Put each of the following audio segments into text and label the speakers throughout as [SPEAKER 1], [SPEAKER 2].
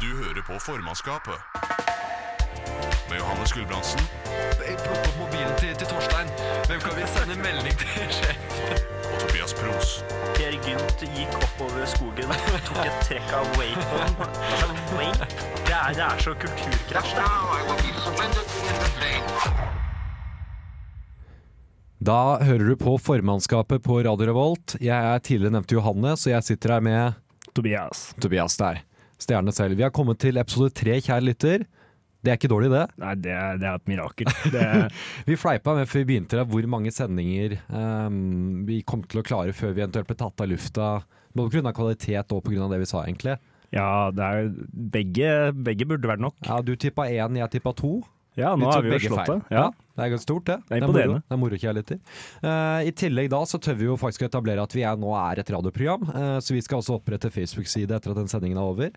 [SPEAKER 1] Du hører på formannskapet. Med Johannes Gulbrandsen
[SPEAKER 2] Jeg plukker opp mobilen til, til Torstein. Hvem kan vi sende melding til sjef?
[SPEAKER 1] og Tobias Pros.
[SPEAKER 3] Per Gynt gikk oppover skogen, tok et trekk av wakeboarden. Altså, wake? Det er, det er så kulturkrasj. det.
[SPEAKER 4] Da hører du på formannskapet på Radio Revolt. Jeg er tidligere nevnte Johannes, og jeg sitter her med
[SPEAKER 5] Tobias.
[SPEAKER 4] Tobias der. Stjerne selv. Vi har kommet til episode tre, kjære lytter. Det er ikke dårlig, det.
[SPEAKER 5] Nei, det er, det er et mirakel. Det er,
[SPEAKER 4] Vi fleipa med før vi begynte der, hvor mange sendinger ehm, vi kom til å klare før vi eventuelt ble tatt av lufta. Både pga. kvalitet og pga. det vi sa, egentlig.
[SPEAKER 5] ja, det er begge, begge burde vært nok.
[SPEAKER 4] Ja, Du tippa én, jeg tippa to.
[SPEAKER 5] Ja, nå
[SPEAKER 4] Vi
[SPEAKER 5] har
[SPEAKER 4] tok
[SPEAKER 5] vi jo
[SPEAKER 4] begge
[SPEAKER 5] slått det.
[SPEAKER 4] feil.
[SPEAKER 5] Ja.
[SPEAKER 4] Det er ganske stort, det.
[SPEAKER 5] Det er
[SPEAKER 4] moro.
[SPEAKER 5] imponerende.
[SPEAKER 4] Det er moro, kjærligheter. Eh, I tillegg da så tør vi jo faktisk å etablere at vi er, nå er et radioprogram, eh, så vi skal også opprette Facebook-side etter at den sendingen er over.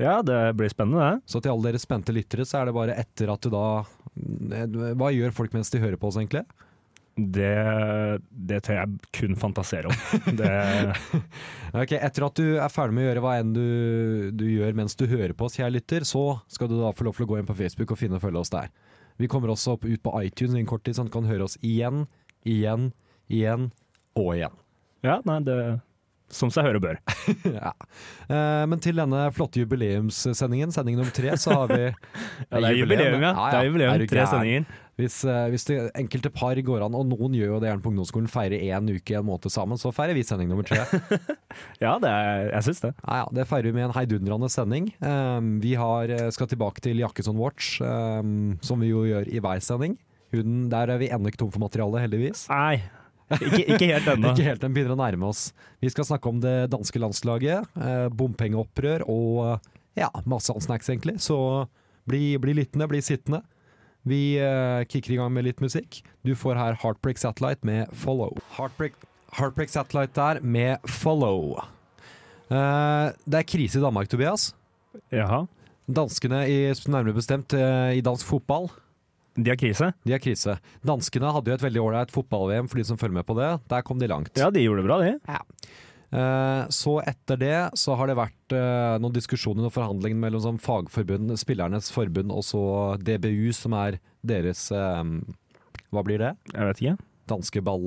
[SPEAKER 5] ja, det blir spennende, det.
[SPEAKER 4] Så til alle dere spente lyttere, så er det bare etter at du da eh, Hva gjør folk mens de hører på oss, egentlig?
[SPEAKER 5] Det, det tør jeg kun fantasere om. Det,
[SPEAKER 4] Ok, Etter at du er ferdig med å gjøre hva enn du, du gjør mens du hører på oss, kjære lytter, så skal du da få lov til å gå inn på Facebook og finne og følge oss der. Vi kommer også opp, ut på iTunes innen kort tid, så du kan høre oss igjen, igjen, igjen og igjen.
[SPEAKER 5] ja, nei, det Som seg hør og bør.
[SPEAKER 4] Ja. Eh, men til denne flotte jubileumssendingen, sending nummer tre, så har vi
[SPEAKER 5] Ja, det er jubileum, ja. Det er jubileum,
[SPEAKER 4] du
[SPEAKER 5] Tre
[SPEAKER 4] gæren?
[SPEAKER 5] sendinger.
[SPEAKER 4] Hvis, eh, hvis det enkelte par går an, og noen gjør jo det gjerne på ungdomsskolen, feirer én uke, en måned sammen, så feirer vi sending nummer tre.
[SPEAKER 5] Ja, det er, jeg syns det.
[SPEAKER 4] Ja, ja, det feirer vi med en heidundrende sending. Um, vi har, eh, skal tilbake til Jakkesson Watch, um, som vi jo gjør i hver sending. Hun, der er vi ennå ikke tom for materiale, heldigvis.
[SPEAKER 5] Nei, ikke, ikke helt ennå.
[SPEAKER 4] Ikke helt den begynner å nærme oss. Vi skal snakke om det danske landslaget, eh, bompengeopprør og eh, ja, masse annen snacks, egentlig. Så bli, bli lyttende, bli sittende. Vi eh, kicker i gang med litt musikk. Du får her Heartbreak Satellite med Follow. Heartbreak, Heartbreak Satellite der med Follow. Eh, det er krise i Danmark, Tobias.
[SPEAKER 5] Jaha.
[SPEAKER 4] Danskene, i, nærmere bestemt eh, i dansk fotball,
[SPEAKER 5] De har krise?
[SPEAKER 4] de har krise. Danskene hadde jo et veldig ålreit fotball-VM for de som følger med på det. Der kom de langt.
[SPEAKER 5] Ja, de gjorde det bra, de.
[SPEAKER 4] Eh, Så etter det så har det vært eh, noen diskusjoner og forhandlinger mellom sånn fagforbund, spillernes forbund og så DBU, som er deres eh, Hva blir det?
[SPEAKER 5] Jeg vet ikke.
[SPEAKER 4] Danske ball...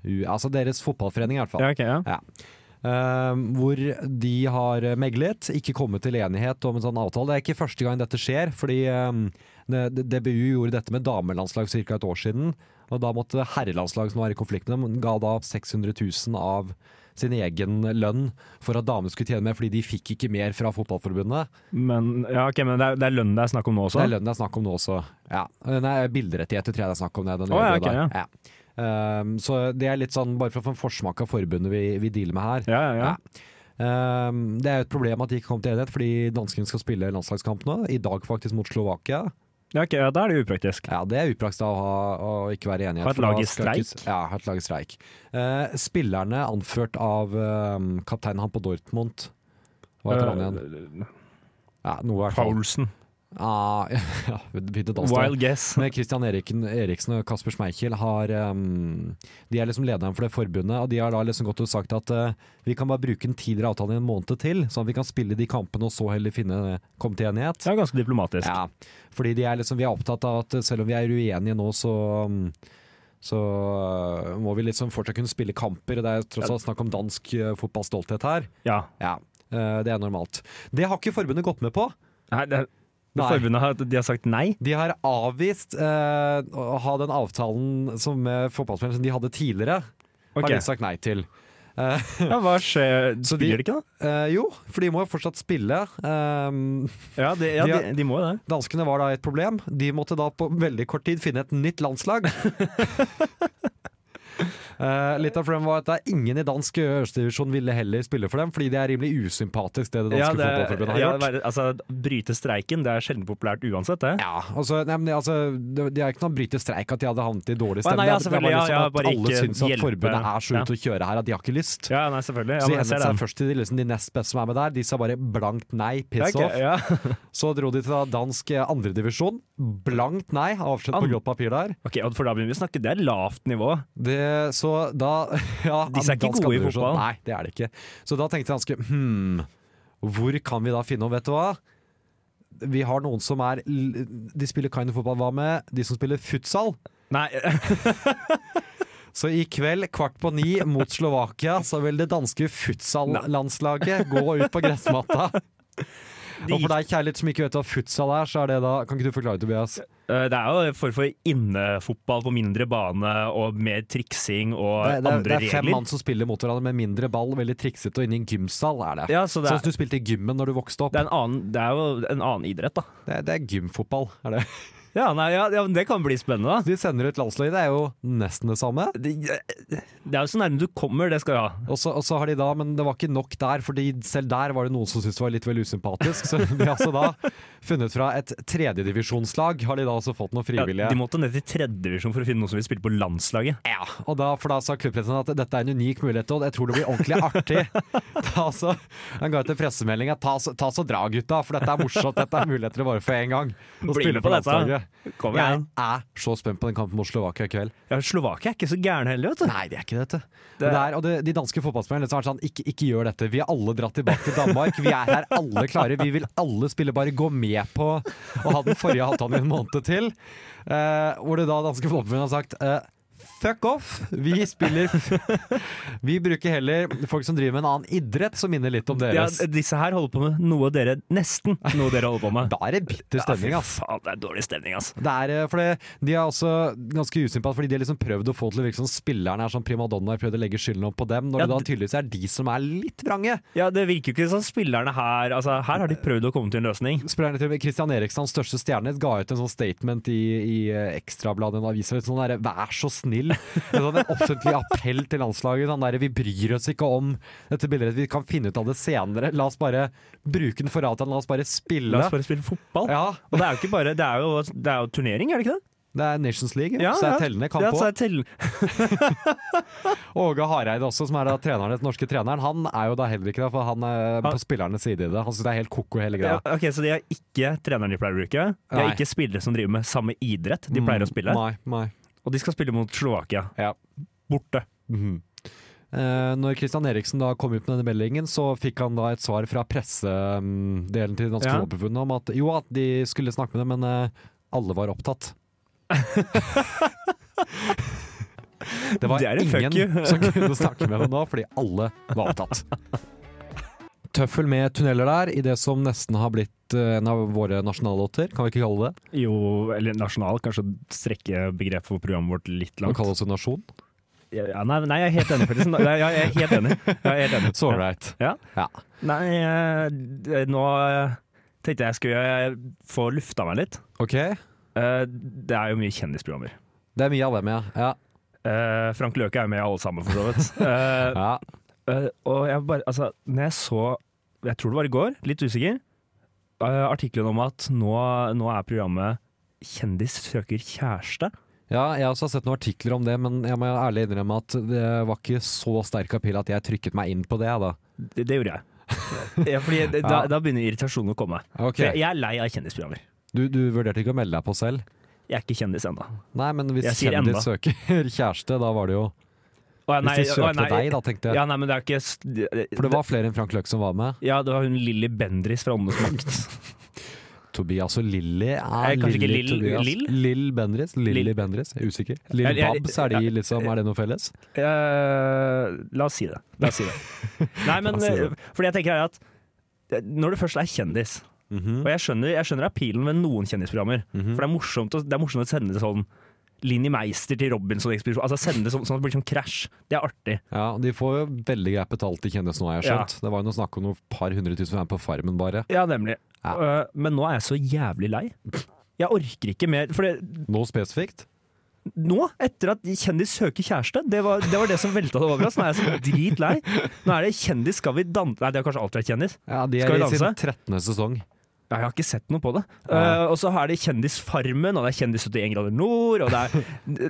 [SPEAKER 4] U- Altså deres fotballforening, i hvert fall.
[SPEAKER 5] Ja, ok, ja.
[SPEAKER 4] Eh, hvor de har meglet, ikke kommet til enighet om en sånn avtale. Det er ikke første gang dette skjer, fordi eh, det- DBU gjorde dette med damelandslag for ca. et år siden. Og da måtte herrelandslag som var i konflikt med dem, ga da 600 000 av sin egen lønn for at damene skulle tjene mer, fordi de fikk ikke mer fra fotballforbundet.
[SPEAKER 5] Men, ja, ok, men det er, det er lønnen det er snakk om nå
[SPEAKER 4] Det
[SPEAKER 5] også?
[SPEAKER 4] er lønnen det er snakk om nå også. Ja. Nei, bilderettigheter tror jeg det er snakk om. Det, den
[SPEAKER 5] Å, ja,
[SPEAKER 4] jobben
[SPEAKER 5] ok,
[SPEAKER 4] der. Ja. Ehm, så det er litt sånn, bare for å få en forsmak av forbundet vi, vi dealer med her.
[SPEAKER 5] Ja, ja, ja.
[SPEAKER 4] Ja. Ehm, det er jo et problem at de ikke kom til enighet, fordi danskene skal spille landslagskamp nå. I dag faktisk mot Slovakia.
[SPEAKER 5] Ja, ok, ja, da er det upraktisk.
[SPEAKER 4] Ja, Det er upraktisk da å, ha, å ikke være enige.
[SPEAKER 5] Ha et
[SPEAKER 4] for da
[SPEAKER 5] lag i
[SPEAKER 4] skal ikke-
[SPEAKER 5] streik?
[SPEAKER 4] Ja, ha et lag i streik. Eh, spillerne anført av um, kapteinen han på Dortmund Hva heter han igjen?
[SPEAKER 5] Eh,
[SPEAKER 4] Ja, noe i hvert fall.
[SPEAKER 5] Paulsen.
[SPEAKER 4] Ah, ja, vi begynte å danse.
[SPEAKER 5] Wild guess.
[SPEAKER 4] Men Christian Eriken, Eriksen og Kasper Schmeichel har um, De er liksom lederen for det forbundet, og de har da liksom gått og sagt at eh, vi kan bare bruke den tidligere avtalen i en måned til, sånn at vi kan spille de kampene og så heller finne komme til enighet.
[SPEAKER 5] Det er ganske diplomatisk.
[SPEAKER 4] Ja, fordi de er liksom, vi er opptatt av at eh, selv om vi er uenige nå, så um, så eh, må vi liksom fortsatt kunne spille kamper. Det er tross alt snakk om dansk eh, fotballstolthet her.
[SPEAKER 5] Ja.
[SPEAKER 4] Ja, eh, Det er normalt. Det har ikke forbundet gått med på.
[SPEAKER 5] Nei, det,
[SPEAKER 4] Nei.
[SPEAKER 5] Forbundet har, de har sagt nei.
[SPEAKER 4] De har avvist eh, å ha den avtalen som med fotballspillerne som de hadde tidligere,
[SPEAKER 5] Ok.
[SPEAKER 4] har de sagt nei til.
[SPEAKER 5] Ja, hva skjer?
[SPEAKER 4] Så de-
[SPEAKER 5] Spiller de ikke, da?
[SPEAKER 4] Eh, jo, for de må jo fortsatt spille. Ehm,
[SPEAKER 5] Ja, de, ja,
[SPEAKER 4] De
[SPEAKER 5] de,
[SPEAKER 4] har-
[SPEAKER 5] de må jo det.
[SPEAKER 4] danskene var da et problem. De måtte da på veldig kort tid finne et nytt landslag. Eh, litt av problemet var at det er ingen i dansk øverstdivisjon ville heller spille for dem, fordi det er rimelig usympatisk det det danske
[SPEAKER 5] Ja, det,
[SPEAKER 4] fotballforbundet har
[SPEAKER 5] ja,
[SPEAKER 4] gjort.
[SPEAKER 5] det er- altså, bryte streiken, det er sjelden populært uansett, det.
[SPEAKER 4] Ja, altså, nei, men, altså det, det er ikke noe bryte streik at de hadde havnet i dårlig stemning. Det er-
[SPEAKER 5] Å, nei, ja,
[SPEAKER 4] det er
[SPEAKER 5] selvfølgelig, ja, ja,
[SPEAKER 4] bare
[SPEAKER 5] bare
[SPEAKER 4] liksom at alle
[SPEAKER 5] ikke
[SPEAKER 4] syns at
[SPEAKER 5] hjelpe.
[SPEAKER 4] forbundet er så
[SPEAKER 5] Ja.
[SPEAKER 4] ute å kjøre her at de har ikke lyst.
[SPEAKER 5] Ja, nei, selvfølgelig. Ja,
[SPEAKER 4] så de
[SPEAKER 5] men jeg
[SPEAKER 4] henvendte
[SPEAKER 5] ser
[SPEAKER 4] seg
[SPEAKER 5] den.
[SPEAKER 4] først til de, liksom, de nest beste som er med der. De sa bare blankt nei,
[SPEAKER 5] Ja,
[SPEAKER 4] piss
[SPEAKER 5] ok,
[SPEAKER 4] off.
[SPEAKER 5] ja.
[SPEAKER 4] Så dro de til da dansk eh, andredivisjon. Blankt nei, avskjed på
[SPEAKER 5] An-
[SPEAKER 4] grått papir der.
[SPEAKER 5] Ok, og for da begynner vi å snakke. Det er lavt nivå.
[SPEAKER 4] Det, så da ja,
[SPEAKER 5] Disse er ikke
[SPEAKER 4] dansk
[SPEAKER 5] gode i
[SPEAKER 4] andredivisjon.
[SPEAKER 5] fotball.
[SPEAKER 4] hmm, Nei, det er det ikke. Så da tenkte danske hm, hvor kan vi da finne om, vet du hva? vi har noen som er l- De spiller kind of fotball. Hva med de som spiller futsal?
[SPEAKER 5] Nei,
[SPEAKER 4] Så i kveld, kvart på ni, mot Slovakia, så vil det danske futsal-landslaget gå ut på gressmatta. Og for deg, kjærlighet, som ikke vet hva futsal er, så er det da Kan ikke du forklare, Tobias?
[SPEAKER 5] eh, det er jo en form for innefotball på mindre bane og mer triksing og
[SPEAKER 4] Det, det, er- det
[SPEAKER 5] andre
[SPEAKER 4] er fem
[SPEAKER 5] regler.
[SPEAKER 4] mann som spiller mot hverandre med mindre ball, veldig triksete, og inne i en gymsal er det.
[SPEAKER 5] Ja, så det
[SPEAKER 4] Sånn
[SPEAKER 5] er,
[SPEAKER 4] som du spilte i gymmen når du vokste opp.
[SPEAKER 5] det, er en annen, det er jo en annen idrett, da.
[SPEAKER 4] Det, det er gymfotball, er det.
[SPEAKER 5] Ja, nei, ja, ja, men det kan bli spennende, da.
[SPEAKER 4] De sender ut landslaget, det er jo nesten det samme.
[SPEAKER 5] Det, det er jo så nærme du kommer, det skal du ha.
[SPEAKER 4] Og så, og så har de da, men det var ikke nok der, fordi selv der var det noen som syntes det var litt vel usympatisk. Så de har altså da funnet fra et tredjedivisjonslag, har de da altså fått noen
[SPEAKER 5] Ja,
[SPEAKER 4] frivillige.
[SPEAKER 5] de måtte ned til tredjedivisjon for å finne noen som vil spille på landslaget.
[SPEAKER 4] Ja, og da, for da sa klubbpresidenten at dette er en unik mulighet, og jeg tror det blir ordentlig artig. Ta så, han ga ut en pressemelding at ta, så- ta så dra, gutta, for dette er morsomt. Dette er muligheter bare for én gang. Å
[SPEAKER 5] Bli
[SPEAKER 4] spille
[SPEAKER 5] med på
[SPEAKER 4] på
[SPEAKER 5] dette.
[SPEAKER 4] landslaget.
[SPEAKER 5] Kom
[SPEAKER 4] Jeg
[SPEAKER 5] igjen.
[SPEAKER 4] er så spent på den kampen mot Slovakia i kveld.
[SPEAKER 5] Ja, Slovakia er ikke så gærne heller, vet du.
[SPEAKER 4] Nei, de er ikke det, vet du.
[SPEAKER 5] Det-
[SPEAKER 4] Det er, og det, de danske fotballspillerne liksom har vært sånn ikke, ikke gjør dette. Vi er alle dratt tilbake til Danmark. Vi er her alle klare. Vi vil alle spille. Bare gå med på å ha den forrige halvdagen i en måned til. Eh, hvor det da danske fotballforbundet har sagt eh, Fuck off! Vi spiller Vi bruker heller folk som driver med en annen idrett som minner litt om
[SPEAKER 5] Ja,
[SPEAKER 4] deres.
[SPEAKER 5] disse her holder på med noe dere nesten noe dere holder på med.
[SPEAKER 4] Da er det bitter stemning, ass.
[SPEAKER 5] Ja, fy faen, det er dårlig stemning, ass.
[SPEAKER 4] Det er, eh, for det, de er også ganske usympatiske, fordi de har liksom prøvd å få til å virke som spillerne er sånn primadonnaer, prøvd å legge skylden opp på dem, når
[SPEAKER 5] Ja,
[SPEAKER 4] det da
[SPEAKER 5] d-
[SPEAKER 4] tydeligvis er de som er litt vrange.
[SPEAKER 5] Ja, Det virker jo ikke som spillerne her Altså, Her har de prøvd å komme til en løsning.
[SPEAKER 4] Spillerne til Kristian Eriksson, største stjerne, ga ut en sånn statement i, i eh, Ekstrabladet, en avis, eller sånn derre 'vær så snill'. En sånn en offentlig appell til landslaget. Sånn derre 'vi bryr oss ikke om dette bildet, vi kan finne ut av det senere'. La oss bare bruke den for ratan, la oss bare spille.
[SPEAKER 5] La oss bare spille fotball.
[SPEAKER 4] Ja,
[SPEAKER 5] Og det er jo ikke bare Det er jo, det er jo turnering, er det ikke det?
[SPEAKER 4] det er Nations League, så er tellende kamp
[SPEAKER 5] ja,
[SPEAKER 4] òg.
[SPEAKER 5] så er tellende.
[SPEAKER 4] Åge Hareide også, som er da treneren, den norske treneren, han er jo da heller ikke det, for han er
[SPEAKER 5] Han-
[SPEAKER 4] på spillernes side i det. Han syns det er helt ko-ko hele
[SPEAKER 5] Ja,
[SPEAKER 4] greia.
[SPEAKER 5] ok, Så de er ikke treneren de pleier å bruke. De er
[SPEAKER 4] Nei.
[SPEAKER 5] ikke spillere som driver med samme idrett de pleier å spille.
[SPEAKER 4] Mm, Nei, nei.
[SPEAKER 5] Og de skal spille mot Slovakia.
[SPEAKER 4] Ja.
[SPEAKER 5] Borte.
[SPEAKER 4] Mhm. Eh, når Kristian Eriksen da kom ut med denne meldingen, så fikk han da et svar fra pressedelen til Danske
[SPEAKER 5] Ja.
[SPEAKER 4] Fotballforbundet om at jo, at de skulle snakke med dem, men eh, alle var opptatt. Det var
[SPEAKER 5] Det er en fuck you.
[SPEAKER 4] ingen som kunne snakke med dem nå, fordi alle var opptatt. Tøffel med tunneler der, i det som nesten har blitt eh, en av våre nasjonallåter, kan vi ikke kalle det?
[SPEAKER 5] Jo, eller nasjonal, kanskje strekke begrepet for programmet vårt litt
[SPEAKER 4] Vi
[SPEAKER 5] langt.
[SPEAKER 4] kaller oss en nasjon.
[SPEAKER 5] Ja, nei, nei, jeg er helt enig, Pettersen. Nei, Jeg er helt enig. Jeg er helt enig.
[SPEAKER 4] Så ålreit.
[SPEAKER 5] Ja.
[SPEAKER 4] Ja.
[SPEAKER 5] Nei, eh, d- nå eh, tenkte jeg skulle eh, få lufta meg litt.
[SPEAKER 4] Ok, det
[SPEAKER 5] Eh, Det er jo mye kjendisprogrammer.
[SPEAKER 4] er mye av dem, ja. ja.
[SPEAKER 5] Eh, Frank Løke er jo med i alle sammen, for så vidt. Eh,
[SPEAKER 4] ja.
[SPEAKER 5] eh, Og jeg bare Altså, når jeg så Jeg tror det var i går, litt usikker, eh, artikkelen om at nå, nå er programmet Kjendis søker kjæreste.
[SPEAKER 4] Ja, jeg også har sett noen artikler om det, men jeg må ærlig innrømme at det var ikke så sterk appell at jeg trykket meg inn på det. Da.
[SPEAKER 5] Det, det gjorde jeg. Ja, fordi det, da, da begynner irritasjonen å komme.
[SPEAKER 4] Ok,
[SPEAKER 5] For jeg, jeg er lei av kjendisprogrammer.
[SPEAKER 4] du, du vurderte ikke å melde deg på selv?
[SPEAKER 5] Jeg er ikke kjendis ennå.
[SPEAKER 4] Nei, men hvis
[SPEAKER 5] Jeg sier
[SPEAKER 4] kjendis
[SPEAKER 5] enda.
[SPEAKER 4] søker kjæreste, da var det jo
[SPEAKER 5] Å, ja,
[SPEAKER 4] Hvis de
[SPEAKER 5] å,
[SPEAKER 4] søkte
[SPEAKER 5] nei,
[SPEAKER 4] deg, da, tenkte jeg.
[SPEAKER 5] Ja, nei, men det er ikke s- det-
[SPEAKER 4] For det var flere enn Frank Løke som var med.
[SPEAKER 5] Ja, det var hun Lilly Bendris fra Åndenes makt.
[SPEAKER 4] Tobias og Lilly er
[SPEAKER 5] Eh, kanskje ikke Lill-
[SPEAKER 4] Tobias.
[SPEAKER 5] Lill?
[SPEAKER 4] Lill Bendris? Lilly
[SPEAKER 5] Lill.
[SPEAKER 4] Bendris, jeg er usikker.
[SPEAKER 5] Jeg-
[SPEAKER 4] Lill
[SPEAKER 5] jeg-
[SPEAKER 4] Babs, er, de, liksom, er det noe felles?
[SPEAKER 5] Eh, la oss si det. La oss si det. Nei, men
[SPEAKER 4] La oss si det.
[SPEAKER 5] eh, fordi jeg tenker her at eh, når du først er kjendis Og jeg skjønner, jeg skjønner appealen ved noen kjendisprogrammer. For det er, morsomt å, det er morsomt å sende det sånn Linni Meister til Robinson-ekspedisjon. Altså sende det sånn, sånn at det blir sånn krasj. Det er artig.
[SPEAKER 4] Ja, De får jo veldig greit betalt, de kjendisene nå, har jeg skjønt. Det var jo noe snakk om noe par hundre tusen som er med på Farmen, bare.
[SPEAKER 5] Ja, nemlig.
[SPEAKER 4] Ja.
[SPEAKER 5] Eh, men nå er jeg så jævlig lei. Jeg orker ikke mer. For det,
[SPEAKER 4] Noe spesifikt?
[SPEAKER 5] nå, etter at Kjendis søker kjæreste, det var det, var det som velta det over oss. Nå er jeg så dritlei. Nå er det Kjendis skal vi danse Nei, det har kanskje alltid vært Kjendis.
[SPEAKER 4] Ja, De
[SPEAKER 5] Skal
[SPEAKER 4] er
[SPEAKER 5] vi
[SPEAKER 4] i sin
[SPEAKER 5] danse?
[SPEAKER 4] 13. sesong.
[SPEAKER 5] Jeg har ikke sett noe på det.
[SPEAKER 4] Nei.
[SPEAKER 5] Eh, og så er det Kjendisfarmen, og det er Kjendis 71 grader nord, og det er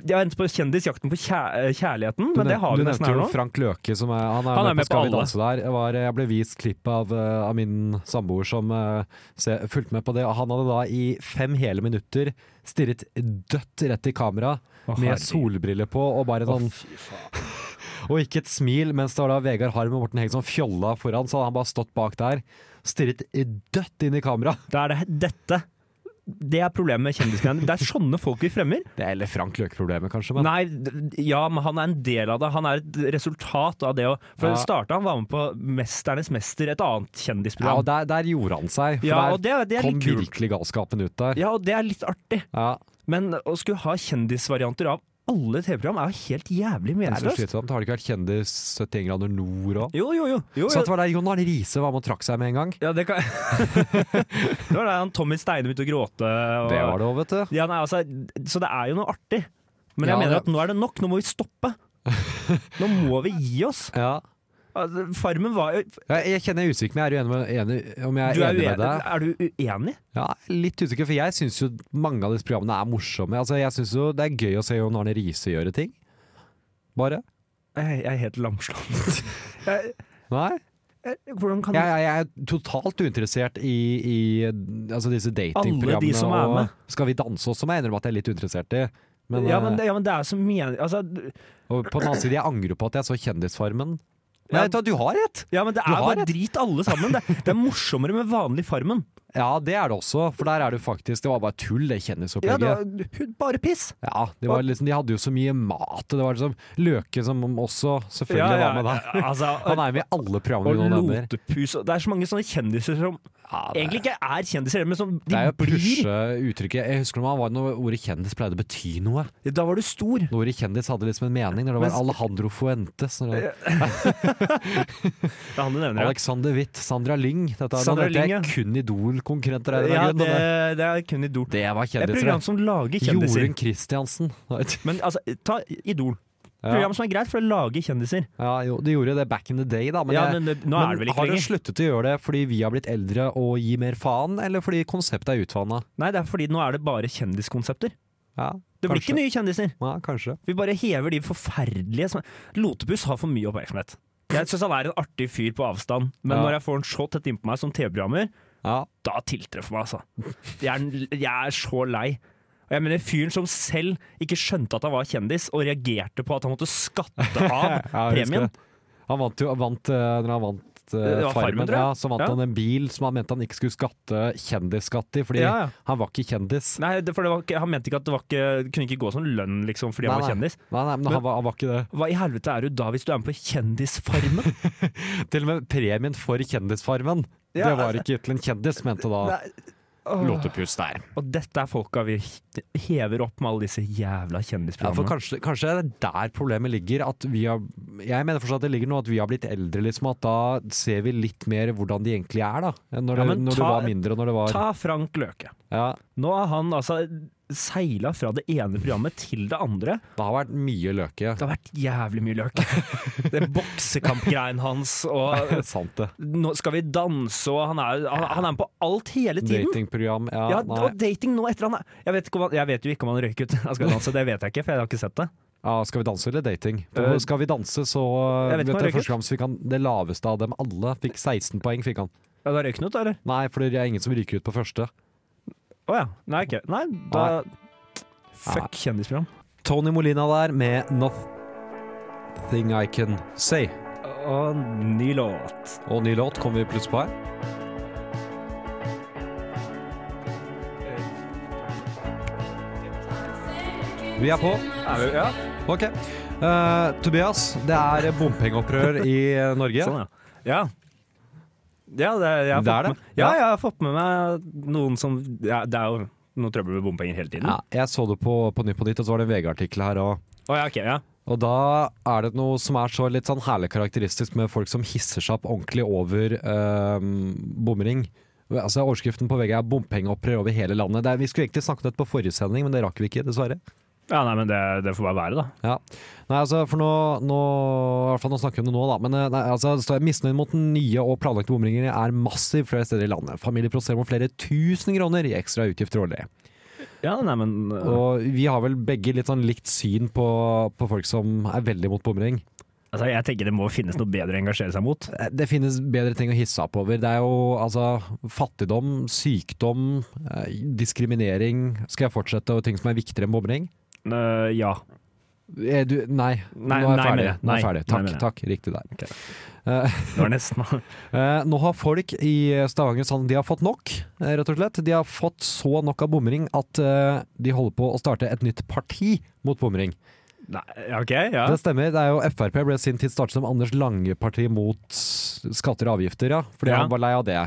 [SPEAKER 5] De har hentet på Kjendisjakten på kjæ eh, kjærligheten, men det har
[SPEAKER 4] du
[SPEAKER 5] vi nesten her
[SPEAKER 4] jo
[SPEAKER 5] nå.
[SPEAKER 4] Frank Løke, som er, han er,
[SPEAKER 5] Han
[SPEAKER 4] med på Skal vi danse der. Jeg, var, jeg ble vist klipp av, eh, av min samboer som eh, se, fulgte med på det. Og han hadde da i fem hele minutter stirret dødt rett i kamera
[SPEAKER 5] Å,
[SPEAKER 4] med
[SPEAKER 5] herregud.
[SPEAKER 4] solbriller på og bare sånn Og ikke et smil, mens det var da Vegard Harm og Morten Heng som fjolla foran, så hadde han bare stått bak der, stirret dødt inn i kamera.
[SPEAKER 5] Da er det dette. Det er problemet med kjendisgreiene. Det er sånne folk vi fremmer.
[SPEAKER 4] Det er eller Frank Løke-problemet, kanskje, men
[SPEAKER 5] Nei, d- ja, men han er en del av det. Han er et resultat av det å For
[SPEAKER 4] Ja.
[SPEAKER 5] det starta han var med på 'Mesternes mester', et annet
[SPEAKER 4] ja, og
[SPEAKER 5] kjendisprogram.
[SPEAKER 4] der, der gjorde han seg, for
[SPEAKER 5] Ja, og
[SPEAKER 4] der
[SPEAKER 5] det, er- det er
[SPEAKER 4] kom
[SPEAKER 5] litt kult.
[SPEAKER 4] virkelig galskapen ut der.
[SPEAKER 5] Ja, og det er litt artig.
[SPEAKER 4] Ja,
[SPEAKER 5] Men å skulle ha kjendisvarianter av alle TV-program er jo helt jævlig
[SPEAKER 4] det er så
[SPEAKER 5] meningsløst.
[SPEAKER 4] slitsomt. Har det ikke vært kjendis 71 grader nord òg?
[SPEAKER 5] Jo, jo, jo. jo,
[SPEAKER 4] Så
[SPEAKER 5] jo.
[SPEAKER 4] at det var der Jon Arne Riise var med og trakk seg med en gang.
[SPEAKER 5] Ja, det, kan... det var da han Tommy Steine begynte å gråte. Og...
[SPEAKER 4] Det var det òg, vet du.
[SPEAKER 5] Ja, nei, altså, så det er jo noe artig. Men jeg
[SPEAKER 4] Ja,
[SPEAKER 5] mener
[SPEAKER 4] det-
[SPEAKER 5] at nå er det nok. Nå må vi stoppe. Nå må vi gi oss.
[SPEAKER 4] Ja.
[SPEAKER 5] Altså, Farmen var jo
[SPEAKER 4] Jeg, jeg kjenner jeg er usikker, men jeg er uenig, med, enig, om jeg
[SPEAKER 5] Du
[SPEAKER 4] er
[SPEAKER 5] er,
[SPEAKER 4] enig
[SPEAKER 5] uenig.
[SPEAKER 4] med deg.
[SPEAKER 5] er du uenig?
[SPEAKER 4] Ja, litt usikker, for jeg syns jo mange av disse programmene er morsomme. Altså, jeg syns jo det er gøy å se Jon Arne Riise gjøre ting. Bare.
[SPEAKER 5] Jeg, jeg er helt lamslått. Jeg-
[SPEAKER 4] Nei.
[SPEAKER 5] jeg- Hvordan kan
[SPEAKER 4] Jeg, jeg, jeg er totalt uinteressert i, i altså disse datingprogrammene.
[SPEAKER 5] Alle de som er med.
[SPEAKER 4] Og skal vi danse også, må jeg innrømme at jeg er litt uinteressert i. Men,
[SPEAKER 5] ja, men,
[SPEAKER 4] eh,
[SPEAKER 5] det- ja, men det er så mening... Altså,
[SPEAKER 4] og på den annen side, jeg angrer på at jeg så Kjendisfarmen. Men
[SPEAKER 5] Ja.
[SPEAKER 4] vet du, hva, du har rett!
[SPEAKER 5] ja, men det
[SPEAKER 4] Du
[SPEAKER 5] er
[SPEAKER 4] har
[SPEAKER 5] bare
[SPEAKER 4] rett.
[SPEAKER 5] drit alle sammen. Det, det er morsommere med vanlig Farmen.
[SPEAKER 4] Ja, det er det også, for der er det faktisk Det var bare tull, det
[SPEAKER 5] Ja, det
[SPEAKER 4] kjendisopplegget.
[SPEAKER 5] var bare piss.
[SPEAKER 4] Ja, det var liksom, De hadde jo så mye mat, og det var liksom Løke som også selvfølgelig
[SPEAKER 5] Ja, ja,
[SPEAKER 4] var med der.
[SPEAKER 5] Altså,
[SPEAKER 4] Han er med i alle
[SPEAKER 5] og
[SPEAKER 4] programmer vi nå nevner.
[SPEAKER 5] lotepus og Det er så mange sånne kjendiser som
[SPEAKER 4] Ja, det,
[SPEAKER 5] egentlig ikke er kjendiser, men som
[SPEAKER 4] det
[SPEAKER 5] de
[SPEAKER 4] er jo å
[SPEAKER 5] blir.
[SPEAKER 4] pushe uttrykket. Jeg husker når man var når ordet kjendis pleide å bety noe.
[SPEAKER 5] Da var du stor.
[SPEAKER 4] Når ordet kjendis hadde liksom en mening, når det var
[SPEAKER 5] Men-
[SPEAKER 4] Alejandro Fuentes. Når det,
[SPEAKER 5] Det er han du nevner. ja.
[SPEAKER 4] Alexander Witt, Sandra Lyng. Dette er,
[SPEAKER 5] Sandra
[SPEAKER 4] nå nevnte
[SPEAKER 5] Lyng, ja.
[SPEAKER 4] jeg kun Idol-konkurrenter. her i dag,
[SPEAKER 5] Ja,
[SPEAKER 4] men
[SPEAKER 5] det,
[SPEAKER 4] det,
[SPEAKER 5] det er kun Idol.
[SPEAKER 4] det var
[SPEAKER 5] Det er et
[SPEAKER 4] kjendiser.
[SPEAKER 5] program som lager
[SPEAKER 4] det.
[SPEAKER 5] kjendiser.
[SPEAKER 4] Jorunn Kristiansen.
[SPEAKER 5] Men altså, ta Idol.
[SPEAKER 4] Ja,
[SPEAKER 5] Program som er greit for å lage kjendiser.
[SPEAKER 4] ja, jo, de gjorde det back in the day, da. Men,
[SPEAKER 5] ja,
[SPEAKER 4] jeg-
[SPEAKER 5] men det, nå
[SPEAKER 4] men
[SPEAKER 5] er det vel ikke
[SPEAKER 4] har dere
[SPEAKER 5] lenger.
[SPEAKER 4] sluttet å gjøre det fordi vi har blitt eldre og gir mer faen, eller fordi konseptet er utvanna?
[SPEAKER 5] Nei, det er fordi nå er det bare kjendiskonsepter.
[SPEAKER 4] Ja,
[SPEAKER 5] Det blir
[SPEAKER 4] Kanskje.
[SPEAKER 5] ikke nye kjendiser.
[SPEAKER 4] ja, kanskje.
[SPEAKER 5] Vi bare hever de forferdelige som Lotepus har for mye oppmerksomhet. Jeg syns han er en artig fyr på avstand, men
[SPEAKER 4] Ja.
[SPEAKER 5] når jeg får han så tett innpå meg som TV-programmer,
[SPEAKER 4] Ja.
[SPEAKER 5] da tiltreffer meg, altså. Jeg er, jeg er så lei. Og jeg mener Fyren som selv ikke skjønte at han var kjendis, og reagerte på at han måtte skatte av
[SPEAKER 4] Ja, jeg husker
[SPEAKER 5] premien.
[SPEAKER 4] det. Han vant jo vant, eh, Når han vant eh,
[SPEAKER 5] Det var Farmen,
[SPEAKER 4] Farmen,
[SPEAKER 5] tror jeg.
[SPEAKER 4] ja, så vant
[SPEAKER 5] Ja.
[SPEAKER 4] han en bil som han mente han ikke skulle skatte kjendisskatt i, fordi
[SPEAKER 5] Ja, ja.
[SPEAKER 4] han var ikke kjendis.
[SPEAKER 5] Nei, det, for det var ikke, Han mente ikke at det var ikke, kunne ikke gå som lønn liksom, fordi
[SPEAKER 4] Nei,
[SPEAKER 5] han var
[SPEAKER 4] nei.
[SPEAKER 5] kjendis.
[SPEAKER 4] Nei, nei, men,
[SPEAKER 5] Men-
[SPEAKER 4] han, var, han var ikke det.
[SPEAKER 5] Hva i helvete er du da hvis du er med på Kjendisfarmen?
[SPEAKER 4] Til og med premien for Kjendisfarmen.
[SPEAKER 5] Ja,
[SPEAKER 4] det var ikke til en kjendis, mente da Lotepus der.
[SPEAKER 5] Og dette er folka vi hever opp med alle disse jævla
[SPEAKER 4] Ja, for
[SPEAKER 5] kjendisprogrammene.
[SPEAKER 4] kanskje, kanskje det er der problemet ligger. At vi har, jeg mener fortsatt at det ligger noe at vi har blitt eldre, liksom, at da ser vi litt mer hvordan de egentlig er. da enn Når, det,
[SPEAKER 5] Ja, men
[SPEAKER 4] når
[SPEAKER 5] ta-
[SPEAKER 4] du var mindre og når det var
[SPEAKER 5] Ta Frank Løke.
[SPEAKER 4] ja,
[SPEAKER 5] Nå har han altså seila fra det ene programmet til det andre.
[SPEAKER 4] Det har vært mye løke.
[SPEAKER 5] Det har vært jævlig mye løk. Det boksekampgreien hans, og
[SPEAKER 4] Sant det.
[SPEAKER 5] nå skal vi danse, og han er, han, han er med på alt hele tiden.
[SPEAKER 4] Datingprogram. Ja,
[SPEAKER 5] Ja,
[SPEAKER 4] nei.
[SPEAKER 5] og dating nå etter han er jeg vet, ikke om han, jeg vet jo ikke om han røyk ut Han skal danse, det vet jeg ikke, for jeg har ikke sett det.
[SPEAKER 4] Ja, skal vi danse eller dating? På
[SPEAKER 5] Øh,
[SPEAKER 4] skal vi danse, så
[SPEAKER 5] jeg vet
[SPEAKER 4] vet
[SPEAKER 5] ikke
[SPEAKER 4] du,
[SPEAKER 5] om han
[SPEAKER 4] første gang så fikk han det laveste av dem alle. Fikk 16 poeng, fikk han.
[SPEAKER 5] Ja, da røyk han ut, da, eller?
[SPEAKER 4] Nei, for det er ingen som ryker ut på første.
[SPEAKER 5] Å ja. Nei, ok. Nei, da Fuck kjendisprogram.
[SPEAKER 4] Tony Molina der med Nothing I Can Say.
[SPEAKER 5] Og ny låt.
[SPEAKER 4] Og ny låt kommer vi plutselig på her. Vi er på.
[SPEAKER 5] Er vi, ja.
[SPEAKER 4] Ok. Eh, Tobias, det er bompengeopprør i eh, Norge.
[SPEAKER 5] Sånn, ja. Ja. Ja, det, jeg
[SPEAKER 4] Det er
[SPEAKER 5] har fått
[SPEAKER 4] det.
[SPEAKER 5] Med, ja, jeg har fått med meg noen som ja, Det er jo noe trøbbel med bompenger hele tiden.
[SPEAKER 4] Ja, jeg så det på, på Nytt på Nytt, og så var det en VG-artikkel her òg.
[SPEAKER 5] Å, ja, ok, ja.
[SPEAKER 4] Og da er det noe som er så litt sånn herlig karakteristisk med folk som hisser seg opp ordentlig over øhm, bomring. Altså Overskriften på VG er 'bompengeopprør over hele landet'. Det er, vi skulle egentlig snakket om dette på forrige sending, men det rakk vi ikke, dessverre.
[SPEAKER 5] ja, nei, men det, det får bare være, da.
[SPEAKER 4] Ja. Nei, altså, for nå, nå I hvert fall nå snakker vi om det nå, da. Men eh, nei, altså, det står misnøyen mot den nye og planlagte bomringer er massiv flere steder i landet. Familier protesterer mot flere tusen kroner i ekstra utgifter årlig.
[SPEAKER 5] Ja, nei, men øh,
[SPEAKER 4] Og vi har vel begge litt sånn likt syn på, på folk som er veldig mot bomring. Eh,
[SPEAKER 5] altså, Jeg tenker det må finnes noe bedre å engasjere seg mot.
[SPEAKER 4] Det finnes bedre ting å hisse opp over. Det er jo altså fattigdom, sykdom, eh, diskriminering Skal jeg fortsette, og ting som er viktigere enn bomring?
[SPEAKER 5] Øh, ja.
[SPEAKER 4] Eh, Du, nei.
[SPEAKER 5] Nei,
[SPEAKER 4] nå er jeg
[SPEAKER 5] nei,
[SPEAKER 4] ferdig.
[SPEAKER 5] mener
[SPEAKER 4] Nå er
[SPEAKER 5] jeg.
[SPEAKER 4] jeg
[SPEAKER 5] Nei,
[SPEAKER 4] ferdig.
[SPEAKER 5] nei,
[SPEAKER 4] Takk,
[SPEAKER 5] mener jeg.
[SPEAKER 4] takk. Riktig der.
[SPEAKER 5] Ok.
[SPEAKER 4] Eh,
[SPEAKER 5] Det var nesten
[SPEAKER 4] Eh, nå har folk i Stavanger Sand De har fått nok, eh, rett og slett. De har fått så nok av bomring at eh, de holder på å starte et nytt parti mot bomring.
[SPEAKER 5] Nei, OK, ja.
[SPEAKER 4] Det stemmer. det er jo Frp ble i sin tid startet som Anders Lange-parti mot skatter og avgifter, ja. Fordi
[SPEAKER 5] Ja.
[SPEAKER 4] han var lei av det.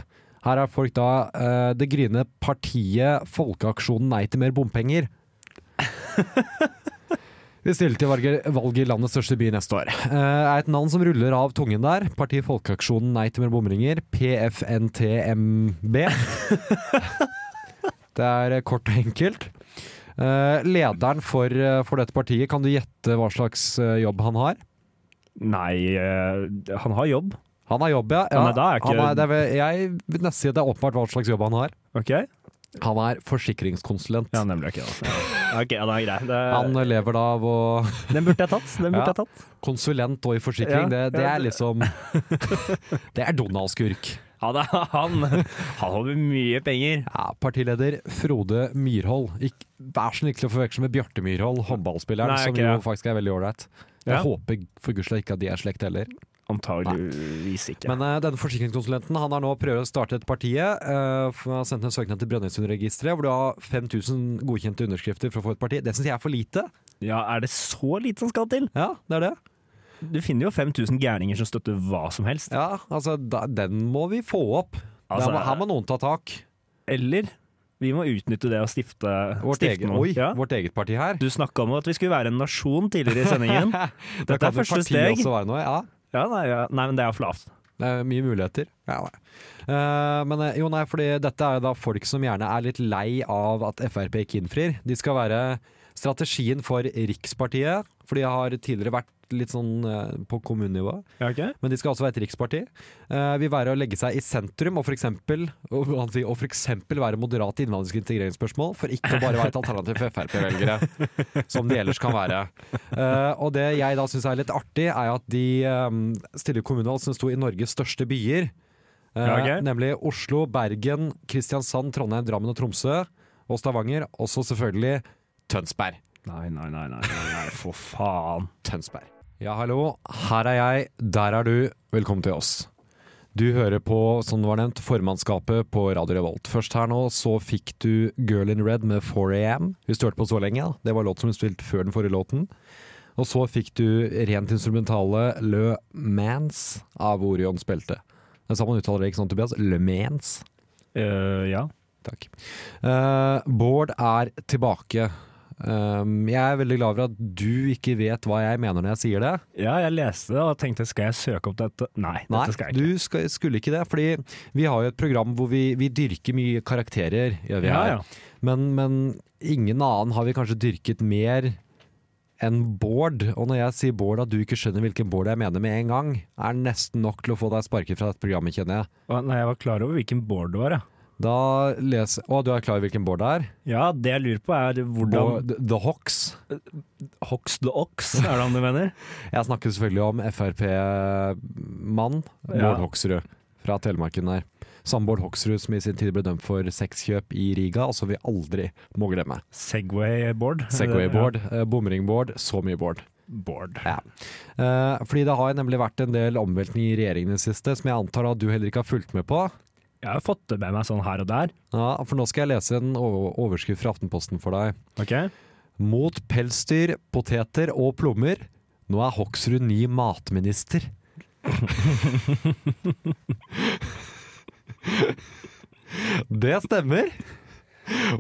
[SPEAKER 4] Her er folk da eh, det gryende partiet Folkeaksjonen nei til mer bompenger. Vi stiller til valget, valget i landets største by neste år. Eh, er et navn som ruller av tungen der. Partiet Folkeaksjonen nei til mer bomringer. PFNTMB. det er eh, kort og enkelt. Eh, lederen for, eh, for dette partiet, kan du gjette hva slags eh, jobb han har?
[SPEAKER 5] Nei, eh, han har jobb.
[SPEAKER 4] Han har jobb, ja. ja
[SPEAKER 5] Ja, nei, da er ikke-
[SPEAKER 4] han er, det er, vel- jeg vil nesten si at det er åpenbart hva slags jobb han har.
[SPEAKER 5] OK? Ja,
[SPEAKER 4] Han er forsikringskonsulent.
[SPEAKER 5] nemlig. ok, da. Ja. Ok, ja, det er greit. Det,
[SPEAKER 4] Han lever da av å
[SPEAKER 5] den burde jeg tatt. Den burde
[SPEAKER 4] Ja.
[SPEAKER 5] jeg tatt.
[SPEAKER 4] Konsulent og i forsikring,
[SPEAKER 5] Ja,
[SPEAKER 4] det, det
[SPEAKER 5] ja,
[SPEAKER 4] er
[SPEAKER 5] det-
[SPEAKER 4] liksom Det er Donald-skurk.
[SPEAKER 5] Ja, det, er han, han håper mye penger.
[SPEAKER 4] Ja, partileder Frode Myrhold. Ikk, vær så snill ikke å forveksle med Bjarte Myrhold, håndballspilleren,
[SPEAKER 5] Nei,
[SPEAKER 4] som
[SPEAKER 5] ok,
[SPEAKER 4] jo
[SPEAKER 5] ja.
[SPEAKER 4] faktisk er veldig ålreit. Jeg
[SPEAKER 5] Ja.
[SPEAKER 4] håper for gudskjelov ikke at de er slekt heller.
[SPEAKER 5] Antageligvis ikke.
[SPEAKER 4] Men eh, denne forsikringskonsulenten han har nå prøvd å starte et parti. Uh, har sendt en søknad til Brønnøysundregisteret hvor du har 5000 godkjente underskrifter for å få et parti. Det syns jeg er for lite.
[SPEAKER 5] ja, er det så lite som skal til?
[SPEAKER 4] Ja, det er det.
[SPEAKER 5] Du finner jo 5000 gærninger som støtter hva som helst.
[SPEAKER 4] Ja, altså, da, Den må vi få opp. Der
[SPEAKER 5] Altså,
[SPEAKER 4] må, her må noen ta tak.
[SPEAKER 5] Eller vi må utnytte det og stifte,
[SPEAKER 4] Vårt
[SPEAKER 5] stifte
[SPEAKER 4] eget,
[SPEAKER 5] noe.
[SPEAKER 4] oi,
[SPEAKER 5] Ja.
[SPEAKER 4] vårt eget parti her.
[SPEAKER 5] Du snakka om at vi skulle være en nasjon tidligere i sendingen.
[SPEAKER 4] Da
[SPEAKER 5] Dette
[SPEAKER 4] kan
[SPEAKER 5] er
[SPEAKER 4] jo
[SPEAKER 5] første
[SPEAKER 4] partiet
[SPEAKER 5] steg.
[SPEAKER 4] også være noe, ja.
[SPEAKER 5] Ja, nei, ja. nei, men det er jo for lavt.
[SPEAKER 4] Det er mye muligheter. Ja, nei. Eh, men eh, jo, nei, fordi dette er jo da folk som gjerne er litt lei av at Frp ikke innfrir. De skal være strategien for Rikspartiet, for de har tidligere vært litt sånn eh, på kommunenivå.
[SPEAKER 5] Ja, ok.
[SPEAKER 4] Men de skal også være et riksparti. Eh, vil være å legge seg i sentrum og for eksempel, og, han sier, og for eksempel være moderat i innvandrings- og integreringsspørsmål, for ikke å bare være et alternativ for Frp-velgere, som de ellers kan være. Eh, og det jeg da syns er litt artig, er at de um, stiller kommunevalg som sto i Norges største byer. Eh,
[SPEAKER 5] Ja, ok.
[SPEAKER 4] Nemlig Oslo, Bergen, Kristiansand, Trondheim, Drammen og Tromsø. Og Stavanger. Også selvfølgelig Tønsberg.
[SPEAKER 5] Nei, nei, nei, nei, nei, nei, for faen.
[SPEAKER 4] Tønsberg. Ja, hallo. Her er jeg, der er du. Velkommen til oss. Du hører på, som det var nevnt, formannskapet på Radio Revolt. Først her nå så fikk du Girl in Red med 4AM, hvis du hørte på så lenge. da. Det var låt som ble spilt før den forrige låten. Og så fikk du rent instrumentale Le Mans av Orion Spelte. Det er sånn man uttaler det, ikke sant, Tobias? Le Mans.
[SPEAKER 5] Eh, ja.
[SPEAKER 4] Takk. Eh, Bård er tilbake. Um, jeg er veldig glad for at du ikke vet hva jeg mener når jeg sier det.
[SPEAKER 5] ja, jeg leste det og tenkte skal jeg søke opp dette? Nei,
[SPEAKER 4] Nei,
[SPEAKER 5] dette skal jeg ikke.
[SPEAKER 4] du skal, skulle ikke det. Fordi vi har jo et program hvor vi, vi dyrker mye karakterer. Gjør vi
[SPEAKER 5] ja,
[SPEAKER 4] her.
[SPEAKER 5] ja.
[SPEAKER 4] Men, men ingen annen har vi kanskje dyrket mer enn Bård. Og når jeg sier Bård at du ikke skjønner hvilken Bård jeg mener med en gang, er nesten nok til å få deg sparket fra dette programmet, kjenner jeg.
[SPEAKER 5] Å, Nei, jeg var klar over hvilken board det var, ja.
[SPEAKER 4] Da leser Å, du er klar over hvilken Bård det er?
[SPEAKER 5] Ja, det jeg lurer på er hvordan
[SPEAKER 4] Bård, the Hawks.
[SPEAKER 5] Hox the Ox, er det han du mener?
[SPEAKER 4] Jeg snakker selvfølgelig om Frp-mann Bård
[SPEAKER 5] Ja.
[SPEAKER 4] Hoksrud fra Telemarken der. Samme Bård Hoksrud som i sin tid ble dømt for sexkjøp i Riga, og som vi aldri må glemme.
[SPEAKER 5] Segway board?
[SPEAKER 4] Segway Bård, eh, bomring Bård, så mye Bård.
[SPEAKER 5] Ja. Board.
[SPEAKER 4] Ja. Eh, fordi det har nemlig vært en del omveltninger i regjeringen i det siste, som jeg antar at du heller ikke har fulgt med på.
[SPEAKER 5] Jeg har fått det med meg sånn her og der.
[SPEAKER 4] Ja, for nå skal jeg lese en o- overskrift fra Aftenposten for deg.
[SPEAKER 5] Ok?
[SPEAKER 4] Mot pelsdyr, poteter og plommer. Nå er Hoksrud ny matminister. Det stemmer.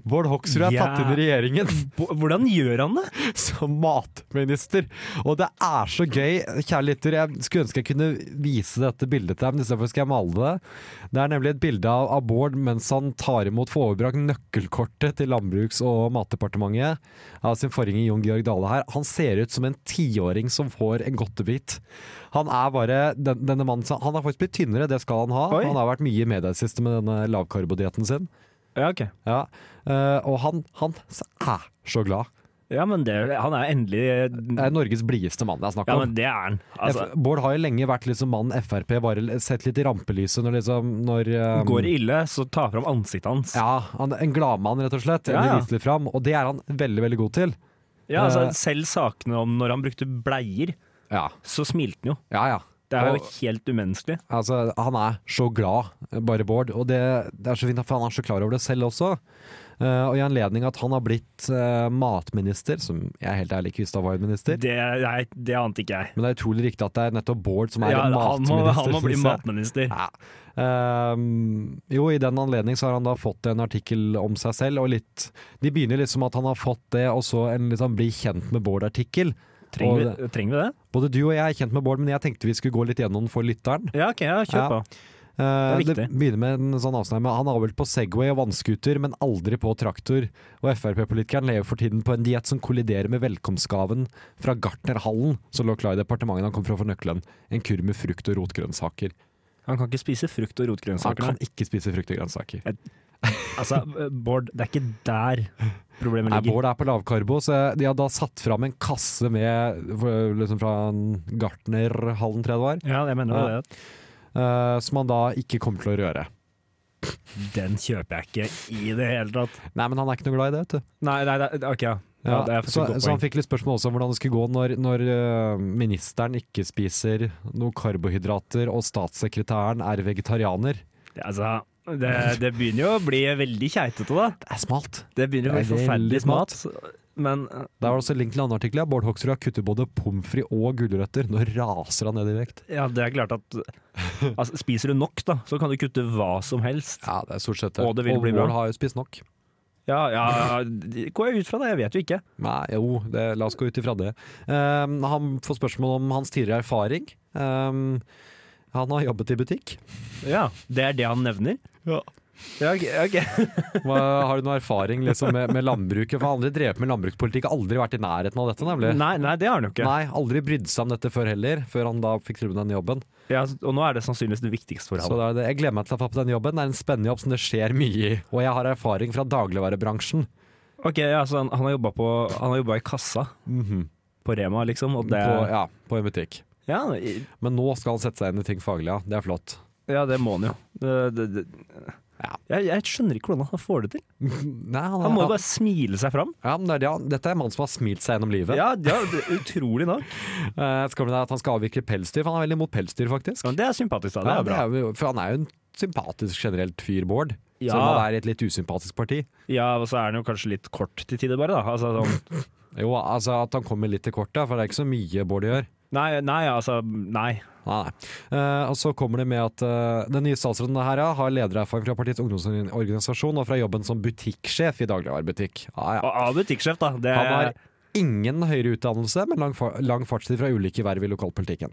[SPEAKER 4] Bård Hoksrud er tatt inn i regjeringen
[SPEAKER 5] Hvordan gjør han det?
[SPEAKER 4] som matminister. Og det er så gøy. Kjære lytter, jeg skulle ønske jeg kunne vise dette bildet til deg, men istedenfor skal jeg male det. Det er nemlig et bilde av, av Bård mens han tar imot for overbrakt nøkkelkortet til Landbruks- og matdepartementet av sin forgjenger Jon Georg Dale her. Han ser ut som en tiåring som får en godtebit. Han er bare den, denne mannen som Han har faktisk blitt tynnere, det skal han ha.
[SPEAKER 5] Oi.
[SPEAKER 4] Han har vært mye i media i det siste med denne lavkarbodietten sin.
[SPEAKER 5] Ja, ok.
[SPEAKER 4] Ja. eh, og han, han er så glad.
[SPEAKER 5] Ja, men det, han er endelig
[SPEAKER 4] Det er Norges blideste mann det er snakk
[SPEAKER 5] Ja,
[SPEAKER 4] om.
[SPEAKER 5] men det er han. Altså,
[SPEAKER 4] F- Bård har jo lenge vært liksom mannen Frp, bare l- sett litt i rampelyset når liksom når, um,
[SPEAKER 5] går ille, så ta fram ansiktet hans.
[SPEAKER 4] Ja, han, en gladmann, rett og slett.
[SPEAKER 5] Ja,
[SPEAKER 4] Eller
[SPEAKER 5] ja.
[SPEAKER 4] viser litt fram. Og det er han veldig, veldig god til.
[SPEAKER 5] Ja, altså, selv sakene om når han brukte bleier,
[SPEAKER 4] Ja,
[SPEAKER 5] så smilte han jo.
[SPEAKER 4] ja. ja.
[SPEAKER 5] Det er jo
[SPEAKER 4] Og-
[SPEAKER 5] helt umenneskelig.
[SPEAKER 4] Altså, han er så glad, bare Bård. Og det, det er så fint, for han er så klar over det selv også. Eh, og i anledning at han har blitt eh, matminister, som jeg helt ærlig ikke visste han var minister
[SPEAKER 5] Det, nei, det ante ikke jeg.
[SPEAKER 4] Men det er utrolig riktig at det er nettopp Bård som er
[SPEAKER 5] Ja, han, må,
[SPEAKER 4] matminister.
[SPEAKER 5] han må bli
[SPEAKER 4] synes jeg.
[SPEAKER 5] matminister.
[SPEAKER 4] Ja. Ehm, jo, i den anledning så har han da fått en artikkel om seg selv, og litt De begynner liksom at han har fått det, og så en litt sånn bli kjent med Bård-artikkel. Og
[SPEAKER 5] Trenger vi, trenger vi det?
[SPEAKER 4] Både du og jeg er kjent med Bård, men jeg tenkte vi skulle gå litt gjennom den for lytteren.
[SPEAKER 5] Ja, ok, ja, kjør
[SPEAKER 4] Ja.
[SPEAKER 5] på.
[SPEAKER 4] Eh,
[SPEAKER 5] Det er
[SPEAKER 4] Det,
[SPEAKER 5] viktig.
[SPEAKER 4] begynner med en sånn avsnærme. Han har vel på Segway og vannskuter, men aldri på traktor. Og Frp-politikeren lever for tiden på en diett som kolliderer med velkomstgaven fra Gartnerhallen, som lå klar i departementet han kom fra for nøkkelen. En kurv med frukt og rotgrønnsaker.
[SPEAKER 5] Han kan ikke spise frukt og
[SPEAKER 4] Han
[SPEAKER 5] rotgrønnsaker.
[SPEAKER 4] kan ikke spise frukt og grønnsaker.
[SPEAKER 5] Altså, Bård, det er ikke der problemet
[SPEAKER 4] Nei,
[SPEAKER 5] ligger.
[SPEAKER 4] Bård er på lavkarbo, så de hadde da satt fram en kasse med for- liksom fra en Gartnerhallen, tror jeg det var,
[SPEAKER 5] Ja, jeg mener jo det.
[SPEAKER 4] eh, som han da ikke kommer til å røre.
[SPEAKER 5] Den kjøper jeg ikke i det hele tatt.
[SPEAKER 4] Nei, men han er ikke noe glad i det, vet du.
[SPEAKER 5] Nei, nei, det, ok, ja. ja,
[SPEAKER 4] Ja,
[SPEAKER 5] det er
[SPEAKER 4] så,
[SPEAKER 5] faktisk et godt
[SPEAKER 4] så han
[SPEAKER 5] poeng.
[SPEAKER 4] fikk litt spørsmål også om hvordan det skulle gå når, når eh, ministeren ikke spiser noen karbohydrater, og statssekretæren er vegetarianer.
[SPEAKER 5] Det- Altså, det, det begynner jo å bli veldig keitete, da.
[SPEAKER 4] Det er smalt.
[SPEAKER 5] Det begynner å bli
[SPEAKER 4] Det er
[SPEAKER 5] forferdelig
[SPEAKER 4] veldig
[SPEAKER 5] smalt. Men
[SPEAKER 4] Der var det også link til en annen artikkel. ja. Bård Hoksrud har kuttet både pommes frites og gulrøtter. Nå raser han ned i vekt.
[SPEAKER 5] ja, det er klart at altså, Spiser du nok, da, så kan du kutte hva som helst.
[SPEAKER 4] Ja, det er stort sett
[SPEAKER 5] Og det vil
[SPEAKER 4] og
[SPEAKER 5] bli bra.
[SPEAKER 4] Bård har jo spist nok.
[SPEAKER 5] Ja, ja, ja Går jeg ut fra det? Jeg vet jo ikke.
[SPEAKER 4] Nei, jo, det, la oss gå ut ifra det. Ehm, han får spørsmål om hans tidligere erfaring. Ehm, han har jobbet i butikk.
[SPEAKER 5] Ja, Det er det han nevner?
[SPEAKER 4] Ja.
[SPEAKER 5] Ja, ok, ok.
[SPEAKER 4] Hva, har du noe erfaring liksom, med, med landbruket? For han har aldri drevet med landbrukspolitikk, aldri vært i nærheten av dette, nemlig.
[SPEAKER 5] Nei, nei, det har han jo ikke.
[SPEAKER 4] Nei, aldri brydde seg om dette før heller, før han da fikk tilbud den jobben.
[SPEAKER 5] Ja, og nå er det sannsynligvis det viktigste for
[SPEAKER 4] Så
[SPEAKER 5] ham.
[SPEAKER 4] da er det, jeg gleder meg til å få på den jobben. Det er en spennende jobb som det skjer mye i. Og jeg har erfaring fra dagligvarebransjen.
[SPEAKER 5] Ok, ja, så han, han har jobba på- han har jobba i kassa på Rema, liksom, og Mhm. det
[SPEAKER 4] på, ja, på en butikk.
[SPEAKER 5] ja, i-
[SPEAKER 4] Men nå skal han sette seg inn i ting faglig, ja. Det er flott.
[SPEAKER 5] ja, det må han jo. Det, det, det.
[SPEAKER 4] Ja.
[SPEAKER 5] Jeg, jeg skjønner ikke hvordan han får det til.
[SPEAKER 4] Nei, han,
[SPEAKER 5] Han må jo bare smile seg fram.
[SPEAKER 4] ja, men det er, det han- Dette er en mann som har smilt seg gjennom livet.
[SPEAKER 5] Ja, ja det, utrolig nok.
[SPEAKER 4] Eh, skal vi da at han skal avvikle pelsdyr, for han er veldig imot pelsdyr, faktisk.
[SPEAKER 5] Ja, men det er sympatisk, da. Det
[SPEAKER 4] Ja,
[SPEAKER 5] er bra.
[SPEAKER 4] jo- for han er jo en sympatisk generelt fyr, Bård.
[SPEAKER 5] Ja.
[SPEAKER 4] Selv om han er i et litt usympatisk parti.
[SPEAKER 5] Ja, og så er den jo kanskje litt kort til tider, bare. da altså, sånn,
[SPEAKER 4] Jo, altså at han kommer litt til kortet, for det er ikke så mye Bård gjør.
[SPEAKER 5] nei, nei, altså Nei.
[SPEAKER 4] Nei, nei. Eh, og så kommer det med at eh, den nye statsråden her ja, har ledererfaring fra partiets ungdomsorganisasjon og fra jobben som butikksjef i dagligvarebutikk. Ja, ja.
[SPEAKER 5] Og av butikksjef, da. Det,
[SPEAKER 4] Han har ingen høyere utdannelse, men lang, fa- lang fartstid fra ulike verv i lokalpolitikken.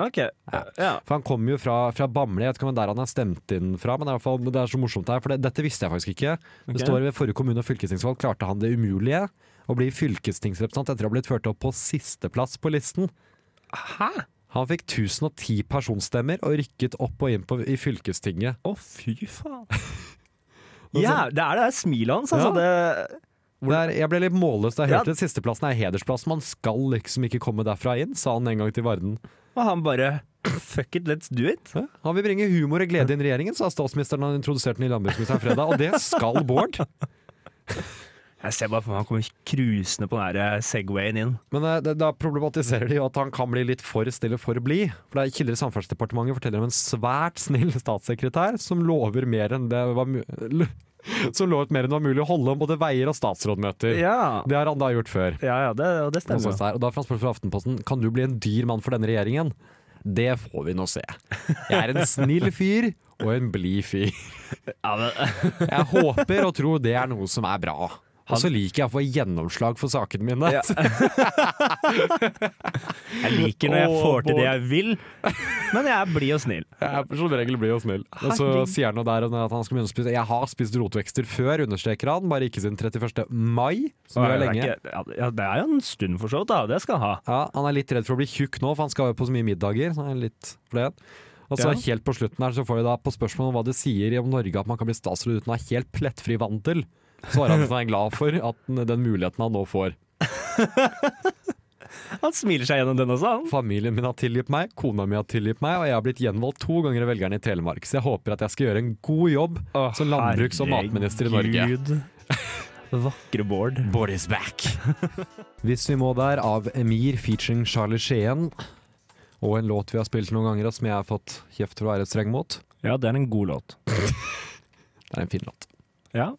[SPEAKER 5] Ok. Ja.
[SPEAKER 4] For han kommer jo fra, fra Bamble, jeg vet ikke om det er der han er stemt inn fra, men det er, i hvert fall, det er så morsomt det her, for det, dette visste jeg faktisk ikke.
[SPEAKER 5] Ok.
[SPEAKER 4] Det står ved forrige kommune- og fylkestingsvalg klarte han det umulige å bli fylkestingsrepresentant etter å ha blitt ført opp på sisteplass på listen.
[SPEAKER 5] Hæ?
[SPEAKER 4] Han fikk 1010 personstemmer og rykket opp og inn på, i fylkestinget.
[SPEAKER 5] Å, fy faen. Ja, det er det der smilet hans,
[SPEAKER 4] Ja.
[SPEAKER 5] altså. Det,
[SPEAKER 4] Det er, jeg ble litt målløs da jeg
[SPEAKER 5] Ja.
[SPEAKER 4] hørte det. Sisteplassen er hedersplass. Man skal liksom ikke komme derfra inn, sa han en gang til Varden.
[SPEAKER 5] og han bare Fuck it, let's do it.
[SPEAKER 4] Hæ? Han vil bringe humor og glede inn i regjeringen, sa statsministeren da han introduserte den i landbruksministeren fredag. Og det skal Bård.
[SPEAKER 5] Jeg ser bare for meg han kommer cruisende på den der eh, Segwayen inn.
[SPEAKER 4] Men eh, det- da problematiserer de jo at han kan bli litt for stille for blid. For det er kilder i Samferdselsdepartementet forteller om en svært snill statssekretær som lover mer enn det var mu som lovet mer enn det var mulig å holde om både veier og statsrådmøter.
[SPEAKER 5] Ja,
[SPEAKER 4] Det har han da gjort før.
[SPEAKER 5] ja, ja det, og det
[SPEAKER 4] Og
[SPEAKER 5] stemmer.
[SPEAKER 4] sånn der. Og da får han spørsmål fra Aftenposten Kan du bli en dyr mann for denne regjeringen. Det får vi nå se. Jeg er en snill fyr og en blid fyr.
[SPEAKER 5] Ja, men,
[SPEAKER 4] Jeg håper og tror det er noe som er bra. Og så liker jeg å få gjennomslag for sakene mine.
[SPEAKER 5] Ja. jeg liker når jeg
[SPEAKER 4] Å,
[SPEAKER 5] får til det
[SPEAKER 4] Bård.
[SPEAKER 5] jeg vil, men jeg er blid og snill.
[SPEAKER 4] Jeg er som regel blid og snill. Og så sier han noe der om at han skal begynne å spise Jeg har spist rotvekster før, understreker han, bare ikke siden 31. mai, som
[SPEAKER 5] Og
[SPEAKER 4] jo er
[SPEAKER 5] det er
[SPEAKER 4] lenge.
[SPEAKER 5] ikke- Ja, det er jo en stund for så vidt, da. Det skal han ha.
[SPEAKER 4] Ja, han er litt redd for å bli tjukk nå, for han skal jo på så mye middager. Så han er litt for det. Og så
[SPEAKER 5] Ja.
[SPEAKER 4] helt på slutten her så får vi da på spørsmål om hva det sier om Norge at man kan bli statsråd uten å ha helt plettfri vandel. Svarer han at han er glad for at den, den muligheten han nå får.
[SPEAKER 5] Han smiler seg gjennom den også, han.
[SPEAKER 4] Familien min har tilgitt meg, kona mi har tilgitt meg, og jeg har blitt gjenvalgt to ganger av velgerne i Telemark, så jeg håper at jeg skal gjøre en god jobb som landbruks- og matminister i Norge.
[SPEAKER 5] Herregud. Vakre Bård.
[SPEAKER 4] Bård is back. Hvis vi må der, av Emir featuring Charlie Skien. Og en låt vi har spilt noen ganger, og som jeg har fått kjeft for å være streng mot.
[SPEAKER 5] Ja, det er en god låt.
[SPEAKER 4] Det er en fin låt.
[SPEAKER 5] Ja.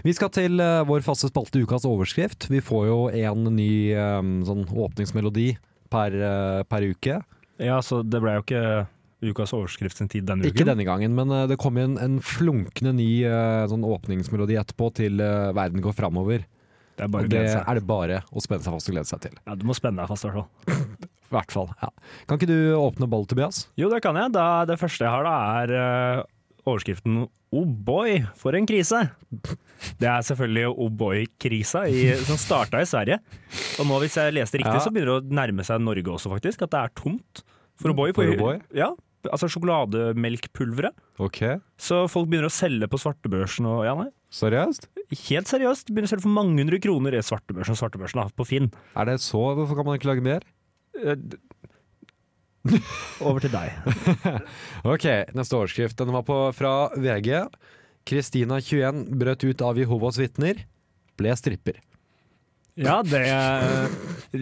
[SPEAKER 4] Vi skal til eh, vår faste spalte Ukas overskrift. Vi får jo en ny eh, sånn åpningsmelodi per, eh, per uke.
[SPEAKER 5] ja, så det ble jo ikke ukas overskrift sin tid denne uken.
[SPEAKER 4] Ikke denne gangen, men eh, det kom en, en flunkende ny eh, sånn åpningsmelodi etterpå til eh, verden går framover.
[SPEAKER 5] Det er
[SPEAKER 4] Og
[SPEAKER 5] bare å
[SPEAKER 4] det
[SPEAKER 5] glede seg.
[SPEAKER 4] er det bare å spenne seg fast og glede seg til.
[SPEAKER 5] Ja, du må spenne deg fast i hvert fall.
[SPEAKER 4] I hvert fall. Ja. Kan ikke du åpne ballet, Tobias?
[SPEAKER 5] Jo, det kan jeg. Da, det første jeg har, da, er eh, overskriften 'Oh boy, for en krise'. Det er selvfølgelig Oh boy-krisa i- som starta i Sverige. Og nå, hvis jeg leste riktig,
[SPEAKER 4] Ja.
[SPEAKER 5] så begynner det å nærme seg Norge også, faktisk. At det er tomt for O'boy.
[SPEAKER 4] For O'boy?
[SPEAKER 5] Ja, altså sjokolademelkpulveret.
[SPEAKER 4] Ok,
[SPEAKER 5] Så folk begynner å selge på svartebørsen og ja, nei.
[SPEAKER 4] seriøst?
[SPEAKER 5] Helt seriøst, begynner å selge for mange hundre kroner i svartebørsen og svartebørsen da, på Finn.
[SPEAKER 4] Er det så? Hvorfor kan man ikke lage mer?
[SPEAKER 5] Eh, d- Over til deg.
[SPEAKER 4] Ok, neste overskrift. Den var på, fra VG. Kristina 21 brøt ut av Jehovas vitner. Ble stripper.
[SPEAKER 5] Ja, det,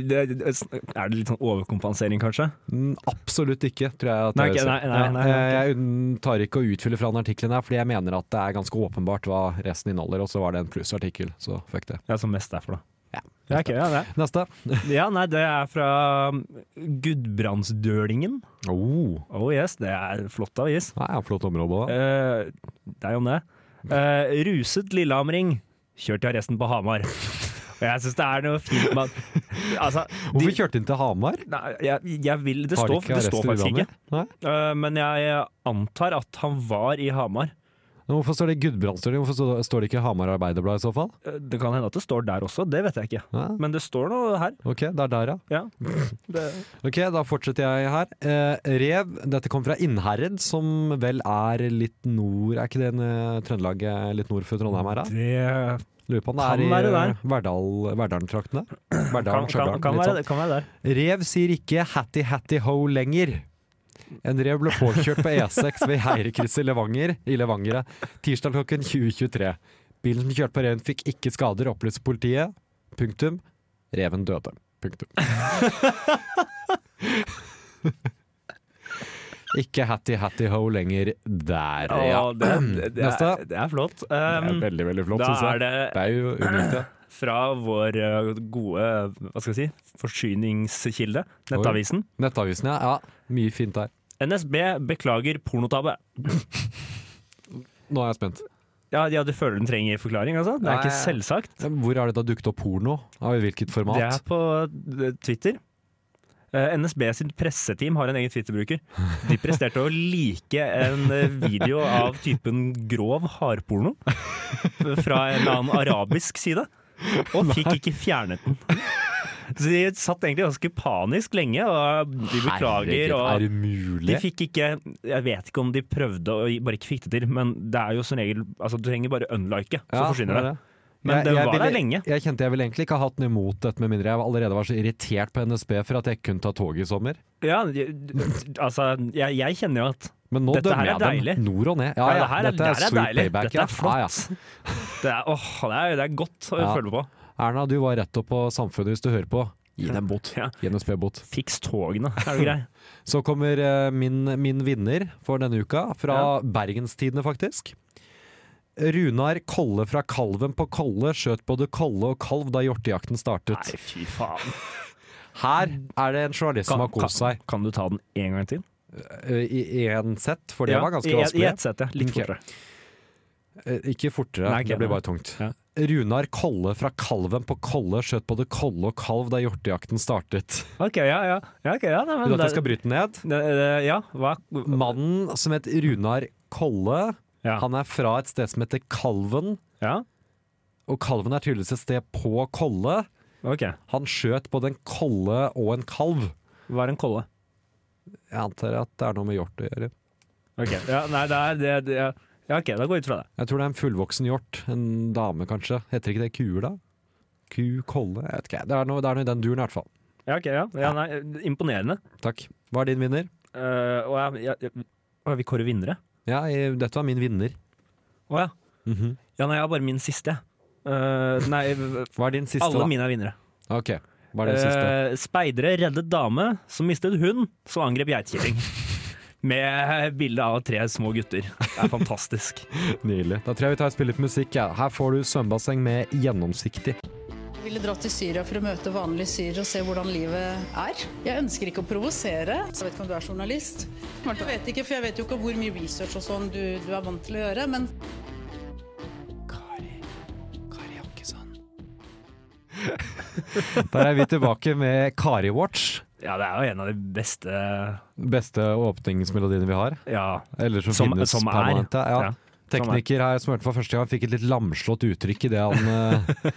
[SPEAKER 5] det, det Er det litt sånn overkompensering, kanskje?
[SPEAKER 4] Mm, Absolutt ikke, tror jeg. At
[SPEAKER 5] Nei,
[SPEAKER 4] jeg
[SPEAKER 5] ikke-
[SPEAKER 4] vil si.
[SPEAKER 5] nei, nei, nei,
[SPEAKER 4] Eh, Jeg unn- tar ikke å utfylle fra den artikkelen her, fordi jeg mener at det er ganske åpenbart hva resten inneholder, og så var det en plussartikkel, så fuck det.
[SPEAKER 5] Ja, som mest derfor, da.
[SPEAKER 4] Ja.
[SPEAKER 5] Ja, ok, ja, det.
[SPEAKER 4] Neste.
[SPEAKER 5] ja, nei, det er fra um, Gudbrandsdølingen.
[SPEAKER 4] Oh.
[SPEAKER 5] Oh yes, det er flott avis.
[SPEAKER 4] Nei, ja, flott område òg.
[SPEAKER 5] Eh, det er jo om det. Eh, ruset lillehamring, kjørt til arresten på Hamar. Og jeg syns det er noe fint med at altså, de-
[SPEAKER 4] Hvorfor kjørte den til Hamar?
[SPEAKER 5] Nei, jeg, jeg vil Det
[SPEAKER 4] Har
[SPEAKER 5] står,
[SPEAKER 4] ikke
[SPEAKER 5] det
[SPEAKER 4] arrest
[SPEAKER 5] står
[SPEAKER 4] i
[SPEAKER 5] faktisk
[SPEAKER 4] Lillehammer?
[SPEAKER 5] ikke.
[SPEAKER 4] Nei?
[SPEAKER 5] Eh, men jeg antar at han var i Hamar.
[SPEAKER 4] Men Hvorfor står det Gudbrandsdølen? Hvorfor står- står det ikke Hamar Arbeiderblad i så fall?
[SPEAKER 5] Eh, Det kan hende at det står der også, det vet jeg ikke.
[SPEAKER 4] Nei?
[SPEAKER 5] Men det står noe her.
[SPEAKER 4] Ok, det er der, ja.
[SPEAKER 5] Ja. Det,
[SPEAKER 4] Ok, Da fortsetter jeg her. Eh, rev, dette kom fra Innherred, som vel er litt nord Er ikke det en, eh, Trøndelag eh, litt nord for Trondheim her, da? Lurer på om det
[SPEAKER 5] Kan
[SPEAKER 4] er i
[SPEAKER 5] være der.
[SPEAKER 4] eh, Verdal- Verdalen-traktene.
[SPEAKER 5] kan,
[SPEAKER 4] Verdalen,
[SPEAKER 5] kan, kan,
[SPEAKER 4] litt
[SPEAKER 5] være,
[SPEAKER 4] sånn.
[SPEAKER 5] det kan være der.
[SPEAKER 4] Rev sier ikke 'hatty hatty ho' lenger. En rev ble påkjørt på E6 ved Heirekrysset i Levanger i Levangere tirsdag klokken 20.23. Bilen som kjørte på reven fikk ikke skader, opplyser politiet. Punktum. Reven døde. Punktum. Ikke hatty hatty ho lenger der, ja.
[SPEAKER 5] Å, det, det, det,
[SPEAKER 4] Neste.
[SPEAKER 5] er, det er flott.
[SPEAKER 4] Det er
[SPEAKER 5] Um,
[SPEAKER 4] veldig, veldig flott,
[SPEAKER 5] da
[SPEAKER 4] syns
[SPEAKER 5] er
[SPEAKER 4] jeg. Det
[SPEAKER 5] det
[SPEAKER 4] er jo unikt, det.
[SPEAKER 5] fra vår eh, gode hva skal jeg si, forsyningskilde, Nettavisen.
[SPEAKER 4] Nettavisen, ja. ja. Mye fint der.
[SPEAKER 5] NSB beklager pornotabbe.
[SPEAKER 4] Nå er jeg spent.
[SPEAKER 5] Ja, ja, du føler den trenger forklaring, altså? Det er
[SPEAKER 4] Nei.
[SPEAKER 5] ikke selvsagt.
[SPEAKER 4] Hvor er det da dukket opp porno? Av i hvilket format?
[SPEAKER 5] Det er på eh, Twitter. Eh, NSB sin presseteam har en egen Twitter-bruker. De presterte å like en eh, video av typen grov hardporno fra en eller annen arabisk side, og fikk ikke fjernet den. Så de satt egentlig ganske panisk lenge, og de beklager.
[SPEAKER 4] Herregud, er
[SPEAKER 5] og...
[SPEAKER 4] det mulig?
[SPEAKER 5] De fikk ikke Jeg vet ikke om de prøvde og bare ikke fikk det til, men det er jo som regel Altså, du trenger bare unlike, så
[SPEAKER 4] Ja,
[SPEAKER 5] forsvinner det.
[SPEAKER 4] er
[SPEAKER 5] Men den var
[SPEAKER 4] ville,
[SPEAKER 5] der lenge.
[SPEAKER 4] Jeg kjente jeg ville egentlig ikke ha hatt den imot dette, med mindre jeg allerede var så irritert på NSB for at jeg ikke kunne ta toget i sommer.
[SPEAKER 5] Ja, altså, jeg, jeg kjenner jo at
[SPEAKER 4] Men nå
[SPEAKER 5] Dette
[SPEAKER 4] dømmer
[SPEAKER 5] her er
[SPEAKER 4] jeg dem
[SPEAKER 5] deilig.
[SPEAKER 4] nord og ned. Ja,
[SPEAKER 5] Ja,
[SPEAKER 4] ja,
[SPEAKER 5] det her er-
[SPEAKER 4] dette
[SPEAKER 5] det
[SPEAKER 4] er,
[SPEAKER 5] her er
[SPEAKER 4] sweet
[SPEAKER 5] deilig.
[SPEAKER 4] payback. ja.
[SPEAKER 5] Dette er flott.
[SPEAKER 4] Ja,
[SPEAKER 5] det er, åh, det, er, det er godt å
[SPEAKER 4] Ja.
[SPEAKER 5] følge på.
[SPEAKER 4] ja. Erna, du var rett opp på Samfunnet hvis du hører på. Gi dem bot.
[SPEAKER 5] Ja.
[SPEAKER 4] Gi NSB-bot.
[SPEAKER 5] Fiks togene, er du grei?
[SPEAKER 4] Så kommer eh, min, min vinner for denne uka, fra Bergenstidene faktisk. Runar Kolle fra Kalven på Kolle skjøt både kolle og kalv da hjortejakten startet.
[SPEAKER 5] Nei, fy faen.
[SPEAKER 4] Her er det en journalist som har kost seg
[SPEAKER 5] kan, kan du ta den en gang til?
[SPEAKER 4] eh, i én sett, for det var ganske
[SPEAKER 5] i, I
[SPEAKER 4] vanskelig.
[SPEAKER 5] ett sett, ja. Litt
[SPEAKER 4] Ok.
[SPEAKER 5] fortere.
[SPEAKER 4] Eh, Ikke fortere,
[SPEAKER 5] Nei, ok,
[SPEAKER 4] det blir
[SPEAKER 5] nei.
[SPEAKER 4] bare tungt.
[SPEAKER 5] Ja.
[SPEAKER 4] Runar Kolle fra Kalven på Kolle skjøt både kolle og kalv da hjortejakten startet.
[SPEAKER 5] Ok, ja, ja. ja, ok, ja nei,
[SPEAKER 4] Vil du
[SPEAKER 5] men,
[SPEAKER 4] at jeg skal bryte den ned?
[SPEAKER 5] det, det, ja, hva?
[SPEAKER 4] Mannen som het Runar Kolle,
[SPEAKER 5] Ja.
[SPEAKER 4] han er fra et sted som heter Kalven.
[SPEAKER 5] ja,
[SPEAKER 4] Og kalven er tydeligvis et sted på Kolle.
[SPEAKER 5] ok.
[SPEAKER 4] Han skjøt både en kolle og en kalv.
[SPEAKER 5] Var en kolle.
[SPEAKER 4] Jeg antar at det er noe med hjort å gjøre.
[SPEAKER 5] Ok, ja, nei, det er det, det er- Ja, ok, da går jeg ut fra det.
[SPEAKER 4] Jeg tror det er en fullvoksen hjort. En dame, kanskje. Heter ikke det kuer, da? Ku, kolle Jeg vet ikke. Det er noe, det er noe i den duren, i hvert fall.
[SPEAKER 5] Ja, ok, ja. ja nei, imponerende.
[SPEAKER 4] Takk. Hva er din vinner?
[SPEAKER 5] Eh, og jeg, jeg, jeg, å, vi kårer vinnere.
[SPEAKER 4] Ja, jeg, dette var min vinner.
[SPEAKER 5] Å ja.
[SPEAKER 4] Mhm.
[SPEAKER 5] Ja, nei, jeg har bare min siste. jeg. Eh, nei,
[SPEAKER 4] Hva er din siste,
[SPEAKER 5] alle
[SPEAKER 4] da?
[SPEAKER 5] mine er vinnere.
[SPEAKER 4] Ok, hva er din siste?
[SPEAKER 5] Eh, speidere reddet dame som mistet hund, så angrep geitkilling. Med bilde av tre små gutter. Det er fantastisk.
[SPEAKER 4] Nydelig. Da tror jeg vi tar et spill litt musikk. Ja. Her får du svømmebasseng med gjennomsiktig.
[SPEAKER 6] Jeg ville dra til Syria for å møte vanlige syrere og se hvordan livet er. Jeg ønsker ikke å provosere. Jeg vet ikke om du er journalist. Jeg vet ikke, for jeg vet jo ikke hvor mye research og sånn du, du er vant til å gjøre, men
[SPEAKER 4] Der er vi tilbake med Kari Watch.
[SPEAKER 5] Ja, det er jo en av de beste
[SPEAKER 4] Beste åpningsmelodiene vi har.
[SPEAKER 5] Ja.
[SPEAKER 4] Eller som,
[SPEAKER 5] Som-
[SPEAKER 4] finnes
[SPEAKER 5] som er.
[SPEAKER 4] permanent. Ja.
[SPEAKER 5] Ja,
[SPEAKER 4] Tekniker her som hørte for første gang, fikk et litt lamslått uttrykk i det han eh,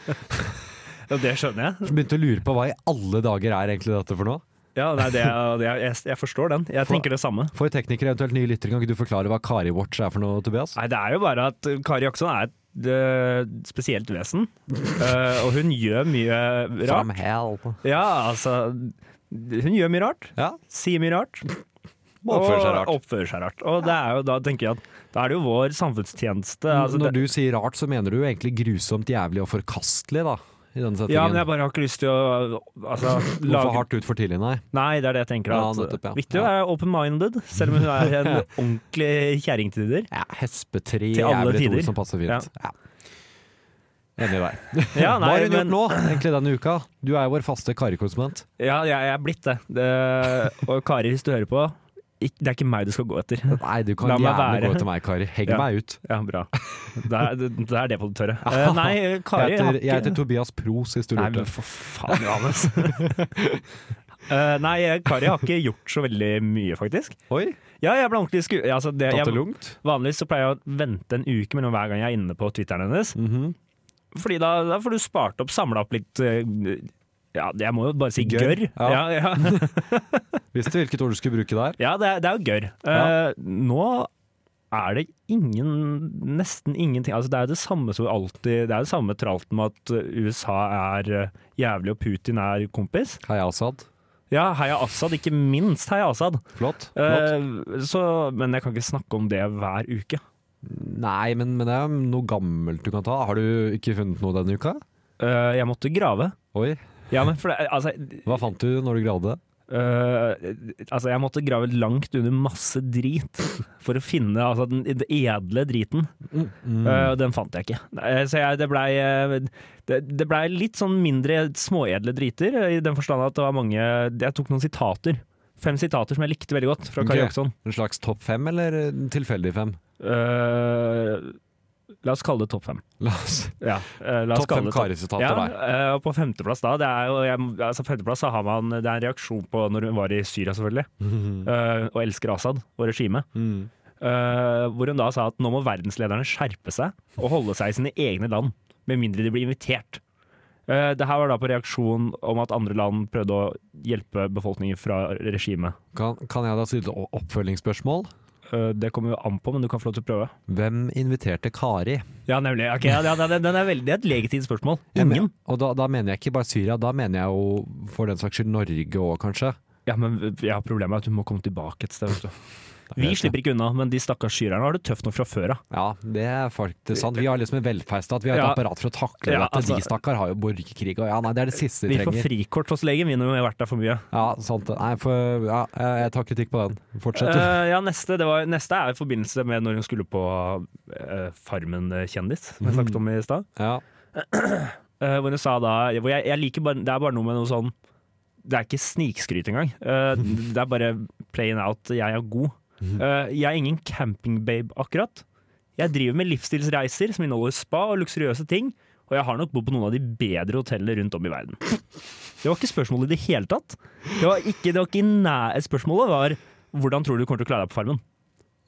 [SPEAKER 5] ja det skjønner jeg.
[SPEAKER 4] begynte å lure på hva i alle dager er egentlig dette for noe.
[SPEAKER 5] Ja, nei, det, er- det, er- jeg, jeg forstår den. Jeg tenker det samme.
[SPEAKER 4] For teknikere, eventuelt nye lyttere, kan ikke du forklare hva Kari Watch er for noe, Tobias?
[SPEAKER 5] Nei, det er jo bare at Kari Jaksson er et øh, spesielt vesen. Eh, og hun gjør mye rart.
[SPEAKER 4] hell.
[SPEAKER 5] Ja, altså Hun gjør mye rart.
[SPEAKER 4] Ja,
[SPEAKER 5] Sier mye rart.
[SPEAKER 4] må oppføre seg rart.
[SPEAKER 5] Og oppfører seg rart. Og det er jo, da tenker jeg at da er det jo vår samfunnstjeneste. Altså,
[SPEAKER 4] Når
[SPEAKER 5] det,
[SPEAKER 4] du sier rart, så mener du jo egentlig grusomt jævlig og forkastelig, da. I denne settingen.
[SPEAKER 5] ja, men jeg bare har ikke lyst til å altså,
[SPEAKER 4] Hvorfor
[SPEAKER 5] lage
[SPEAKER 4] hardt ut for tidlig, nei?
[SPEAKER 5] Nei, det er det jeg tenker.
[SPEAKER 4] Ja,
[SPEAKER 5] At,
[SPEAKER 4] nettopp, ja.
[SPEAKER 5] Viktig å være open-minded, selv om hun er en ordentlig kjerring til tider.
[SPEAKER 4] Ja, hespetre
[SPEAKER 5] Til
[SPEAKER 4] er
[SPEAKER 5] alle
[SPEAKER 4] vel et
[SPEAKER 5] tider.
[SPEAKER 4] ord som passer fint. Ja. Enig i deg. Hva
[SPEAKER 5] Ja, nei,
[SPEAKER 4] har hun
[SPEAKER 5] men-
[SPEAKER 4] gjort nå, egentlig denne uka? Du er jo vår faste Kari-korrespondent.
[SPEAKER 5] Ja, jeg, jeg er blitt det. det. Og Kari, hvis du hører på, ikk- det er ikke meg du skal gå etter.
[SPEAKER 4] Nei, du kan
[SPEAKER 5] La meg
[SPEAKER 4] gjerne
[SPEAKER 5] være.
[SPEAKER 4] gå til meg, Kari. Heng
[SPEAKER 5] Ja.
[SPEAKER 4] meg ut.
[SPEAKER 5] Ja, bra. Da er det, da er det på det tørre. Eh, nei, Kari
[SPEAKER 4] jeg,
[SPEAKER 5] har
[SPEAKER 4] heter,
[SPEAKER 5] ikke-
[SPEAKER 4] jeg heter Tobias Pros, hvis du
[SPEAKER 5] Nei,
[SPEAKER 4] lurte.
[SPEAKER 5] men for faen, Johannes. Eh, nei, Kari har ikke gjort så veldig mye, faktisk.
[SPEAKER 4] Oi,
[SPEAKER 5] Ja, jeg ble ordentlig sku... Altså, det,
[SPEAKER 4] tatt det
[SPEAKER 5] jeg,
[SPEAKER 4] lungt?
[SPEAKER 5] vanligvis så pleier jeg å vente en uke mellom hver gang jeg er inne på Twitteren hennes.
[SPEAKER 4] Mhm.
[SPEAKER 5] Fordi da, da får du spart opp, samla opp litt eh, Ja, jeg må jo bare si
[SPEAKER 4] Gørr,
[SPEAKER 5] gørr.
[SPEAKER 4] ja.
[SPEAKER 5] Ja, ja.
[SPEAKER 4] Visste hvilket ord du skulle bruke der.
[SPEAKER 5] Ja, det er, det er jo gørr.
[SPEAKER 4] Ja.
[SPEAKER 5] Eh, nå er det ingen Nesten ingenting. Altså, det er det samme som alltid Det er det samme tralten med at eh, USA er eh, jævlig og Putin er kompis.
[SPEAKER 4] Heia Assad.
[SPEAKER 5] Ja, heia Assad, ikke minst heia Assad.
[SPEAKER 4] Flott. flott.
[SPEAKER 5] Eh, så, men jeg kan ikke snakke om det hver uke.
[SPEAKER 4] Nei, men, men det er noe gammelt du kan ta. Har du ikke funnet noe denne uka?
[SPEAKER 5] Eh, jeg måtte grave.
[SPEAKER 4] Oi,
[SPEAKER 5] Ja, men for det, altså,
[SPEAKER 4] hva fant du når du gravde?
[SPEAKER 5] eh, altså Jeg måtte grave langt under masse drit for å finne altså, den, den edle driten. Eh, og den fant jeg ikke. Eh, Så jeg, det blei eh, det, det ble litt sånn mindre småedle driter, eh, i den forstand at det var mange Jeg tok noen sitater. Fem sitater som jeg likte veldig godt, fra Kari
[SPEAKER 4] Ok.
[SPEAKER 5] Jaksson.
[SPEAKER 4] En slags topp fem, eller en tilfeldig fem?
[SPEAKER 5] Eh, la oss kalle det topp fem.
[SPEAKER 4] La oss
[SPEAKER 5] Ja, eh, la oss
[SPEAKER 4] Topp
[SPEAKER 5] kalle
[SPEAKER 4] fem
[SPEAKER 5] det topp-
[SPEAKER 4] Kari-sitater
[SPEAKER 5] ja,
[SPEAKER 4] der.
[SPEAKER 5] eh, og på femteplass da, det er jo jeg, altså femteplass så har man Det er en reaksjon på når hun var i Syria, selvfølgelig. eh, og elsker Assad og regimet. Eh, hvor hun da sa at nå må verdenslederne skjerpe seg og holde seg i sine egne land, med mindre de blir invitert. Uh, det her var da på reaksjon om at andre land prøvde å hjelpe befolkningen fra regimet.
[SPEAKER 4] Kan, kan jeg da stille et oppfølgingsspørsmål?
[SPEAKER 5] Eh, det kommer jo an på, men du kan få lov til å prøve.
[SPEAKER 4] Hvem inviterte Kari?
[SPEAKER 5] Ja, nemlig. Ok, ja, ja, den, den er veldig, det er et legitimt spørsmål. Ingen.
[SPEAKER 4] Og da, da mener jeg ikke bare Syria, da mener jeg jo for den saks skyld Norge òg, kanskje.
[SPEAKER 5] Ja, men ja, problemet er at hun må komme tilbake et sted. Vet du. Vi slipper ikke unna, men de stakkars syrerne har det tøft nok fra før av.
[SPEAKER 4] Ja, det er faktisk sant. Vi har liksom en velferdsstat, vi har et
[SPEAKER 5] Ja.
[SPEAKER 4] apparat for å takle
[SPEAKER 5] Ja,
[SPEAKER 4] dette.
[SPEAKER 5] altså-
[SPEAKER 4] de stakkar har jo borgerkrig og ja, nei, det er det siste de
[SPEAKER 5] Vi får
[SPEAKER 4] trenger.
[SPEAKER 5] frikort hos legen, vi når vi har vært der for mye.
[SPEAKER 4] Ja, sant. Nei, for, ja, jeg tar kritikk på den. Fortsett. du.
[SPEAKER 5] Eh, ja, neste, det var, neste er i forbindelse med når hun skulle på eh, Farmen kjendis, som
[SPEAKER 4] Mhm.
[SPEAKER 5] jeg snakket om i stad.
[SPEAKER 4] ja.
[SPEAKER 5] Eh, hvor hun sa da hvor jeg, jeg liker bare, Det er bare noe med noe sånn Det er ikke snikskryt engang. Eh, det er bare playing out. Jeg er god.
[SPEAKER 4] Mhm.
[SPEAKER 5] Eh, jeg er ingen campingbabe, akkurat. Jeg driver med livsstilsreiser som inneholder spa og luksuriøse ting, og jeg har nok bodd på noen av de bedre hotellene rundt om i verden. Det var ikke spørsmålet i det hele tatt. Det var ikke, det var ikke i nær, Spørsmålet var hvordan tror du du kommer til å klare deg på Farmen?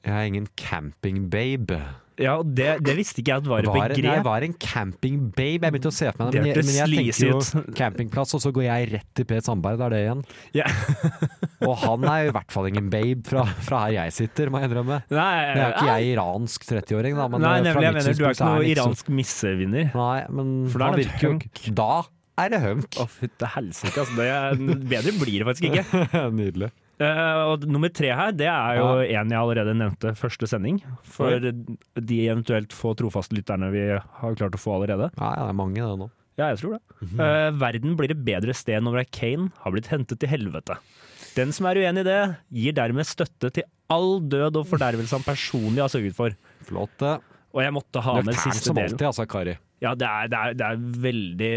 [SPEAKER 4] Jeg er ingen campingbabe.
[SPEAKER 5] Ja, og det, det visste ikke jeg at var et
[SPEAKER 4] Hva er, nei,
[SPEAKER 5] begrep.
[SPEAKER 4] hva er en campingbabe? Jeg begynte å se for meg det, men
[SPEAKER 5] Det
[SPEAKER 4] jeg,
[SPEAKER 5] hørtes
[SPEAKER 4] men jeg
[SPEAKER 5] sleazy
[SPEAKER 4] tenker
[SPEAKER 5] ut.
[SPEAKER 4] jo campingplass, og så går jeg rett til Per Sandberg, det er det igjen.
[SPEAKER 5] Ja.
[SPEAKER 4] Og han er jo i hvert fall ingen babe fra, fra her jeg sitter, må jeg innrømme.
[SPEAKER 5] Nei,
[SPEAKER 4] Nå er ikke jeg iransk 30-åring, da, men
[SPEAKER 5] nei,
[SPEAKER 4] eh,
[SPEAKER 5] nemlig.
[SPEAKER 4] fra
[SPEAKER 5] Jeg
[SPEAKER 4] mitt
[SPEAKER 5] mener, du er
[SPEAKER 4] synspunkt
[SPEAKER 5] ikke
[SPEAKER 4] han
[SPEAKER 5] noe
[SPEAKER 4] så-
[SPEAKER 5] iransk missevinner.
[SPEAKER 4] sånn- Nei, men
[SPEAKER 5] For da er
[SPEAKER 4] han
[SPEAKER 5] det
[SPEAKER 4] virker jo ikke Da er det hunk!
[SPEAKER 5] Å, fytte helsike, altså. Det er, bedre blir det faktisk ikke.
[SPEAKER 4] Nydelig.
[SPEAKER 5] Eh, og nummer tre her, det er jo en jeg allerede nevnte første sending. For de eventuelt få trofaste lytterne vi har klart å få allerede.
[SPEAKER 4] Nei, det er mange det nå.
[SPEAKER 5] Ja, jeg tror det.
[SPEAKER 4] Mhm.
[SPEAKER 5] Eh, verden blir et bedre sted når Kane har blitt hentet til helvete. Den som er uenig i det, gir dermed støtte til all død og fordervelse han personlig har sørget for.
[SPEAKER 4] Flott, det.
[SPEAKER 5] Og jeg måtte ha med
[SPEAKER 4] Nøkternt
[SPEAKER 5] siste
[SPEAKER 4] som
[SPEAKER 5] delen.
[SPEAKER 4] alltid, altså, Kari.
[SPEAKER 5] Ja, det er, det, er, det er veldig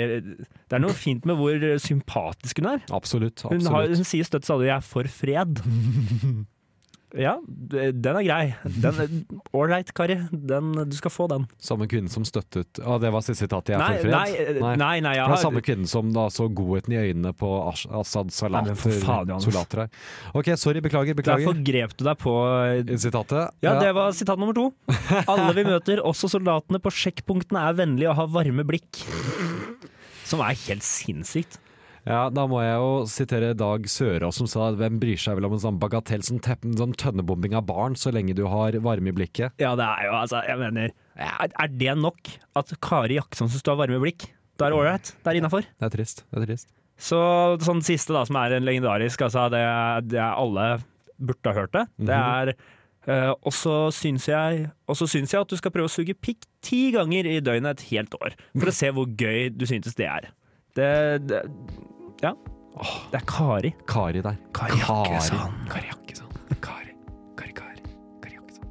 [SPEAKER 5] Det er noe fint med hvor sympatisk hun er.
[SPEAKER 4] Absolutt.
[SPEAKER 5] Hun, har,
[SPEAKER 4] absolutt.
[SPEAKER 5] hun sier støtt stadig 'jeg er for fred'. Ja, d- den er grei. Den- Ålreit, Kari. Den, du skal få den.
[SPEAKER 4] Samme kvinne som støttet Å, det var siste sitat jeg er
[SPEAKER 5] Nei,
[SPEAKER 4] for
[SPEAKER 5] nei, eh,
[SPEAKER 4] fred?
[SPEAKER 5] nei, nei, jeg
[SPEAKER 4] Det var
[SPEAKER 5] har,
[SPEAKER 4] samme kvinnen som da så godheten i øynene på Ash- Assad
[SPEAKER 5] Nei,
[SPEAKER 4] salater,
[SPEAKER 5] men for faen, Johannes.
[SPEAKER 4] solater her. OK, sorry. Beklager.
[SPEAKER 5] derfor
[SPEAKER 4] Beklager.
[SPEAKER 5] grep du deg på eh,
[SPEAKER 4] Sitatet.
[SPEAKER 5] Ja,
[SPEAKER 4] Ja.
[SPEAKER 5] det var sitat nummer to. Alle vi møter, også soldatene på sjekkpunktene, er vennlige og har varme blikk. Som er helt sinnssykt.
[SPEAKER 4] Ja, da må jeg jo sitere Dag Sørås som sa at hvem bryr seg vel om en sånn bagatell som teppen, sånn tønnebombing av barn, så lenge du har varme i blikket.
[SPEAKER 5] Ja, det er jo altså Jeg mener, er, er det nok at Kari Jakkesson syns du har varme blikk? Da er det ålreit. Det er innafor.
[SPEAKER 4] Det er trist. Det er trist.
[SPEAKER 5] Så sånn siste, da, som er en legendarisk, altså det, det er alle burde ha hørt det. Det
[SPEAKER 4] Mhm.
[SPEAKER 5] er eh, Og så syns jeg Og så syns jeg at du skal prøve å suge pikk ti ganger i døgnet et helt år. For å se hvor gøy du syntes det er. Det, det Ja. Det er Kari.
[SPEAKER 4] Kari der.
[SPEAKER 5] Kari Jakkesson.
[SPEAKER 4] Kari Jakkesson. Kari. Kari, Kari. Kari Jakkesson.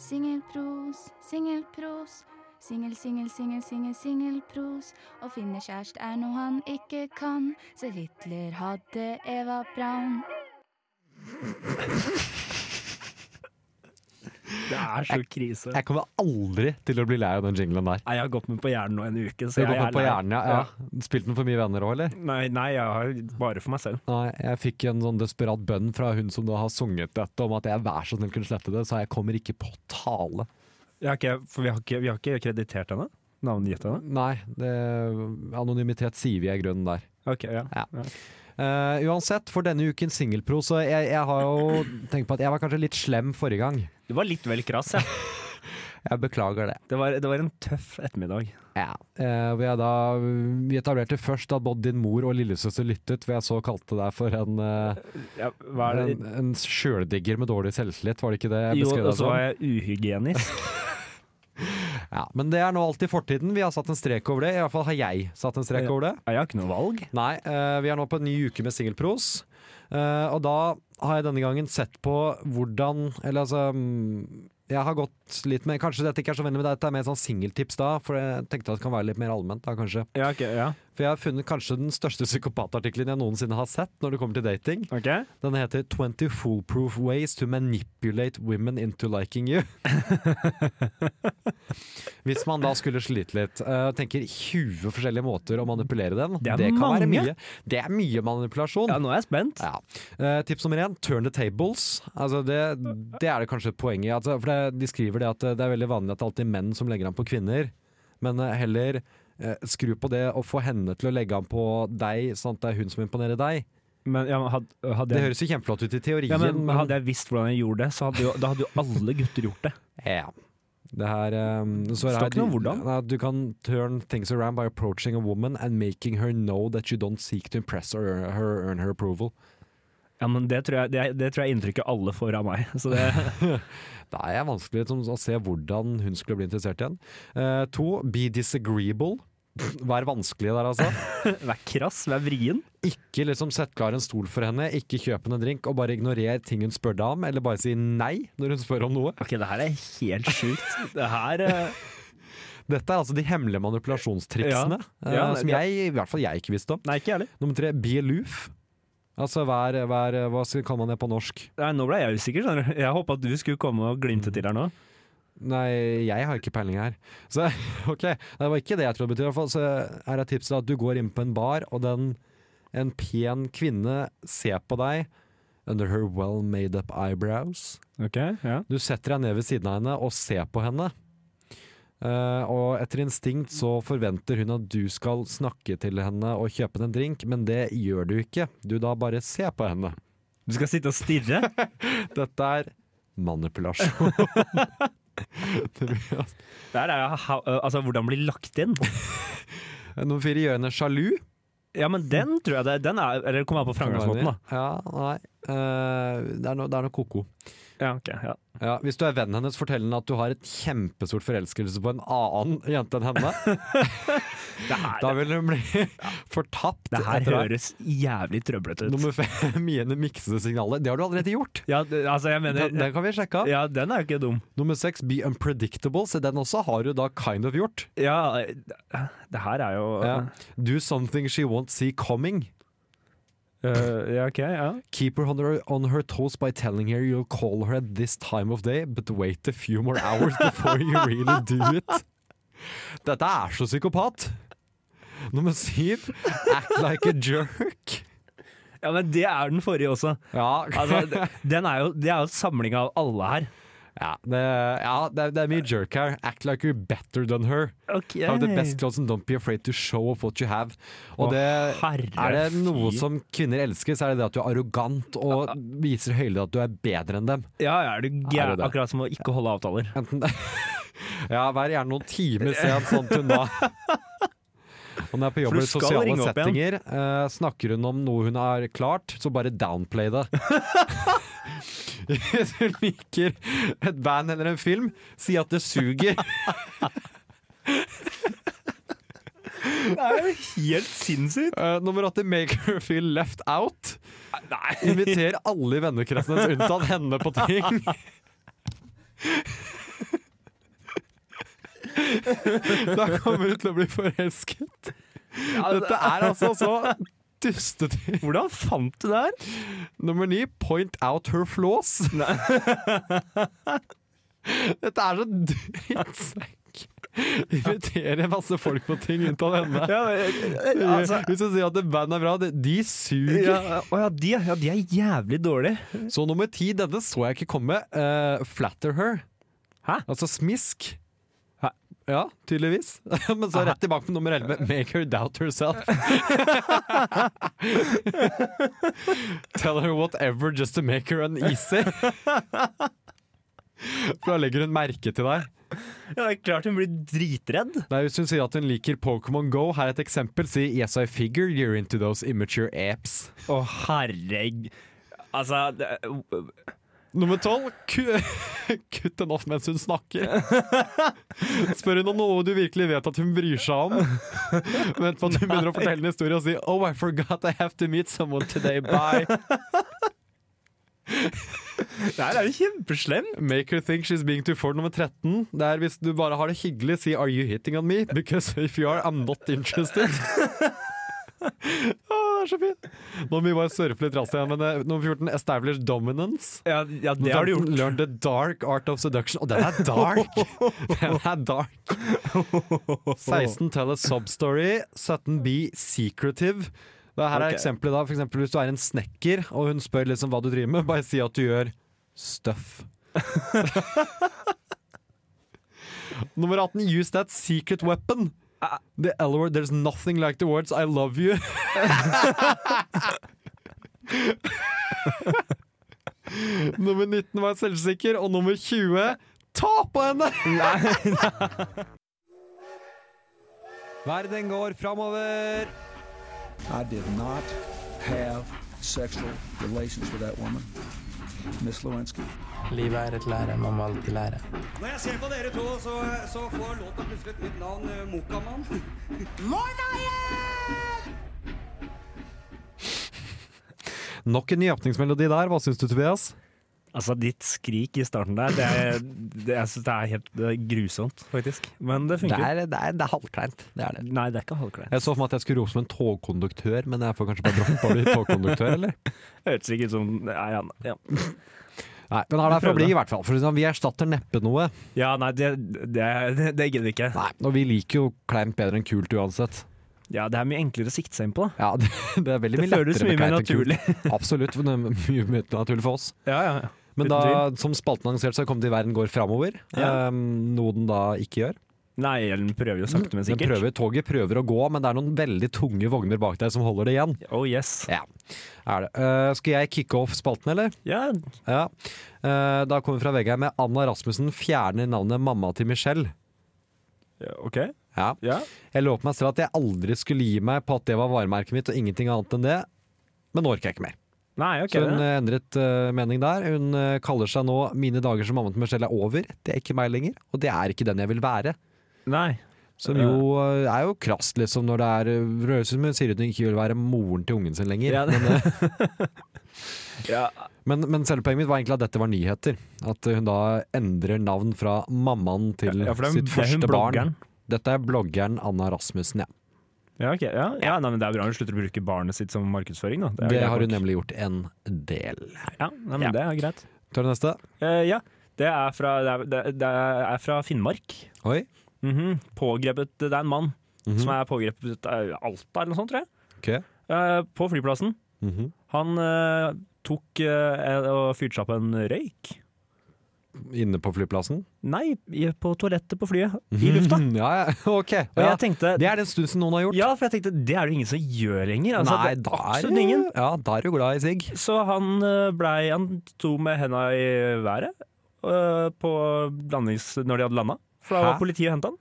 [SPEAKER 7] Singelpros, singelpros. Singel, singel, singel, singel, singelpros. Å finne kjæreste er noe han ikke kan, så Hitler hadde Eva Braun.
[SPEAKER 5] Det er så krise.
[SPEAKER 4] Jeg kommer aldri til å bli lei av den jinglen der.
[SPEAKER 5] Nei, jeg har gått med på hjernen nå en uke. Så
[SPEAKER 4] Du går
[SPEAKER 5] jeg er
[SPEAKER 4] med på
[SPEAKER 5] lei.
[SPEAKER 4] hjernen, ja. ja. Spilt den for mye venner òg, eller?
[SPEAKER 5] Nei, nei, jeg har bare for meg selv.
[SPEAKER 4] Nei, jeg fikk en sånn desperat bønn fra hun som da har sunget dette, om at jeg vær så snill kunne slette det, så jeg kommer ikke på tale.
[SPEAKER 5] Jeg har ikke, for vi har ikke, vi har ikke kreditert henne? Navngitt henne?
[SPEAKER 4] Nei, det, anonymitet sier vi er grunnen der.
[SPEAKER 5] Ok, ja.
[SPEAKER 4] Ja. Eh, uansett, for denne ukens singelpro, så jeg, jeg har jo tenkt på at jeg var kanskje litt slem forrige gang.
[SPEAKER 5] Du var litt vel krass, jeg.
[SPEAKER 4] Jeg beklager det.
[SPEAKER 5] Det var, det var en tøff ettermiddag.
[SPEAKER 4] Ja. Eh, hvor jeg da, vi etablerte først at både din mor og lillesøster lyttet, hvor jeg så kalte deg for en, eh,
[SPEAKER 5] Ja, hva er det?
[SPEAKER 4] en, en sjøldigger med dårlig selvtillit, var det ikke det jeg
[SPEAKER 5] Jo,
[SPEAKER 4] beskrev
[SPEAKER 5] og
[SPEAKER 4] deg sånn.
[SPEAKER 5] så
[SPEAKER 4] som?
[SPEAKER 5] var jeg uhygienisk.
[SPEAKER 4] Ja, men det er nå alltid fortiden. Vi har satt en strek over det. I hvert fall har jeg satt en strek
[SPEAKER 5] Ja.
[SPEAKER 4] over det.
[SPEAKER 5] Jeg har ikke noe valg.
[SPEAKER 4] Nei, eh, vi er nå på en ny uke med singelpros. Eh, og da har jeg denne gangen sett på hvordan Eller altså mm, Jeg har gått litt med Kanskje dette ikke er så vennlig med deg, dette er mer sånn singeltips da, for jeg tenkte at det kan være litt mer allment da, kanskje.
[SPEAKER 5] Ja, ok, ja.
[SPEAKER 4] For jeg har funnet kanskje den største psykopatartikkelen jeg noensinne har sett når det kommer til dating.
[SPEAKER 5] Ok.
[SPEAKER 4] Den heter 20 foolproof ways to manipulate women into liking you. Hvis man da skulle slite litt, eh, tenker 20 forskjellige måter å manipulere dem.
[SPEAKER 5] Det er
[SPEAKER 4] kan være mye.
[SPEAKER 5] mange.
[SPEAKER 4] Det er mye manipulasjon.
[SPEAKER 5] Ja, nå er jeg spent.
[SPEAKER 4] Ja. Eh, tips nummer én, turn the tables. Altså det, det er det kanskje poenget i. Altså, for det, de skriver det at eh, det er veldig vanlig at det alltid er menn som legger an på kvinner. Men eh, heller eh, skru på det og få henne til å legge an på deg, sånn at det er hun som imponerer deg.
[SPEAKER 5] Men ja, men had, hadde
[SPEAKER 4] Det
[SPEAKER 5] jeg...
[SPEAKER 4] høres jo kjempeflott ut i teorien,
[SPEAKER 5] Ja, men,
[SPEAKER 4] men
[SPEAKER 5] hadde jeg visst hvordan jeg gjorde det, så hadde jo, da hadde jo alle gutter gjort det.
[SPEAKER 4] ja. Det her um, så
[SPEAKER 5] Det
[SPEAKER 4] er
[SPEAKER 5] står ikke noe
[SPEAKER 4] du-
[SPEAKER 5] hvordan.
[SPEAKER 4] Nei, Du kan turn things around by approaching a woman and making her know that you don't seek to impress or earn her, earn her approval.
[SPEAKER 5] Ja, men det tror jeg, det, er- det tror jeg er inntrykket alle får av meg. Så det,
[SPEAKER 4] Det er vanskelig liksom, å se hvordan hun skulle bli interessert igjen. Eh, to, be disagreeable. Vær vanskelig der, altså.
[SPEAKER 5] vær krass, vær vrien.
[SPEAKER 4] Ikke liksom sett klar en stol for henne, ikke kjøp henne en drink, og bare ignorer ting hun spør deg om, eller bare si nei når hun spør om noe.
[SPEAKER 5] Ok, det her er helt sjukt. Det her eh,
[SPEAKER 4] Dette er altså de hemmelige manipulasjonstriksene,
[SPEAKER 5] Ja. Ja,
[SPEAKER 4] eh, som
[SPEAKER 5] ja.
[SPEAKER 4] jeg, i hvert fall jeg ikke visste om.
[SPEAKER 5] Nei, ikke jeg heller.
[SPEAKER 4] Nummer tre, be aloof. Altså vær, vær Hva skal- kaller man det på norsk?
[SPEAKER 5] Nei, Nå ble jeg usikker. skjønner du. Jeg håpa at du skulle komme og glimte til her nå.
[SPEAKER 4] Nei, jeg har ikke peiling her. Så ok, det var ikke det jeg trodde det betydde. i hvert fall. Så her er tipset at du går inn på en bar, og den, en pen kvinne ser på deg under her well made up eyebrows.
[SPEAKER 5] Ok, ja.
[SPEAKER 4] Du setter deg ned ved siden av henne og ser på henne. Eh, og etter instinkt så forventer hun at du skal snakke til henne og kjøpe henne en drink, men det gjør du ikke. Du da bare ser på henne.
[SPEAKER 5] Du skal sitte og stirre?
[SPEAKER 4] Dette er manipulasjon. det blir altså
[SPEAKER 5] Der er jo ha- altså, hvordan bli lagt inn.
[SPEAKER 4] Nummer fire gjør henne sjalu.
[SPEAKER 5] Ja, men den tror jeg det den er Eller kommer an på framgangsmåten, da.
[SPEAKER 4] Ja, nei. Eh, det er noe, det er noe ko-ko.
[SPEAKER 5] Ja, ok, ja.
[SPEAKER 4] Ja, hvis du er vennen hennes, fortell henne at du har et kjempestort forelskelse på en annen jente enn henne.
[SPEAKER 5] Det her,
[SPEAKER 4] Da vil hun bli fortapt.
[SPEAKER 5] det her
[SPEAKER 4] etter hvert.
[SPEAKER 5] høres jævlig trøblete ut.
[SPEAKER 4] Nummer fem, mine miksede signaler. Det har du allerede gjort.
[SPEAKER 5] Ja, det, altså, jeg mener
[SPEAKER 4] Den, den kan vi sjekke av.
[SPEAKER 5] Ja, den er jo ikke dum.
[SPEAKER 4] Nummer seks, be unpredictable. Så den også har du da kind of gjort.
[SPEAKER 5] Ja, det her er jo
[SPEAKER 4] Ja. Do something she won't see coming.
[SPEAKER 5] øh, ja, OK, ja.
[SPEAKER 4] Keep her on, her on her toes by telling her you'll call her at this time of day, but wait a few more hours before you really do it. Dette er så psykopat! Nummer syv, act like a jerk.
[SPEAKER 5] Ja, men det er den forrige også.
[SPEAKER 4] Ja,
[SPEAKER 5] Altså, d- den er jo, det er jo en samling av alle her.
[SPEAKER 4] ja, det, ja det, er- det er mye jerk her. Act like you're better than her.
[SPEAKER 5] Ok.
[SPEAKER 4] Have the best clothes and don't be afraid to show off what you have. Og
[SPEAKER 5] Å,
[SPEAKER 4] det,
[SPEAKER 5] herre
[SPEAKER 4] er det noe
[SPEAKER 5] fy.
[SPEAKER 4] som kvinner elsker, så er det det at du er arrogant og viser høylytt at du er bedre enn dem.
[SPEAKER 5] Ja, ja, er du
[SPEAKER 4] Er det
[SPEAKER 5] gæren?
[SPEAKER 4] det?
[SPEAKER 5] Akkurat som å ikke holde avtaler.
[SPEAKER 4] Enten Ja, vær gjerne noen timer sen, sånn til nå. Hun er på jobb
[SPEAKER 5] For du
[SPEAKER 4] i
[SPEAKER 5] skal
[SPEAKER 4] sosiale
[SPEAKER 5] ringe opp igjen.
[SPEAKER 4] settinger. Eh, snakker hun om noe hun har klart, så bare downplay det. Hvis du liker et band eller en film, si at det suger.
[SPEAKER 5] Det er jo helt sinnssykt!
[SPEAKER 4] Eh, nummer åtte, make her feel left out.
[SPEAKER 5] Nei.
[SPEAKER 4] Inviter alle i vennekretsen hennes, unntatt henne, på ting. Da kommer hun til å bli forelsket. Dette er altså så dustete.
[SPEAKER 5] Hvordan fant du det her?
[SPEAKER 4] Nummer ni, point out her flaws. Dette er så drittsekk. Inviterer masse folk på ting unntatt henne.
[SPEAKER 5] Ja, men, altså,
[SPEAKER 4] Hvis du sier at det bandet er bra, det- de suger.
[SPEAKER 5] ja, å ja, de, ja, de er jævlig dårlige.
[SPEAKER 4] Så nummer ti, denne så jeg ikke komme. eh, flatter her.
[SPEAKER 5] Hæ?
[SPEAKER 4] Altså smisk.
[SPEAKER 5] Hæ?
[SPEAKER 4] Ja, tydeligvis. Men så rett tilbake på nummer 11. Make her doubt herself. Tell her whatever just to make her uneasy. For da legger hun merke til deg.
[SPEAKER 5] Ja, det er klart hun blir dritredd.
[SPEAKER 4] Nei, Hvis hun sier at hun liker Pokémon Go, her er et eksempel. Si yes, I figure you're into those immature apes.
[SPEAKER 5] Å, herregud. Altså det,
[SPEAKER 4] Nummer tolv ku- Kutt den off mens hun snakker. Spør hun om noe du virkelig vet at hun bryr seg om. Vent på at hun begynner å fortelle en historie og si Oh, I forgot I have to meet someone today. Bye.
[SPEAKER 5] det her er jo kjempeslem.
[SPEAKER 4] Make her think she's being too for nummer 13. Det er hvis du bare har det hyggelig, si Are you hitting on me? Because if you are, I'm not interested. Ah, det er så fint. Nå må vi bare surfe litt raskt igjen, men eh, nummer 14, establish dominance.
[SPEAKER 5] Ja, ja det har du gjort.
[SPEAKER 4] Learn the dark art of seduction. Og den er dark! Den er dark. 16 tell a substory. 17 be secretive. Det her er
[SPEAKER 5] Ok.
[SPEAKER 4] eksempelet da, for eksempel Hvis du er en snekker og hun spør liksom hva du driver med, bare si at du gjør stuff. Nummer 18 use that secret weapon. The L word, there's nothing like the words I love you. nummer 19 var selvsikker, og nummer 20 ta på henne! Verden går framover.
[SPEAKER 8] I did not have sexual relations with that woman, Miss Lewinsky.
[SPEAKER 9] Livet er et lære, man må alltid lære.
[SPEAKER 10] Når jeg ser på dere to, så, så får låta plutselig et nytt navn. eh, Mokamann.
[SPEAKER 4] Nok en nyåpningsmelodi der. Hva syns du, Tobias?
[SPEAKER 5] Altså, ditt skrik i starten der, det, er- det, jeg synes det er helt det er grusomt, faktisk. Men det funker.
[SPEAKER 4] er, halvkleint. Det er det.
[SPEAKER 5] Nei, det er ikke halvkleint.
[SPEAKER 4] Jeg så for meg at jeg skulle rope som en togkonduktør, men jeg får kanskje bare droppe å bli togkonduktør, eller?
[SPEAKER 5] Hørtes ikke ut som Nei, ja, ja.
[SPEAKER 4] Nei, den er der for å bli, i hvert fall. For sånn, vi erstatter neppe noe.
[SPEAKER 5] ja nei, det, det, det, det gidder vi ikke.
[SPEAKER 4] Nei, Og vi liker jo kleint bedre enn kult uansett.
[SPEAKER 5] Ja, det er mye enklere å sikte seg inn på, da.
[SPEAKER 4] Ja, Det, det er veldig
[SPEAKER 5] Det
[SPEAKER 4] mye lettere
[SPEAKER 5] føles mye mer
[SPEAKER 4] kleint enn kult. Absolutt. men Det er mye mer naturlig for oss.
[SPEAKER 5] Ja, ja, ja.
[SPEAKER 4] Men
[SPEAKER 5] Uten
[SPEAKER 4] da, som spalten annonserte, så kom det i Verden går framover.
[SPEAKER 5] Ja.
[SPEAKER 4] Um, noe den da ikke gjør.
[SPEAKER 5] Nei, den prøver jo sakte, men
[SPEAKER 4] Den
[SPEAKER 5] sikkert.
[SPEAKER 4] prøver, toget prøver å gå, men det er noen veldig tunge vogner bak deg som holder det igjen.
[SPEAKER 5] Oh yes.
[SPEAKER 4] Ja, er det. Eh, skal jeg kicke off spalten, eller?
[SPEAKER 5] Ja,
[SPEAKER 4] Ja. Eh, da kommer vi fra VG med Anna Rasmussen fjerner navnet mamma til Michelle.
[SPEAKER 5] ja, ok.
[SPEAKER 4] Ja.
[SPEAKER 5] Ja.
[SPEAKER 4] Jeg lovte meg selv at jeg aldri skulle gi meg på at det var varemerket mitt, og ingenting annet enn det. Men nå orker jeg ikke mer.
[SPEAKER 5] Nei, ok.
[SPEAKER 4] Så hun
[SPEAKER 5] det.
[SPEAKER 4] eh, endret eh, mening der. Hun eh, kaller seg nå 'Mine dager som mamma til Michelle er over'. Det er ikke meg lenger, og det er ikke den jeg vil være.
[SPEAKER 5] Nei.
[SPEAKER 4] Som jo eh, er jo krast, liksom, når det er eh, det høres ut som hun sier at hun ikke vil være moren til ungen sin lenger.
[SPEAKER 5] Ja.
[SPEAKER 4] Men, eh,
[SPEAKER 5] Ja.
[SPEAKER 4] men, men selve poenget mitt var egentlig at dette var nyheter. At hun da endrer navn fra mammaen til
[SPEAKER 5] Ja, for det er hun-
[SPEAKER 4] sitt
[SPEAKER 5] det er hun
[SPEAKER 4] første barn.
[SPEAKER 5] bloggeren.
[SPEAKER 4] Dette er bloggeren Anna Rasmussen, ja.
[SPEAKER 5] Ja, ok. ja. ja nei, men Det er bra hun slutter å bruke barnet sitt som markedsføring. Da.
[SPEAKER 4] Det,
[SPEAKER 5] er greit
[SPEAKER 4] har hun
[SPEAKER 5] nok.
[SPEAKER 4] nemlig gjort en del.
[SPEAKER 5] Ja, nei, men
[SPEAKER 4] Ja.
[SPEAKER 5] det er greit.
[SPEAKER 4] Tar du neste?
[SPEAKER 5] Eh, ja, det er fra, det er, det- det er fra Finnmark.
[SPEAKER 4] Oi.
[SPEAKER 5] Mhm. Pågrepet, Det er en mann
[SPEAKER 4] Mhm.
[SPEAKER 5] som er pågrepet i Alta eller noe sånt, tror jeg.
[SPEAKER 4] Ok.
[SPEAKER 5] Eh, på flyplassen.
[SPEAKER 4] Mhm.
[SPEAKER 5] Han eh, tok eh, og fyrte seg opp en røyk.
[SPEAKER 4] Inne på flyplassen? Mm,
[SPEAKER 5] Nei, i- på toalettet på flyet. I lufta.
[SPEAKER 4] Ja, ja, ok.
[SPEAKER 5] Og
[SPEAKER 4] Mhm. Ja.
[SPEAKER 5] jeg tenkte
[SPEAKER 4] Det er den stund som noen har gjort.
[SPEAKER 5] Ja, for jeg tenkte det er det jo ingen som gjør lenger. Altså,
[SPEAKER 4] Nei,
[SPEAKER 5] det
[SPEAKER 4] da
[SPEAKER 5] er
[SPEAKER 4] er,
[SPEAKER 5] absolutt ingen.
[SPEAKER 4] Ja, da er du glad i sigg.
[SPEAKER 5] Så han eh, blei Han sto med henda i været eh, på landings, når de hadde landa. For da
[SPEAKER 4] Hæ?
[SPEAKER 5] var politiet og henta han.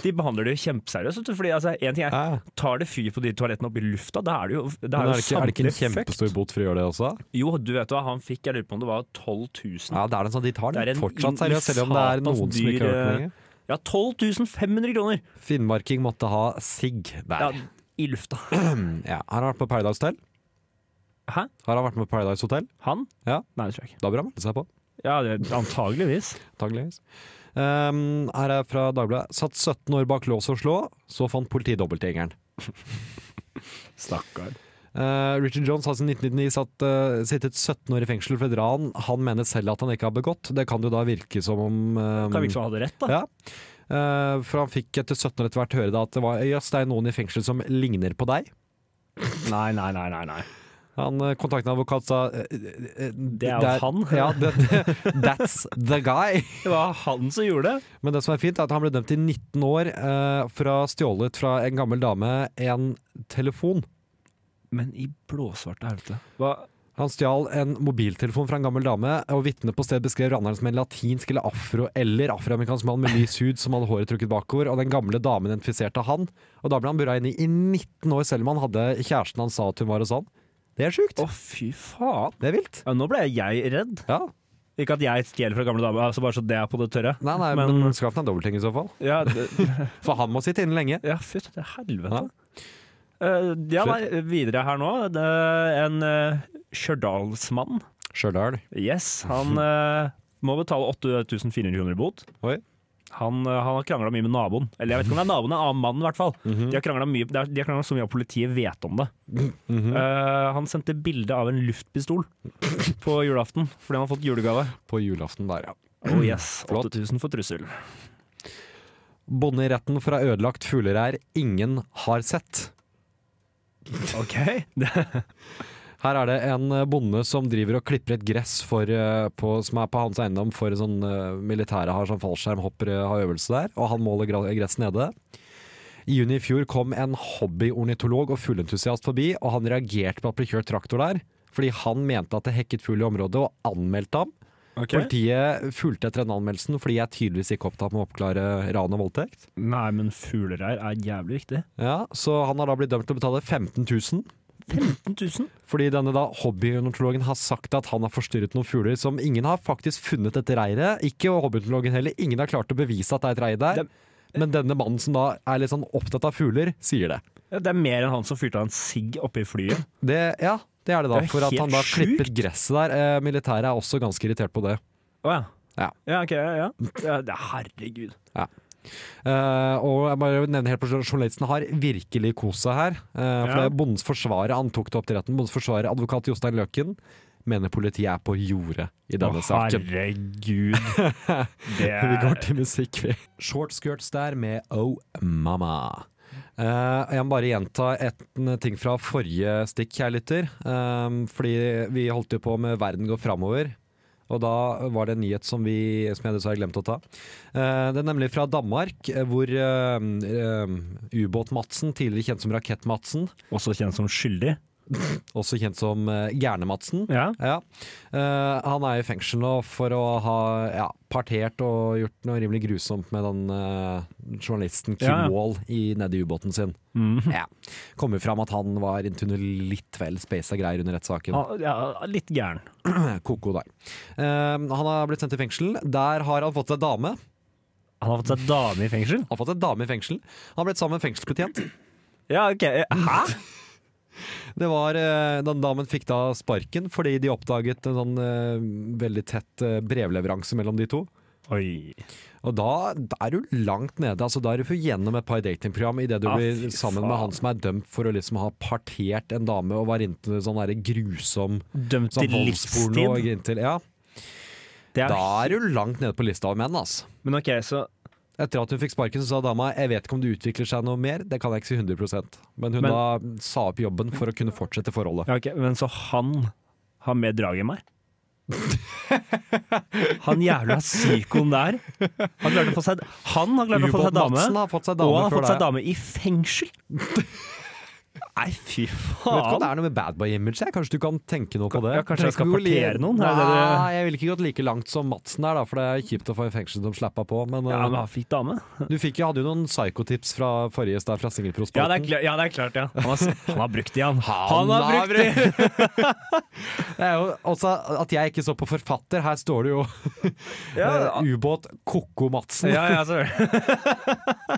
[SPEAKER 5] De behandler det jo kjempeseriøst. vet du, Fordi altså, en ting er
[SPEAKER 4] Ja.
[SPEAKER 5] Tar det fyr på de toalettene oppe i lufta, da er det jo, da
[SPEAKER 4] Men
[SPEAKER 5] er
[SPEAKER 4] er det, ikke,
[SPEAKER 5] jo
[SPEAKER 4] er det ikke en
[SPEAKER 5] samtlige fucked.
[SPEAKER 4] kjempestor bot for å gjøre det også?
[SPEAKER 5] Jo, du vet hva, han fikk, jeg lurer på om det var 12 000.
[SPEAKER 4] Ja, det er den sånn, De tar
[SPEAKER 5] Det er
[SPEAKER 4] den
[SPEAKER 5] en
[SPEAKER 4] fortsatt seriøst, selv om det er
[SPEAKER 5] satans
[SPEAKER 4] noen som ikke har hørt den
[SPEAKER 5] dyr,
[SPEAKER 4] lenger.
[SPEAKER 5] Ja, 12 500 kroner!
[SPEAKER 4] Finnmarking måtte ha sigg der.
[SPEAKER 5] Ja, I lufta.
[SPEAKER 4] Ja. Har han vært på Paradise Hotel?
[SPEAKER 5] Hæ?
[SPEAKER 4] Har han vært med på Paradise Hotel?
[SPEAKER 5] Han?
[SPEAKER 4] Ja.
[SPEAKER 5] Nei, det tror jeg ikke.
[SPEAKER 4] Da bør han melde seg på.
[SPEAKER 5] Ja, det, antageligvis.
[SPEAKER 4] Antageligvis. Ehm, her er fra Dagbladet. Satt 17 år bak lås og slå, så fant politiet dobbeltgjengeren.
[SPEAKER 5] Stakkar.
[SPEAKER 4] Eh, Richard Jones har siden 1999 satt, eh, sittet 17 år i fengsel for et ran han mener selv at han ikke har begått. Det kan jo da virke som om ehm,
[SPEAKER 5] Kan virke som han hadde rett, da.
[SPEAKER 4] Ja. Eh, for han fikk etter 17 år etter hvert høre da at det var Jøss, det er noen i fengsel som ligner på deg.
[SPEAKER 5] Nei, nei, nei, nei. nei.
[SPEAKER 4] Han eh, kontaktet en advokat sa eh, eh, eh,
[SPEAKER 5] Det er jo han.
[SPEAKER 4] Ja, det, det, that's the guy.
[SPEAKER 5] Det var han som gjorde det.
[SPEAKER 4] Men det som er fint, er at han ble dømt i 19 år eh, for å ha stjålet fra en gammel dame en telefon.
[SPEAKER 5] Men i blåsvarte helvete. Hva?
[SPEAKER 4] Han stjal en mobiltelefon fra en gammel dame, og vitnet på stedet beskrev raneren som en latinsk eller afro- eller afroamerikansk mann med lys hud som hadde håret trukket bakover, og den gamle damen identifiserte han. Og da ble han bura inne i 19 år, selv om han hadde kjæresten han sa at hun var hos han. Det er sjukt.
[SPEAKER 5] Å, fy faen.
[SPEAKER 4] Det er vilt.
[SPEAKER 5] Ja, nå ble jeg redd.
[SPEAKER 4] Ja.
[SPEAKER 5] Ikke at jeg stjeler fra gamle damer, altså bare så det er på det tørre.
[SPEAKER 4] Nei, nei, men,
[SPEAKER 5] Men-
[SPEAKER 4] skaff deg en dobbelting i så fall.
[SPEAKER 5] Ja, det,
[SPEAKER 4] For han må sitte inne lenge.
[SPEAKER 5] ja fy til helvete.
[SPEAKER 4] Ja.
[SPEAKER 5] Eh, ja, nei, videre her nå. Det er en eh, stjørdalsmann.
[SPEAKER 4] Stjørdal.
[SPEAKER 5] Yes, han eh, må betale 8400 kroner i bot.
[SPEAKER 4] Oi.
[SPEAKER 5] Han, eh, han har krangla mye med naboen. Eller jeg vet ikke om det er naboen, en annen mann i hvert fall.
[SPEAKER 4] Mhm.
[SPEAKER 5] De har krangla mye- de har- de har kranglet så mye at politiet vet om det.
[SPEAKER 4] Mhm.
[SPEAKER 5] Eh, han sendte bilde av en luftpistol på julaften fordi han har fått julegave.
[SPEAKER 4] På julaften der, ja.
[SPEAKER 5] Oh yes,
[SPEAKER 4] Flott.
[SPEAKER 5] 8000 for trussel.
[SPEAKER 4] Bonde i retten for å ha ødelagt fuglereir ingen har sett.
[SPEAKER 5] Ok.
[SPEAKER 4] Her er det en eh, bonde som driver og klipper et gress for, eh, på, som er på hans eiendom for sånn eh, militære har sånn fallskjermhoppere har øvelse der, og han måler gra- gress nede. I juni i fjor kom en hobbyornitolog og fugleentusiast forbi, og han reagerte på at det ble kjørt traktor der, fordi han mente at det hekket fugl i området, og anmeldte ham. Politiet fulgte etter den anmeldelsen fordi jeg tydeligvis ikke opptatt med å oppklare ran og voldtekt.
[SPEAKER 5] Nei, men fuglereir er jævlig viktig.
[SPEAKER 4] Ja, så han har da blitt dømt til å betale 15 000.
[SPEAKER 5] 15 000?
[SPEAKER 4] Fordi denne da hobbyunotologen har sagt at han har forstyrret noen fugler som ingen har faktisk funnet dette reiret. Ikke hobbyunotologen heller. Ingen har klart å bevise at det er et reir der.
[SPEAKER 5] Dem-
[SPEAKER 4] Men denne mannen som da er litt sånn opptatt av fugler, sier det.
[SPEAKER 5] Ja, det er mer enn han som fyrte av en sigg oppe i flyet.
[SPEAKER 4] det ja, det er det da.
[SPEAKER 5] Det er
[SPEAKER 4] for at han
[SPEAKER 5] helt
[SPEAKER 4] da
[SPEAKER 5] sjukt.
[SPEAKER 4] klippet gresset der. Eh, militæret er også ganske irritert på det.
[SPEAKER 5] Å ja.
[SPEAKER 4] Ja.
[SPEAKER 5] Ja, ok, ja, ja. ja. det- Herregud.
[SPEAKER 4] Eh, og jeg bare vil nevne helt på slutten, Journalisten har virkelig kost seg her. Eh, for
[SPEAKER 5] Ja.
[SPEAKER 4] det er Bondens forsvarer han tok det opp til retten. Bondens forsvarer, advokat Jostein Løken, mener politiet er på jordet i denne
[SPEAKER 5] Å,
[SPEAKER 4] saken.
[SPEAKER 5] herregud.
[SPEAKER 4] Vi
[SPEAKER 5] Det er
[SPEAKER 4] går til musikk, vi. Short skirts der med Oh Mama. Eh, jeg må bare gjenta et, en ting fra forrige stikk, jeg lytter. Eh, fordi vi holdt jo på med Verden går framover. Og da var det en nyhet som, vi, som jeg dessverre glemte å ta. Eh, det er nemlig fra Danmark, eh, hvor eh, eh, Ubåt-Madsen, tidligere kjent som Rakett-Madsen,
[SPEAKER 5] Også kjent som skyldig.
[SPEAKER 4] også kjent som eh, Gjerne-Madsen.
[SPEAKER 5] Ja.
[SPEAKER 4] Eh, han er i fengsel nå for å ha ja, partert og gjort noe rimelig grusomt med den eh, journalisten Kim
[SPEAKER 5] Ja, Mhm. ja.
[SPEAKER 4] Wall i, nede i ubåten sin. Ja. Kommer fram at han var into noe litt vel speisa greier under rettssaken.
[SPEAKER 5] Ah, ja, litt gæren.
[SPEAKER 4] Koko der. Eh, han har blitt sendt i fengsel. Der har han fått seg dame.
[SPEAKER 5] Han har fått seg dame i fengsel?
[SPEAKER 4] Han har fått en dame i fengsel. Han har blitt sammen med en fengselsbetjent.
[SPEAKER 5] Ja, ok. Hæ?
[SPEAKER 4] Det var, eh, den damen fikk da sparken fordi de oppdaget en sånn eh, veldig tett eh, brevleveranse mellom de to.
[SPEAKER 5] Oi.
[SPEAKER 4] Og da, da er du langt nede. Altså, da er du for gjennom et par datingprogram idet du
[SPEAKER 5] Ah, fy
[SPEAKER 4] blir sammen med
[SPEAKER 5] faen.
[SPEAKER 4] han som er dømt for å liksom ha partert en dame og var inntil sånn der grusom
[SPEAKER 5] Dømt
[SPEAKER 4] sånn
[SPEAKER 5] til
[SPEAKER 4] voldsporno. og
[SPEAKER 5] livstid?
[SPEAKER 4] inntil- Ja,
[SPEAKER 5] Det er,
[SPEAKER 4] da er du langt nede på lista av menn, altså.
[SPEAKER 5] men ok, så
[SPEAKER 4] Etter at hun fikk sparken, så sa dama jeg vet ikke om det utvikler seg noe mer. Det kan jeg ikke si 100 Men hun
[SPEAKER 5] Men-
[SPEAKER 4] da sa opp jobben for å kunne fortsette forholdet.
[SPEAKER 5] ja, ok, Men så han har mer drag enn meg? Han jævla psykoen der. Han, klarte å få seg, han har klart å få seg
[SPEAKER 4] Ubåt
[SPEAKER 5] dame,
[SPEAKER 4] Madsen har fått seg
[SPEAKER 5] og
[SPEAKER 4] dame
[SPEAKER 5] han har
[SPEAKER 4] før
[SPEAKER 5] fått seg
[SPEAKER 4] det.
[SPEAKER 5] dame i fengsel! Nei, fy
[SPEAKER 4] Vet ikke hva det
[SPEAKER 5] faen!
[SPEAKER 4] er noe med bad boy-image. jeg. Kanskje du kan tenke noe på det?
[SPEAKER 5] Ja, kanskje jeg skal
[SPEAKER 4] Trenger ikke gå
[SPEAKER 5] partere noen, er det det du-
[SPEAKER 4] Nei, jeg ville ikke gått like langt som Madsen er, da, for det er kjipt å få en fengsel som slappa på. Men,
[SPEAKER 5] Ja,
[SPEAKER 4] eh,
[SPEAKER 5] men han fikk dame.
[SPEAKER 4] du fikk jo, hadde jo noen psykotips fra forrige sted, fra
[SPEAKER 5] Ja, det er,
[SPEAKER 4] Singelprosporten.
[SPEAKER 5] klart, ja. Det er klart, ja. Han, har, s- han har brukt de, han. Han
[SPEAKER 4] Han
[SPEAKER 5] har
[SPEAKER 4] har
[SPEAKER 5] brukt de!
[SPEAKER 4] Det er jo også at jeg ikke så på forfatter. Her står det jo
[SPEAKER 5] Ja.
[SPEAKER 4] eh, ubåt Koko Madsen.
[SPEAKER 5] Ja, ja, selvfølgelig.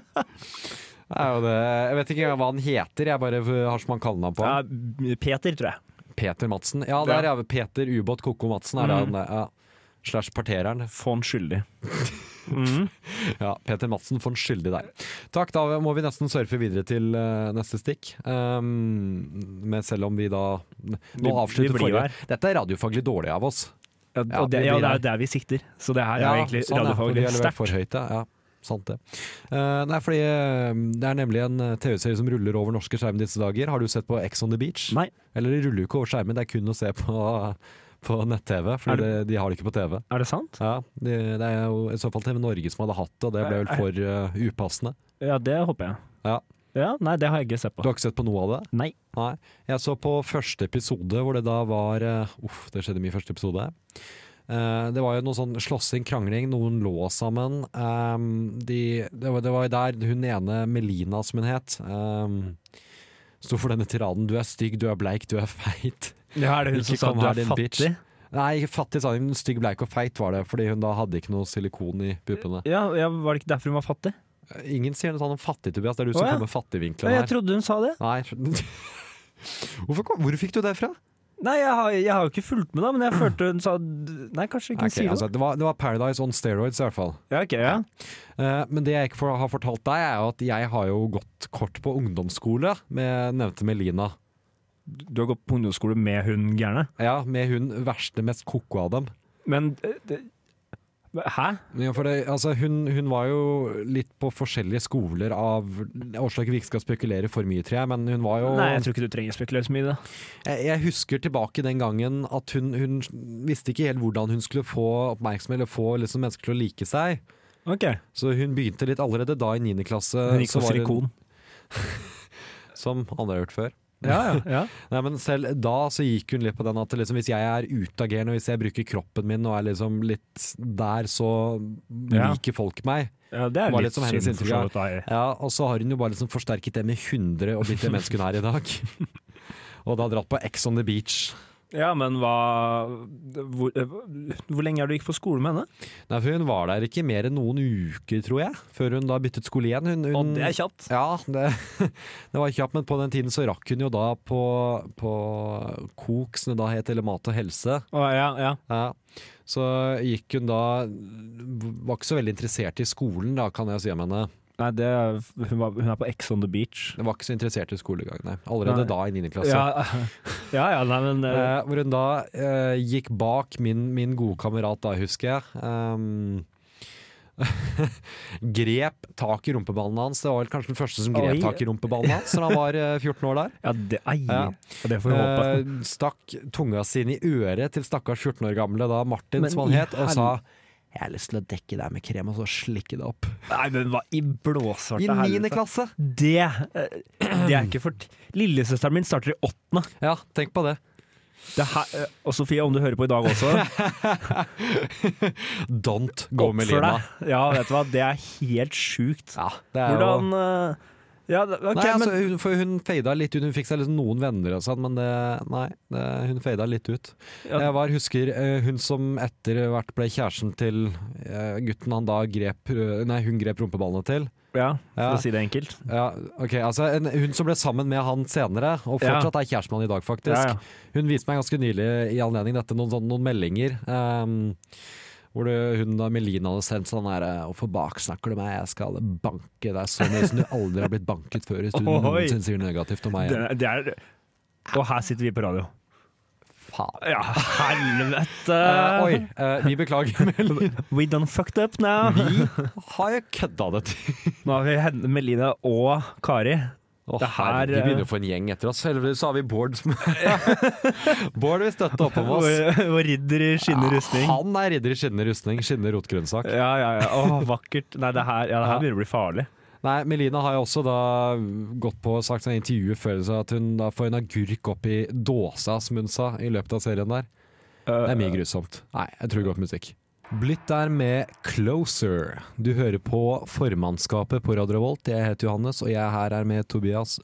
[SPEAKER 4] Det er jo det. Jeg vet ikke engang hva han heter, jeg bare eh, har som han kallenavn på.
[SPEAKER 5] Ja,
[SPEAKER 4] han.
[SPEAKER 5] Peter, tror jeg.
[SPEAKER 4] Peter Madsen. Ja, der er vi Peter Ubåt Koko Madsen. Er det
[SPEAKER 5] Mm.
[SPEAKER 4] han, der, ja. Slash partereren.
[SPEAKER 5] Fond skyldig.
[SPEAKER 4] Ja, Peter Madsen for en skyldig der. Takk, da må vi nesten surfe videre til eh, neste stikk. Um, men selv om vi da
[SPEAKER 5] Vi-
[SPEAKER 4] Nå avslutter
[SPEAKER 5] vi blir jo
[SPEAKER 4] forrige. Dette er radiofaglig dårlig av oss.
[SPEAKER 5] Ja,
[SPEAKER 4] Ja,
[SPEAKER 5] og det,
[SPEAKER 4] vi
[SPEAKER 5] ja,
[SPEAKER 4] blir
[SPEAKER 5] det
[SPEAKER 4] her.
[SPEAKER 5] er jo der vi sikter. Så det her er jo egentlig
[SPEAKER 4] sånn ja, for vi
[SPEAKER 5] radiofaglig
[SPEAKER 4] har levert
[SPEAKER 5] sterkt.
[SPEAKER 4] for høyt, ja. ja. Sant det. Eh, nei, fordi eh, det er nemlig en eh, TV-serie som ruller over norske skjerm disse dager. Har du sett på Ex on the Beach?
[SPEAKER 5] Nei.
[SPEAKER 4] Eller det ruller jo ikke over skjermen, det er kun å se på, på nett-TV.
[SPEAKER 5] Er
[SPEAKER 4] For det, de har det ikke på TV.
[SPEAKER 5] Er det sant?
[SPEAKER 4] Ja, det, det er jo i så fall TV Norge som hadde hatt det, og det ble vel for eh, upassende.
[SPEAKER 5] Ja, det håper jeg.
[SPEAKER 4] Ja.
[SPEAKER 5] Ja, Nei, det har jeg ikke sett
[SPEAKER 4] Du
[SPEAKER 5] på.
[SPEAKER 4] har ikke sett på noe av det?
[SPEAKER 5] Nei.
[SPEAKER 4] Nei. Jeg så på første episode, hvor det da var eh, Uff, det skjedde mye i første episode. Eh, det var jo noe sånn slåssing, krangling, noen lå sammen. Ehm, de, det, var, det var jo der hun ene, Melina som hun het, um, sto for denne tiraden 'du er stygg, du er bleik, du er feit'.
[SPEAKER 5] Ja, er det hun
[SPEAKER 4] Ikke
[SPEAKER 5] som sa
[SPEAKER 4] kom
[SPEAKER 5] du
[SPEAKER 4] her,
[SPEAKER 5] er
[SPEAKER 4] din
[SPEAKER 5] fattig?
[SPEAKER 4] bitch. Nei, ikke fattig sa hun, stygg, bleik og feit var det, fordi hun da hadde ikke noe silikon i puppene.
[SPEAKER 5] Ja, ja, Var det ikke derfor hun var fattig?
[SPEAKER 4] Ingen sier noe sånn om fattig, Tobias. Det er du
[SPEAKER 5] Å,
[SPEAKER 4] som
[SPEAKER 5] ja.
[SPEAKER 4] kommer med
[SPEAKER 5] Ja,
[SPEAKER 4] fattigvinkelen
[SPEAKER 5] jeg
[SPEAKER 4] her.
[SPEAKER 5] trodde hun sa det.
[SPEAKER 4] Nei. Hvorfor, kom- hvor fikk du det fra?
[SPEAKER 5] Nei, jeg har, jeg har jo ikke fulgt med, da, men jeg følte hun sa Nei, kanskje ikke hun
[SPEAKER 4] Ok,
[SPEAKER 5] sier
[SPEAKER 4] altså,
[SPEAKER 5] det.
[SPEAKER 4] det, var, det var Paradise on steroids i hvert fall.
[SPEAKER 5] Ja, ok, ja.
[SPEAKER 4] Eh, men det jeg ikke får, har fortalt deg, er jo at jeg har jo gått kort på ungdomsskole med nevnte Melina.
[SPEAKER 5] Du har gått på ungdomsskole med hun gærne.
[SPEAKER 4] Ja, med hun verste, mest koko av dem.
[SPEAKER 5] Men eh, det, Hæ?
[SPEAKER 4] Men Ja, for det, altså, hun, hun var jo litt på forskjellige skoler av årsaker vi ikke skal spekulere for mye, tror jeg, men hun var jo
[SPEAKER 5] Nei, jeg tror ikke du trenger å spekulere så mye i det.
[SPEAKER 4] Jeg, jeg husker tilbake den gangen at hun, hun visste ikke helt hvordan hun skulle få oppmerksomhet eller få liksom, mennesker til å like seg.
[SPEAKER 5] Ok,
[SPEAKER 4] Så hun begynte litt allerede da i 9. klasse.
[SPEAKER 5] Hun gikk
[SPEAKER 4] Eh, så
[SPEAKER 5] for
[SPEAKER 4] var hun-
[SPEAKER 5] silikon.
[SPEAKER 4] Som andre har gjort før.
[SPEAKER 5] Ja, ja, ja.
[SPEAKER 4] Nei, men selv da så gikk hun litt på den at liksom, hvis jeg er utagerende, og hvis jeg bruker kroppen min og er liksom litt der, så
[SPEAKER 5] Ja.
[SPEAKER 4] liker folk meg.
[SPEAKER 5] ja det er
[SPEAKER 4] Var
[SPEAKER 5] litt,
[SPEAKER 4] litt som hennes
[SPEAKER 5] synd for så
[SPEAKER 4] inntrykk,
[SPEAKER 5] vidt. da.
[SPEAKER 4] Ja, Og så har hun jo bare liksom forsterket det med 100 og blitt det mennesket hun er i dag. Og da dratt på Ex on the beach.
[SPEAKER 5] Ja, men hva hvor, eh, hvor lenge er du gikk på skole med henne?
[SPEAKER 4] Nei, for Hun var der ikke mer enn noen uker, tror jeg, før hun da byttet skole igjen. Hun, hun,
[SPEAKER 5] Og det er kjapt.
[SPEAKER 4] Ja, det, det var kjapt, men på den tiden så rakk hun jo da på, på KOK, som det da het, eller Mat og helse.
[SPEAKER 5] Å, ja, ja.
[SPEAKER 4] Ja. Så gikk hun da Var ikke så veldig interessert i skolen, da, kan jeg si om henne.
[SPEAKER 5] Nei, det, er- hun, var, hun er på Ex on the beach.
[SPEAKER 4] Hun var ikke så interessert i skolegang, nei. Allerede
[SPEAKER 5] Nei.
[SPEAKER 4] da, i 9. klasse.
[SPEAKER 5] Ja, ja, ja, nei, men eh,
[SPEAKER 4] Altså. Eh, hvor hun da eh, gikk bak min, min gode kamerat da, husker jeg. Ehm, grep tak i rumpeballen hans. Det var vel kanskje den første som grep
[SPEAKER 5] Oi.
[SPEAKER 4] tak i rumpeballen hans da han var eh, 14 år der. Eh,
[SPEAKER 5] ja, det, ei,
[SPEAKER 4] Ja.
[SPEAKER 5] Ja, det får vi håpe.
[SPEAKER 4] Eh, stakk tunga sin i øret til stakkars 14 år gamle da Martin,
[SPEAKER 5] Men
[SPEAKER 4] som han
[SPEAKER 5] i
[SPEAKER 4] het, og sa Jeg har lyst til å dekke det her med krem og så slikke det opp.
[SPEAKER 5] Nei, men hva i blåsvarte
[SPEAKER 4] I niende klasse!
[SPEAKER 5] Det, eh, det er ikke for Lillesøsteren min starter i åttende.
[SPEAKER 4] Ja, tenk på det.
[SPEAKER 5] Det her, eh, og Sofie, om du hører på i dag også,
[SPEAKER 4] Don't go med
[SPEAKER 5] oppfør
[SPEAKER 4] lina.
[SPEAKER 5] deg. Ja, vet du hva, det er helt sjukt.
[SPEAKER 4] Ja, det er jo...
[SPEAKER 5] Hvordan eh, Ja, det- ok,
[SPEAKER 4] Nei,
[SPEAKER 5] men
[SPEAKER 4] altså, hun, for hun fada litt ut. Hun fikk seg liksom noen venner og sånn, men det, nei, det, hun fada litt ut.
[SPEAKER 5] Ja.
[SPEAKER 4] Jeg var, husker eh, hun som etter hvert ble kjæresten til eh, gutten han da grep eh, Nei, hun grep rumpeballene til.
[SPEAKER 5] Ja, for
[SPEAKER 4] Ja.
[SPEAKER 5] å si det enkelt.
[SPEAKER 4] Ja, ok, altså en, Hun som ble sammen med han senere, og
[SPEAKER 5] Ja.
[SPEAKER 4] fortsatt er kjæresten han i dag, faktisk.
[SPEAKER 5] Ja, ja.
[SPEAKER 4] Hun viste meg ganske nylig i anledning dette noen, sånn- noen meldinger. ehm, hvor det, hun da Melina hadde sendt sånn her Hvorfor baksnakker du meg? Jeg skal banke deg så mye som du aldri har blitt banket før. Hvis du
[SPEAKER 5] Oi.
[SPEAKER 4] noensinne sier negativt om meg.
[SPEAKER 5] Det, er- det er Og her sitter vi på radio.
[SPEAKER 4] Faen.
[SPEAKER 5] Ja,
[SPEAKER 4] Eh,
[SPEAKER 5] helvete!
[SPEAKER 4] oi, eh, vi beklager, Melina.
[SPEAKER 5] We done fucked up now.
[SPEAKER 4] Vi har jo kødda det til.
[SPEAKER 5] Nå har vi Hen- Melina og Kari.
[SPEAKER 4] Å,
[SPEAKER 5] Det her, eh,
[SPEAKER 4] herre, vi begynner å få en gjeng etter oss. Heldigvis så har vi Bård som Bård vil støtte opp om
[SPEAKER 5] Og,
[SPEAKER 4] oss.
[SPEAKER 5] og ridder i skinnende rustning.
[SPEAKER 4] Han er ridder i skinnende rustning, skinnende rotgrønnsak.
[SPEAKER 5] Ja, ja, ja. Åh, vakkert. Nei, det her, ja, det
[SPEAKER 4] Ja.
[SPEAKER 5] her begynner å bli farlig.
[SPEAKER 4] Nei, Melina har jo også da gått på og sagt sånn i intervjuet før så at hun da får en agurk opp i dåsa, som hun sa, i løpet av serien der.
[SPEAKER 5] Eh,
[SPEAKER 4] Det er mye grusomt. Nei, jeg tror godt musikk. Blitt der med Closer. Du hører på formannskapet på Radio Revolt. Jeg heter Johannes, og jeg her er med Tobias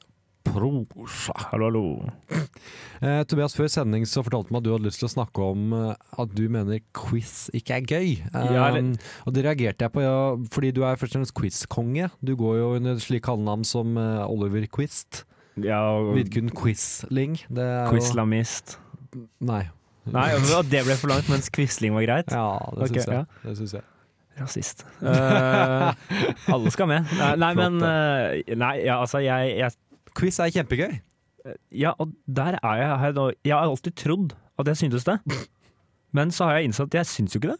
[SPEAKER 4] Prosa.
[SPEAKER 5] Ah, Hallo, hallo.
[SPEAKER 4] Eh, Tobias, før sending så fortalte du meg at du hadde lyst til å snakke om eh, at du mener quiz ikke er gøy.
[SPEAKER 5] Ja,
[SPEAKER 4] Eh,
[SPEAKER 5] eller-
[SPEAKER 4] og det reagerte jeg på, ja, fordi du er først og fremst quizkonge. Du går jo under slik kallenavn som eh, Oliver Quist.
[SPEAKER 5] Ja, og
[SPEAKER 4] Vidkun Quisling. Det er jo
[SPEAKER 5] quizlamist.
[SPEAKER 4] Nei.
[SPEAKER 5] Nei, og det ble for langt, mens quisling var greit.
[SPEAKER 4] Ja, det
[SPEAKER 5] Ok,
[SPEAKER 4] syns jeg.
[SPEAKER 5] ja.
[SPEAKER 4] Det syns jeg.
[SPEAKER 5] Rasist. Eh, alle skal med. Nei, nei
[SPEAKER 4] Flott,
[SPEAKER 5] men eh, Nei, ja, altså, jeg, jeg
[SPEAKER 4] Quiz er kjempegøy.
[SPEAKER 5] Ja, og der er jeg, har jeg nå Jeg har alltid trodd at jeg syntes det. Men så har jeg innsett at jeg syns jo ikke det.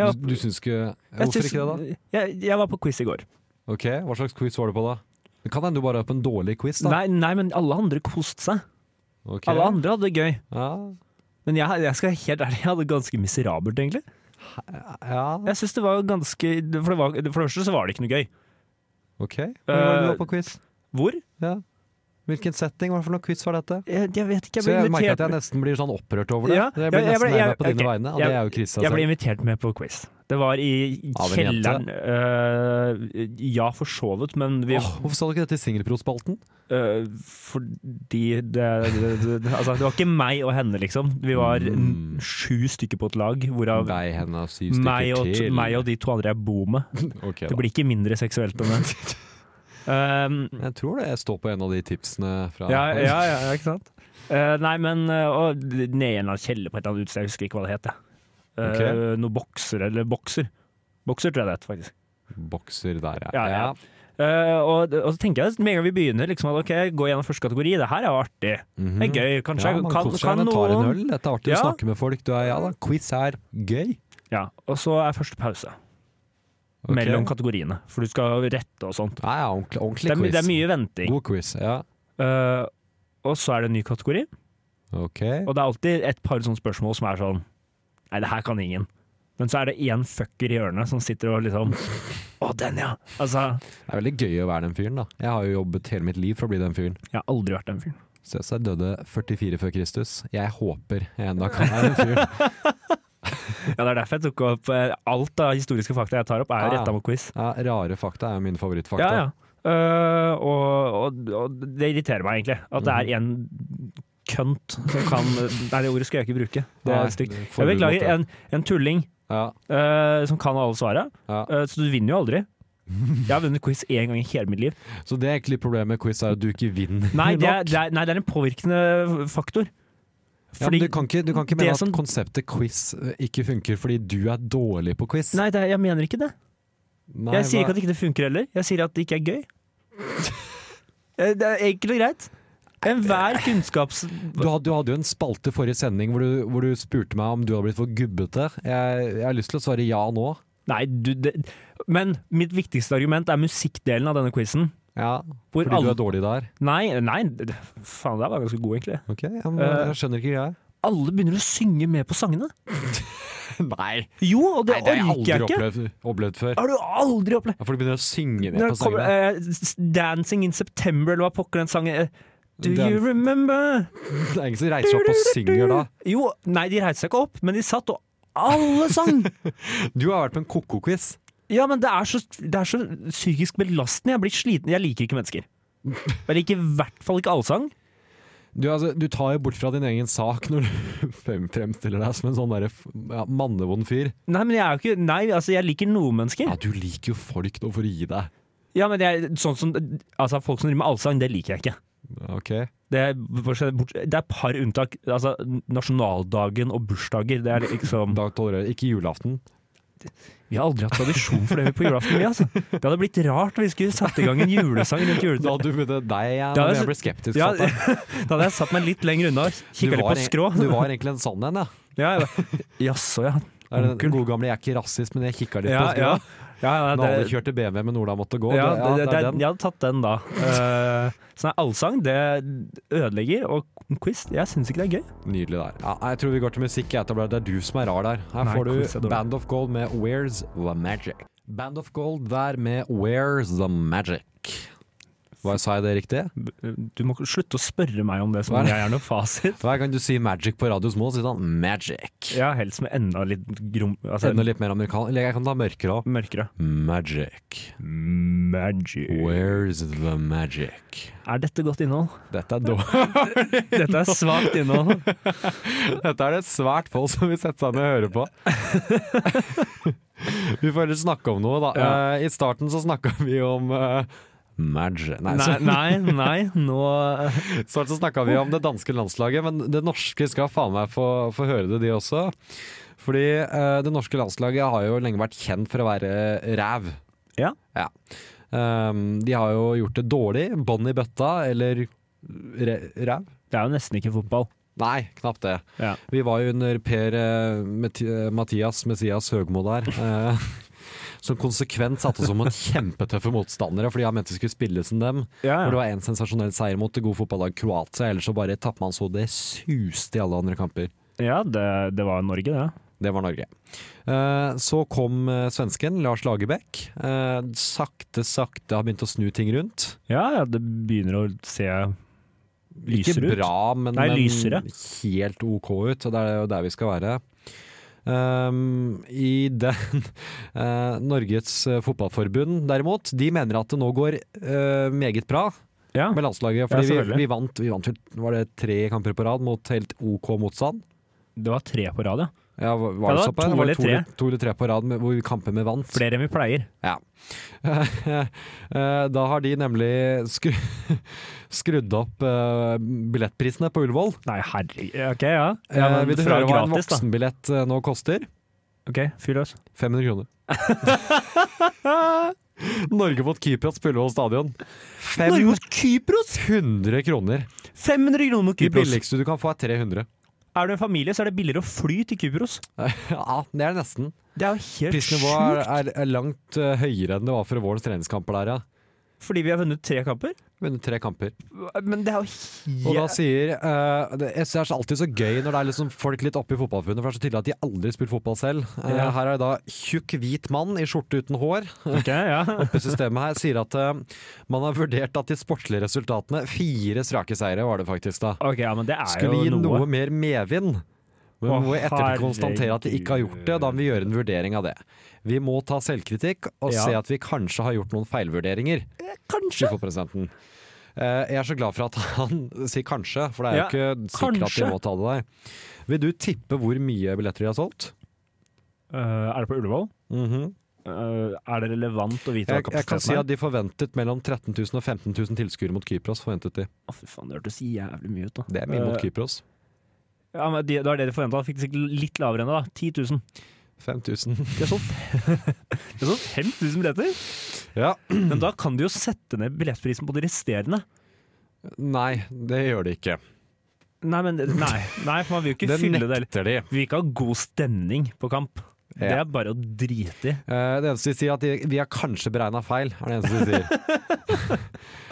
[SPEAKER 5] Jeg,
[SPEAKER 4] Du, du syns ikke
[SPEAKER 5] jeg
[SPEAKER 4] Hvorfor
[SPEAKER 5] syns-
[SPEAKER 4] ikke det, da?
[SPEAKER 5] Jeg, jeg var på quiz i går.
[SPEAKER 4] Ok, Hva slags quiz var du på da? Det kan hende du bare er på en dårlig quiz, da.
[SPEAKER 5] Nei, nei, men alle andre koste seg.
[SPEAKER 4] Ok.
[SPEAKER 5] Alle andre hadde det gøy.
[SPEAKER 4] Ja,
[SPEAKER 5] Men jeg, jeg skal være helt ærlig, jeg hadde det ganske miserabelt, egentlig.
[SPEAKER 4] ja.
[SPEAKER 5] Jeg synes det var ganske For det, var, for det første så var det ikke noe gøy.
[SPEAKER 4] ok. Hvor var det du
[SPEAKER 5] Eh,
[SPEAKER 4] var på quiz?
[SPEAKER 5] Hvor?
[SPEAKER 4] Ja. Hvilken setting? Hva for noe quiz var dette?
[SPEAKER 5] Jeg, jeg vet ikke, jeg
[SPEAKER 4] Så
[SPEAKER 5] ble
[SPEAKER 4] jeg merker at
[SPEAKER 5] invitert
[SPEAKER 4] jeg nesten blir sånn opprørt over det.
[SPEAKER 5] Ja,
[SPEAKER 4] jeg blir
[SPEAKER 5] ja, jeg
[SPEAKER 4] nesten
[SPEAKER 5] ble-
[SPEAKER 4] lei
[SPEAKER 5] jeg-
[SPEAKER 4] meg på dine
[SPEAKER 5] ok,
[SPEAKER 4] vegne, og
[SPEAKER 5] jeg-
[SPEAKER 4] det er jo altså. Krista
[SPEAKER 5] Jeg ble
[SPEAKER 4] selv.
[SPEAKER 5] invitert med på quiz. Det
[SPEAKER 4] Av
[SPEAKER 5] var i
[SPEAKER 4] en jente?
[SPEAKER 5] kjelleren øh, Ja, for så vidt, men vi
[SPEAKER 4] Åh, hvorfor sa du ikke dette i Singelpro-spalten?
[SPEAKER 5] Øh, fordi det, det, det, det Altså, det var ikke meg og henne, liksom. Vi var
[SPEAKER 4] Mm.
[SPEAKER 5] n- sju stykker på et lag, hvorav
[SPEAKER 4] Nei, henne er syv
[SPEAKER 5] meg
[SPEAKER 4] stykker
[SPEAKER 5] og,
[SPEAKER 4] til.
[SPEAKER 5] meg og de to andre jeg bor med.
[SPEAKER 4] Ok,
[SPEAKER 5] Det
[SPEAKER 4] da.
[SPEAKER 5] blir ikke mindre seksuelt enn det. Um,
[SPEAKER 4] Jeg tror det står på en av de tipsene fra
[SPEAKER 5] ja, ja, ja, ja, ikke sant? Eh, nei, men eh, og ned i en eller annen kjeller på et eller annet utsted, jeg husker ikke hva det het. jeg. Eh,
[SPEAKER 4] Ok.
[SPEAKER 5] Noe bokser, eller bokser. Bokser tror jeg det het, faktisk.
[SPEAKER 4] Bokser der, ja.
[SPEAKER 5] Ja, ja. Eh, og, og så tenker jeg med en gang vi begynner, liksom, at ok, gå gjennom første kategori, det her er jo artig. Det er gøy.
[SPEAKER 4] Mm. Mhm.
[SPEAKER 5] Kanskje
[SPEAKER 4] Ja,
[SPEAKER 5] jeg
[SPEAKER 4] man
[SPEAKER 5] kan,
[SPEAKER 4] koser seg
[SPEAKER 5] kan
[SPEAKER 4] når man tar en
[SPEAKER 5] noen
[SPEAKER 4] øl. Det er artig å
[SPEAKER 5] Ja.
[SPEAKER 4] snakke med folk. Du er, ja da, quiz er gøy.
[SPEAKER 5] Ja, og så er første pause
[SPEAKER 4] Ok.
[SPEAKER 5] mellom kategoriene, for du skal rette og sånt.
[SPEAKER 4] Ja, ja, ordentlig,
[SPEAKER 5] Det
[SPEAKER 4] ordentlig
[SPEAKER 5] er, my-
[SPEAKER 4] quiz.
[SPEAKER 5] det er mye venting.
[SPEAKER 4] God quiz, ja.
[SPEAKER 5] Eh, og så er det en ny kategori,
[SPEAKER 4] Ok.
[SPEAKER 5] og det er alltid et par sånne spørsmål som er sånn Nei, det her kan ingen. Men så er det én fucker i hjørnet som sitter og liksom Å, den, ja! Altså,
[SPEAKER 4] Det er veldig gøy å være den fyren, da. Jeg har jo jobbet hele mitt liv for å bli den fyren.
[SPEAKER 5] jeg har aldri vært den fyren.
[SPEAKER 4] Cæsar døde 44 før Kristus. Jeg håper jeg ennå kan være en fyr.
[SPEAKER 5] Ja, det er derfor jeg tok opp eh, alt av historiske fakta jeg tar opp, er
[SPEAKER 4] Ah,
[SPEAKER 5] jo
[SPEAKER 4] ja.
[SPEAKER 5] retta mot quiz.
[SPEAKER 4] Ja, rare fakta er jo mine favorittfakta.
[SPEAKER 5] Ja, ja. Eh, og, og, og det irriterer meg egentlig. At det er en kønt som kan Nei, det ordet skal jeg ikke bruke. Det
[SPEAKER 4] Nei,
[SPEAKER 5] er stygt.
[SPEAKER 4] det får
[SPEAKER 5] Jeg
[SPEAKER 4] du lov
[SPEAKER 5] beklager.
[SPEAKER 4] til.
[SPEAKER 5] En, en tulling
[SPEAKER 4] Ja,
[SPEAKER 5] eh, som kan alle svara.
[SPEAKER 4] ja.
[SPEAKER 5] Eh, så du vinner jo aldri. Jeg har vunnet quiz én gang i hele mitt liv.
[SPEAKER 4] Så det er egentlig problemet med quiz, er at du ikke vinner.
[SPEAKER 5] Nei, det er,
[SPEAKER 4] nok.
[SPEAKER 5] det er, nei, det er en påvirkende faktor.
[SPEAKER 4] ja, men du, kan ikke, du kan ikke mene
[SPEAKER 5] det som-
[SPEAKER 4] at konseptet quiz eh, ikke funker fordi du er dårlig på quiz.
[SPEAKER 5] Nei, det er, jeg mener ikke det.
[SPEAKER 4] Nei,
[SPEAKER 5] Jeg sier
[SPEAKER 4] hva-
[SPEAKER 5] ikke at ikke det funker heller. Jeg sier at det ikke er gøy. Eh, det er enkelt og greit. Enhver kunnskaps...
[SPEAKER 4] du, hadde, du hadde jo en spalte forrige sending hvor du, hvor du spurte meg om du hadde blitt for gubbete. Jeg, jeg har lyst til å svare ja nå.
[SPEAKER 5] Nei, du det, Men mitt viktigste argument er musikkdelen av denne quizen.
[SPEAKER 4] Ja,
[SPEAKER 5] Hvor
[SPEAKER 4] fordi du
[SPEAKER 5] alle
[SPEAKER 4] er dårlig der.
[SPEAKER 5] Nei, nei, d- faen, det var ganske god, egentlig.
[SPEAKER 4] Ok, ja, men,
[SPEAKER 5] Eh,
[SPEAKER 4] jeg skjønner ikke greia.
[SPEAKER 5] Alle begynner å synge med på sangene.
[SPEAKER 4] Nei,
[SPEAKER 5] Jo, og det,
[SPEAKER 4] nei, det har jeg
[SPEAKER 5] orker
[SPEAKER 4] aldri
[SPEAKER 5] jeg ikke.
[SPEAKER 4] opplevd, opplevd før.
[SPEAKER 5] Har du aldri opplevd
[SPEAKER 4] Ja, For de begynner å synge ned
[SPEAKER 5] Når
[SPEAKER 4] på
[SPEAKER 5] det kommer,
[SPEAKER 4] sangene.
[SPEAKER 5] eh, s- 'Dancing in September', eller hva pokker den sangen eh, Do
[SPEAKER 4] Den-
[SPEAKER 5] you remember?
[SPEAKER 4] Det er ingen som reiser seg opp og synger da.
[SPEAKER 5] Jo, nei, de reiste seg ikke opp, men de satt og alle sang!
[SPEAKER 4] Du har vært på en ko-ko-quiz.
[SPEAKER 5] Ja, men det er, så, det er så psykisk belastende. Jeg blir sliten. Jeg liker ikke mennesker. Jeg liker i hvert fall ikke allsang.
[SPEAKER 4] Du, altså, du tar jo bort fra din egen sak når du frem- fremstiller deg som en sånn der, ja, mannevond fyr.
[SPEAKER 5] Nei, men jeg er jo ikke Nei, altså, jeg liker noen mennesker.
[SPEAKER 4] Ja, du liker jo folk nå for å gi deg.
[SPEAKER 5] Ja, men jeg, sånn som Altså, folk som driver med allsang, det liker jeg ikke.
[SPEAKER 4] Ok.
[SPEAKER 5] Det er, bort- det er et par unntak. Altså, nasjonaldagen og bursdager, det er liksom
[SPEAKER 4] Da tolererer jeg ikke julaften.
[SPEAKER 5] Vi har aldri hatt tradisjon for det på julaften, vi, altså. Det hadde blitt rart hvis vi skulle satt i gang en julesang rundt
[SPEAKER 4] Da
[SPEAKER 5] juletreet.
[SPEAKER 4] du møtte deg, ja,
[SPEAKER 5] Da er
[SPEAKER 4] men
[SPEAKER 5] jeg
[SPEAKER 4] jeg
[SPEAKER 5] så-
[SPEAKER 4] ble skeptisk.
[SPEAKER 5] Ja,
[SPEAKER 4] satt der.
[SPEAKER 5] da hadde jeg satt meg litt lenger unna,
[SPEAKER 4] Du
[SPEAKER 5] kikka litt
[SPEAKER 4] var
[SPEAKER 5] på
[SPEAKER 4] en-
[SPEAKER 5] skrå.
[SPEAKER 4] Du var egentlig en sann en, ja.
[SPEAKER 5] Ja, jeg bare, Jaså, ja.
[SPEAKER 4] Det er den
[SPEAKER 5] Onkel.
[SPEAKER 4] gode gamle 'jeg er ikke rasist, men jeg kikka litt
[SPEAKER 5] Ja,
[SPEAKER 4] på skrå'.
[SPEAKER 5] ja. ja, ja
[SPEAKER 4] Men alle
[SPEAKER 5] det,
[SPEAKER 4] kjørte BMW, men Ola måtte gå.
[SPEAKER 5] ja,
[SPEAKER 4] Det-
[SPEAKER 5] det, det,
[SPEAKER 4] det er den.
[SPEAKER 5] jeg hadde tatt den da. Eh, Så nei, allsang, det ødelegger. Og quiz, jeg syns ikke det er gøy.
[SPEAKER 4] Nydelig der. Ja, jeg tror vi går til musikk. Jeg etablerer. Det er du som er rar der. Her
[SPEAKER 5] Nei,
[SPEAKER 4] får
[SPEAKER 5] kos deg,
[SPEAKER 4] du
[SPEAKER 5] Dora.
[SPEAKER 4] Band of Gold med Where's the Magic. Band of Gold der med Where's the Magic. Hva sa jeg det riktig?
[SPEAKER 5] Du må slutte å spørre meg om det som
[SPEAKER 4] Hva er
[SPEAKER 5] om
[SPEAKER 4] det?
[SPEAKER 5] jeg er noe fasit.
[SPEAKER 4] Hver gang du sier magic på radio Små, sier han magic.
[SPEAKER 5] Ja, helst med enda litt grom... Altså,
[SPEAKER 4] Enda litt mer amerikansk. Eller jeg kan ta mørkere òg.
[SPEAKER 5] mørkere.
[SPEAKER 4] Magic.
[SPEAKER 5] Magic.
[SPEAKER 4] Where's the magic?
[SPEAKER 5] Er dette godt innhold?
[SPEAKER 4] Dette er dårlig.
[SPEAKER 5] Dette er svakt innhold.
[SPEAKER 4] Dette er det svært få som vil sette seg ned og høre på. vi får heller snakke om noe, da.
[SPEAKER 5] Ja.
[SPEAKER 4] Eh, I starten så snakka vi om eh, magic Nei,
[SPEAKER 5] Nei,
[SPEAKER 4] så-
[SPEAKER 5] nei, nei, nå eh,
[SPEAKER 4] Snart så snakka vi om det danske landslaget, men det norske skal faen meg få, få høre det, de også. Fordi eh, det norske landslaget har jo lenge vært kjent for å være ræv.
[SPEAKER 5] Ja.
[SPEAKER 4] Ehm, de har jo gjort det dårlig. Bånd i bøtta, eller re ræv?
[SPEAKER 5] Det er jo nesten ikke fotball.
[SPEAKER 4] Nei, knapt det.
[SPEAKER 5] Ja.
[SPEAKER 4] Vi var jo under Per eh, Meti- eh, Mathias Messias Høgmo der. eh, Som konsekvent satte oss om mot kjempetøffe motstandere fordi han mente vi skulle spille som dem.
[SPEAKER 5] Ja, ja.
[SPEAKER 4] Hvor det var en sensasjonell seier mot det gode fotballag Kroatia, ellers så bare tappte man så det suste i alle andre kamper.
[SPEAKER 5] Ja, det, det var Norge, det.
[SPEAKER 4] Det var Norge. Eh, Så kom eh, svensken Lars Lagerbäck. Eh, Sakte, sakte har begynt å snu ting rundt.
[SPEAKER 5] Ja, ja, det begynner å se
[SPEAKER 4] Ikke
[SPEAKER 5] lysere ut.
[SPEAKER 4] bra, men,
[SPEAKER 5] Nei,
[SPEAKER 4] men
[SPEAKER 5] lysere.
[SPEAKER 4] helt OK ut. Og det er jo der vi skal være. Ehm, I den eh, Norges eh, Fotballforbund, derimot, de mener at det nå går eh, meget bra
[SPEAKER 5] Ja.
[SPEAKER 4] med landslaget.
[SPEAKER 5] Ja,
[SPEAKER 4] Fordi
[SPEAKER 5] selvfølgelig.
[SPEAKER 4] vi, vi vant, vi vant vel, var det tre kamper på rad mot helt OK motstand.
[SPEAKER 5] Det var tre på rad, ja.
[SPEAKER 4] Ja, var
[SPEAKER 5] Ja,
[SPEAKER 4] var
[SPEAKER 5] det
[SPEAKER 4] det
[SPEAKER 5] var
[SPEAKER 4] såpass?
[SPEAKER 5] to
[SPEAKER 4] Var det
[SPEAKER 5] eller
[SPEAKER 4] to,
[SPEAKER 5] tre.
[SPEAKER 4] eller- to eller tre på rad med, hvor vi kamper med vant.
[SPEAKER 5] Flere enn vi pleier.
[SPEAKER 4] Ja. Eh, da har de nemlig skru, skrudd opp eh, billettprisene på Ullevål.
[SPEAKER 5] Nei, herregud. Ok, ja. ja
[SPEAKER 4] Eh,
[SPEAKER 5] men
[SPEAKER 4] vil du
[SPEAKER 5] fra
[SPEAKER 4] høre hva en
[SPEAKER 5] gratis, da.
[SPEAKER 4] voksenbillett eh, nå koster?
[SPEAKER 5] Ok, fyr løs.
[SPEAKER 4] 500 kroner. Norge mot Kypros på Ullevål stadion. 500
[SPEAKER 5] Kypros!
[SPEAKER 4] kroner.
[SPEAKER 5] 500 kroner mot
[SPEAKER 4] De
[SPEAKER 5] Kypros!
[SPEAKER 4] billigste du kan få, er 300.
[SPEAKER 5] Er du en familie, så er det billigere å fly til Kypros.
[SPEAKER 4] Ja, det er nesten.
[SPEAKER 5] Det er jo helt
[SPEAKER 4] Prisnivået
[SPEAKER 5] sjukt!
[SPEAKER 4] er, er, er langt eh, høyere enn det var for vårens treningskamper der, ja.
[SPEAKER 5] Fordi vi har vunnet tre kamper.
[SPEAKER 4] Vunnet tre kamper.
[SPEAKER 5] Men det er jo
[SPEAKER 4] Og da
[SPEAKER 5] helt
[SPEAKER 4] sier eh, det, Jeg synes det er alltid så gøy når det er liksom folk litt oppe i fotballforbundet, for det er så tydelig at de aldri har spilt fotball selv. Eh,
[SPEAKER 5] Ja.
[SPEAKER 4] Her er det da tjukk, hvit mann i skjorte uten hår.
[SPEAKER 5] Ok, ja.
[SPEAKER 4] oppe i systemet her, sier at eh, man har vurdert at de sportslige resultatene Fire strake seire var det faktisk da.
[SPEAKER 5] Ok, ja, men det er
[SPEAKER 4] Skulle gi
[SPEAKER 5] jo
[SPEAKER 4] noe
[SPEAKER 5] noe.
[SPEAKER 4] mer medvind. Men vi
[SPEAKER 5] Å,
[SPEAKER 4] må i ettertid konstatere at de ikke har gjort
[SPEAKER 5] herregud.
[SPEAKER 4] det, og da må vi gjøre en vurdering av det. Vi må ta selvkritikk og
[SPEAKER 5] Ja.
[SPEAKER 4] se at vi kanskje har gjort noen feilvurderinger.
[SPEAKER 5] Kanskje!
[SPEAKER 4] sier fotpresidenten. Eh, Jeg er så glad for at han sier kanskje, for det er
[SPEAKER 5] Ja,
[SPEAKER 4] jo ikke sikkert at
[SPEAKER 5] kanskje.
[SPEAKER 4] de må ta det der. Vil du tippe hvor mye billetter de har solgt?
[SPEAKER 5] Eh, er det på Ullevål?
[SPEAKER 4] Mhm.
[SPEAKER 5] Eh, er det relevant å vite hva
[SPEAKER 4] jeg, jeg kan si
[SPEAKER 5] kapasiteten
[SPEAKER 4] at
[SPEAKER 5] er?
[SPEAKER 4] de forventet mellom 13 000 og 15 000 tilskuere mot Kypros. forventet de.
[SPEAKER 5] Å, fy faen, det hørtes jævlig mye ut, da.
[SPEAKER 4] Det er mye mot
[SPEAKER 5] Eh,
[SPEAKER 4] Kypros.
[SPEAKER 5] Ja, men de, det var det de forventa. Fikk det sikkert litt lavere enn det, da. 10 000.
[SPEAKER 4] 5000.
[SPEAKER 5] Det er sånn, det er sånn 5000 billetter!
[SPEAKER 4] Ja.
[SPEAKER 5] Men da kan de jo sette ned billettprisen på de resterende.
[SPEAKER 4] Nei, det gjør de ikke.
[SPEAKER 5] Nei, men nei, nei for man vil jo ikke
[SPEAKER 4] Det
[SPEAKER 5] fylle det.
[SPEAKER 4] nekter de.
[SPEAKER 5] Vi vil ikke ha god stemning på kamp. Det
[SPEAKER 4] Ja.
[SPEAKER 5] er bare å drite i.
[SPEAKER 4] Eh, Det eneste de sier, er at de, vi har kanskje beregna feil. er det eneste de sier.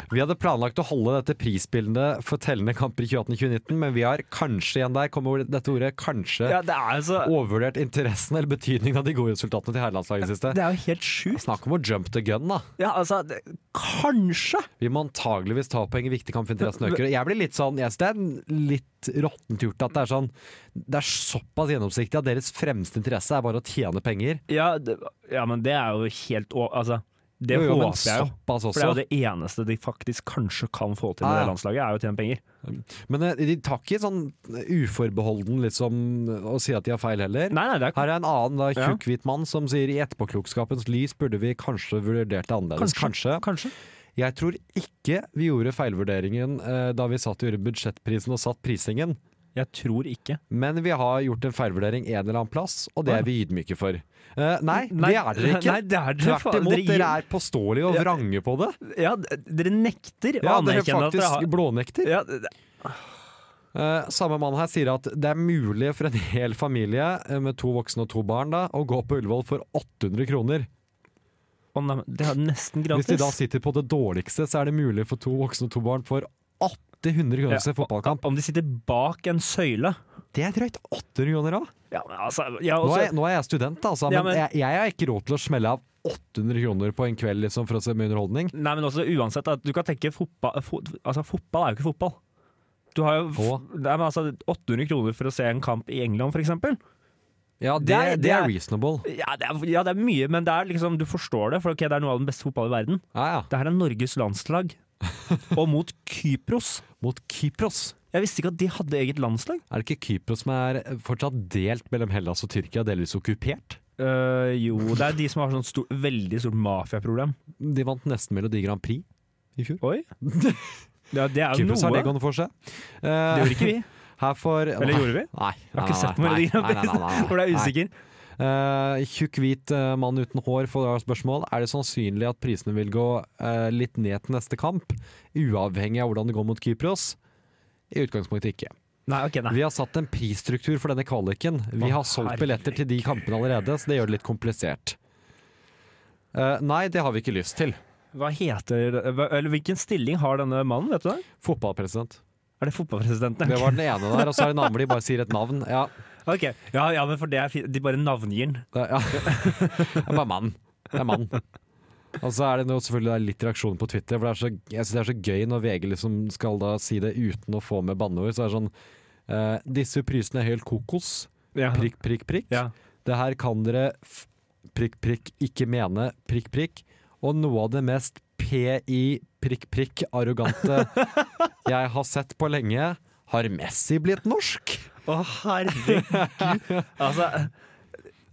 [SPEAKER 4] Vi hadde planlagt å holde dette prisbildet for tellende kamper i 2018-2019, men vi har kanskje igjen der, kommer dette ordet, kanskje
[SPEAKER 5] Ja, det er altså
[SPEAKER 4] overvurdert interessen eller betydningen av de gode resultatene til herrelandslaget i det
[SPEAKER 5] Det
[SPEAKER 4] siste.
[SPEAKER 5] er jo helt sjukt.
[SPEAKER 4] Snakk om å jump the gun, da.
[SPEAKER 5] Ja, altså det, Kanskje!
[SPEAKER 4] Vi må antageligvis ta poeng i viktig kamp for interessen øker. Jeg blir litt sånn, jeg synes det er en litt råttent gjort at det er sånn Det er såpass gjennomsiktig at deres fremste interesse er bare å tjene penger.
[SPEAKER 5] Ja, det, ja men det er jo helt å- Altså, det
[SPEAKER 4] Jo, jo, men
[SPEAKER 5] håper jeg jo.
[SPEAKER 4] Såpass
[SPEAKER 5] For det er
[SPEAKER 4] også.
[SPEAKER 5] jo
[SPEAKER 4] Ah,
[SPEAKER 5] det eneste de faktisk kanskje kan få til med
[SPEAKER 4] Ja, ja.
[SPEAKER 5] det landslaget, er jo å tjene penger.
[SPEAKER 4] Men eh, de tar ikke sånn uforbeholden liksom og sier at de har feil heller.
[SPEAKER 5] Nei, nei, det er
[SPEAKER 4] Her er en annen da,
[SPEAKER 5] Ja.
[SPEAKER 4] tjukk hvit mann som sier i etterpåklokskapens lys burde vi kanskje vurdert det annerledes. Kanskje.
[SPEAKER 5] Kanskje.
[SPEAKER 4] Jeg tror ikke vi gjorde feilvurderingen eh, da vi satt og gjorde budsjettprisen og satt prisingen.
[SPEAKER 5] Jeg tror ikke.
[SPEAKER 4] Men vi har gjort en feilvurdering en eller annen plass, og det er vi ydmyke for. Eh, nei,
[SPEAKER 5] Nei,
[SPEAKER 4] det er dere ikke.
[SPEAKER 5] nei, det er dere
[SPEAKER 4] Tvert
[SPEAKER 5] faen-
[SPEAKER 4] imot,
[SPEAKER 5] dere
[SPEAKER 4] dere,
[SPEAKER 5] gir-
[SPEAKER 4] er påståelige og
[SPEAKER 5] Ja.
[SPEAKER 4] vrange på det.
[SPEAKER 5] Ja, d- dere nekter
[SPEAKER 4] Ja,
[SPEAKER 5] å
[SPEAKER 4] dere
[SPEAKER 5] anerkjenne at dere
[SPEAKER 4] faktisk
[SPEAKER 5] har
[SPEAKER 4] blånekter.
[SPEAKER 5] ja, d-
[SPEAKER 4] Eh, samme mann her sier at det er mulig for en hel familie eh, med to voksne og to barn da, å gå på Ullevål for 800 kroner.
[SPEAKER 5] Å nei, men det er nesten
[SPEAKER 4] Hvis de da
[SPEAKER 5] gratis.
[SPEAKER 4] sitter på det dårligste, så er det mulig for to voksne og to barn for 800 kroner å se fotballkamp.
[SPEAKER 5] Om de sitter bak en søyle
[SPEAKER 4] Det er drøyt 800 kroner, da!
[SPEAKER 5] Ja, men altså ja,
[SPEAKER 4] Nå er,
[SPEAKER 5] også,
[SPEAKER 4] jeg- nå er jeg student, altså,
[SPEAKER 5] Ja,
[SPEAKER 4] men
[SPEAKER 5] men-
[SPEAKER 4] jeg, jeg har ikke råd til å smelle av 800 kroner på en kveld liksom, for å se med underholdning.
[SPEAKER 5] Nei, men også uansett at du kan tenke fotball fo, Altså, fotball er jo ikke fotball. Du har jo f
[SPEAKER 4] Hå?
[SPEAKER 5] nei, men altså, 800 kroner for å se en kamp i England, for eksempel.
[SPEAKER 4] Ja, det,
[SPEAKER 5] Det
[SPEAKER 4] det,
[SPEAKER 5] er-
[SPEAKER 4] er,
[SPEAKER 5] det er-
[SPEAKER 4] reasonable.
[SPEAKER 5] Ja, det er, ja, det er mye, men det er liksom, du forstår det, for ok, det er noe av den beste fotballen i verden.
[SPEAKER 4] Ja, ja.
[SPEAKER 5] Det her er Norges landslag, og mot Kypros.
[SPEAKER 4] Mot Kypros.
[SPEAKER 5] Jeg visste ikke at de hadde eget landslag.
[SPEAKER 4] Er det ikke Kypros som er fortsatt delt mellom Hellas og Tyrkia, delvis okkupert?
[SPEAKER 5] Øh, jo, det er de som har sånn stor, veldig stort mafiaproblem.
[SPEAKER 4] De vant nesten Melodi Grand Prix i fjor.
[SPEAKER 5] Oi. Ja, det er jo
[SPEAKER 4] Kypros har
[SPEAKER 5] noe.
[SPEAKER 4] det gående for seg. Eh,
[SPEAKER 5] Det gjorde ikke vi.
[SPEAKER 4] Her for
[SPEAKER 5] Eller gjorde vi?
[SPEAKER 4] Nei.
[SPEAKER 5] Jeg har ikke sett Melodi Grand Prix, for det er usikker.
[SPEAKER 4] Uh, tjukk, hvit eh, mann uten hår får da spørsmål. Er det sannsynlig at prisene vil gå eh, litt ned til neste kamp, uavhengig av hvordan det går mot Kypros? I utgangspunktet ikke.
[SPEAKER 5] Nei, ok, nei.
[SPEAKER 4] Vi har satt en prisstruktur for denne kvaliken. Vi har solgt billetter til de kampene allerede, så det gjør det litt komplisert. Eh, nei, det har vi ikke lyst til.
[SPEAKER 5] Hva heter, hva- eller hvilken stilling har denne mannen, vet du det?
[SPEAKER 4] Fotballpresident.
[SPEAKER 5] Er det fotballpresidenten?
[SPEAKER 4] Det var den ene der, og så er det en annen hvor de bare sier et navn. Ja,
[SPEAKER 5] Ok, ja, ja, men for det er fint. De bare navngir den.
[SPEAKER 4] det, ja. det er bare mann. Det er mann. Og så er det nå selvfølgelig litt reaksjon på Twitter, for det er så, jeg synes det er så gøy når VG liksom skal da si det uten å få med banneord. Så er det sånn eh, Disse prisene er helt kokos.
[SPEAKER 5] Ja.
[SPEAKER 4] Prikk, prikk, prikk.
[SPEAKER 5] Ja.
[SPEAKER 4] Det her kan dere f prikk, prikk, ikke mene prikk, prikk. Og noe av det mest PI prikk, prikk arrogante jeg har sett på lenge. Har Messi blitt norsk?
[SPEAKER 5] Å, herregud. altså,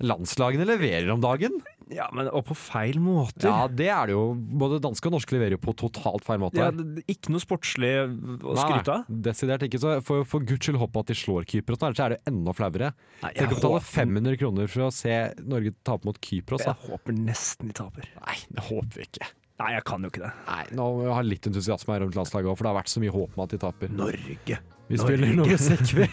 [SPEAKER 4] Landslagene leverer om dagen.
[SPEAKER 5] ja, men og på feil måter.
[SPEAKER 4] Ja, det er det jo. Både danske og norske leverer jo på totalt feil måte.
[SPEAKER 5] Ja, det- det- ikke noe sportslig å
[SPEAKER 4] Nei,
[SPEAKER 5] skryte av.
[SPEAKER 4] nei, Desidert ikke. Så for, for guds skyld håpe at de slår Kypros, nå, ellers er det jo enda flauere.
[SPEAKER 5] Nei, jeg
[SPEAKER 4] Tenk å betale
[SPEAKER 5] håper-
[SPEAKER 4] 500 kroner for å se Norge tape mot Kypros.
[SPEAKER 5] Jeg
[SPEAKER 4] Da.
[SPEAKER 5] håper nesten de taper.
[SPEAKER 4] Nei, det håper vi ikke.
[SPEAKER 5] Nei, jeg kan jo ikke det.
[SPEAKER 4] Nei, nå må vi ha litt entusiasme her rundt landslaget òg, for det har vært så mye håp med at de taper.
[SPEAKER 5] Norge.
[SPEAKER 4] Vi spiller noe musikk, vi.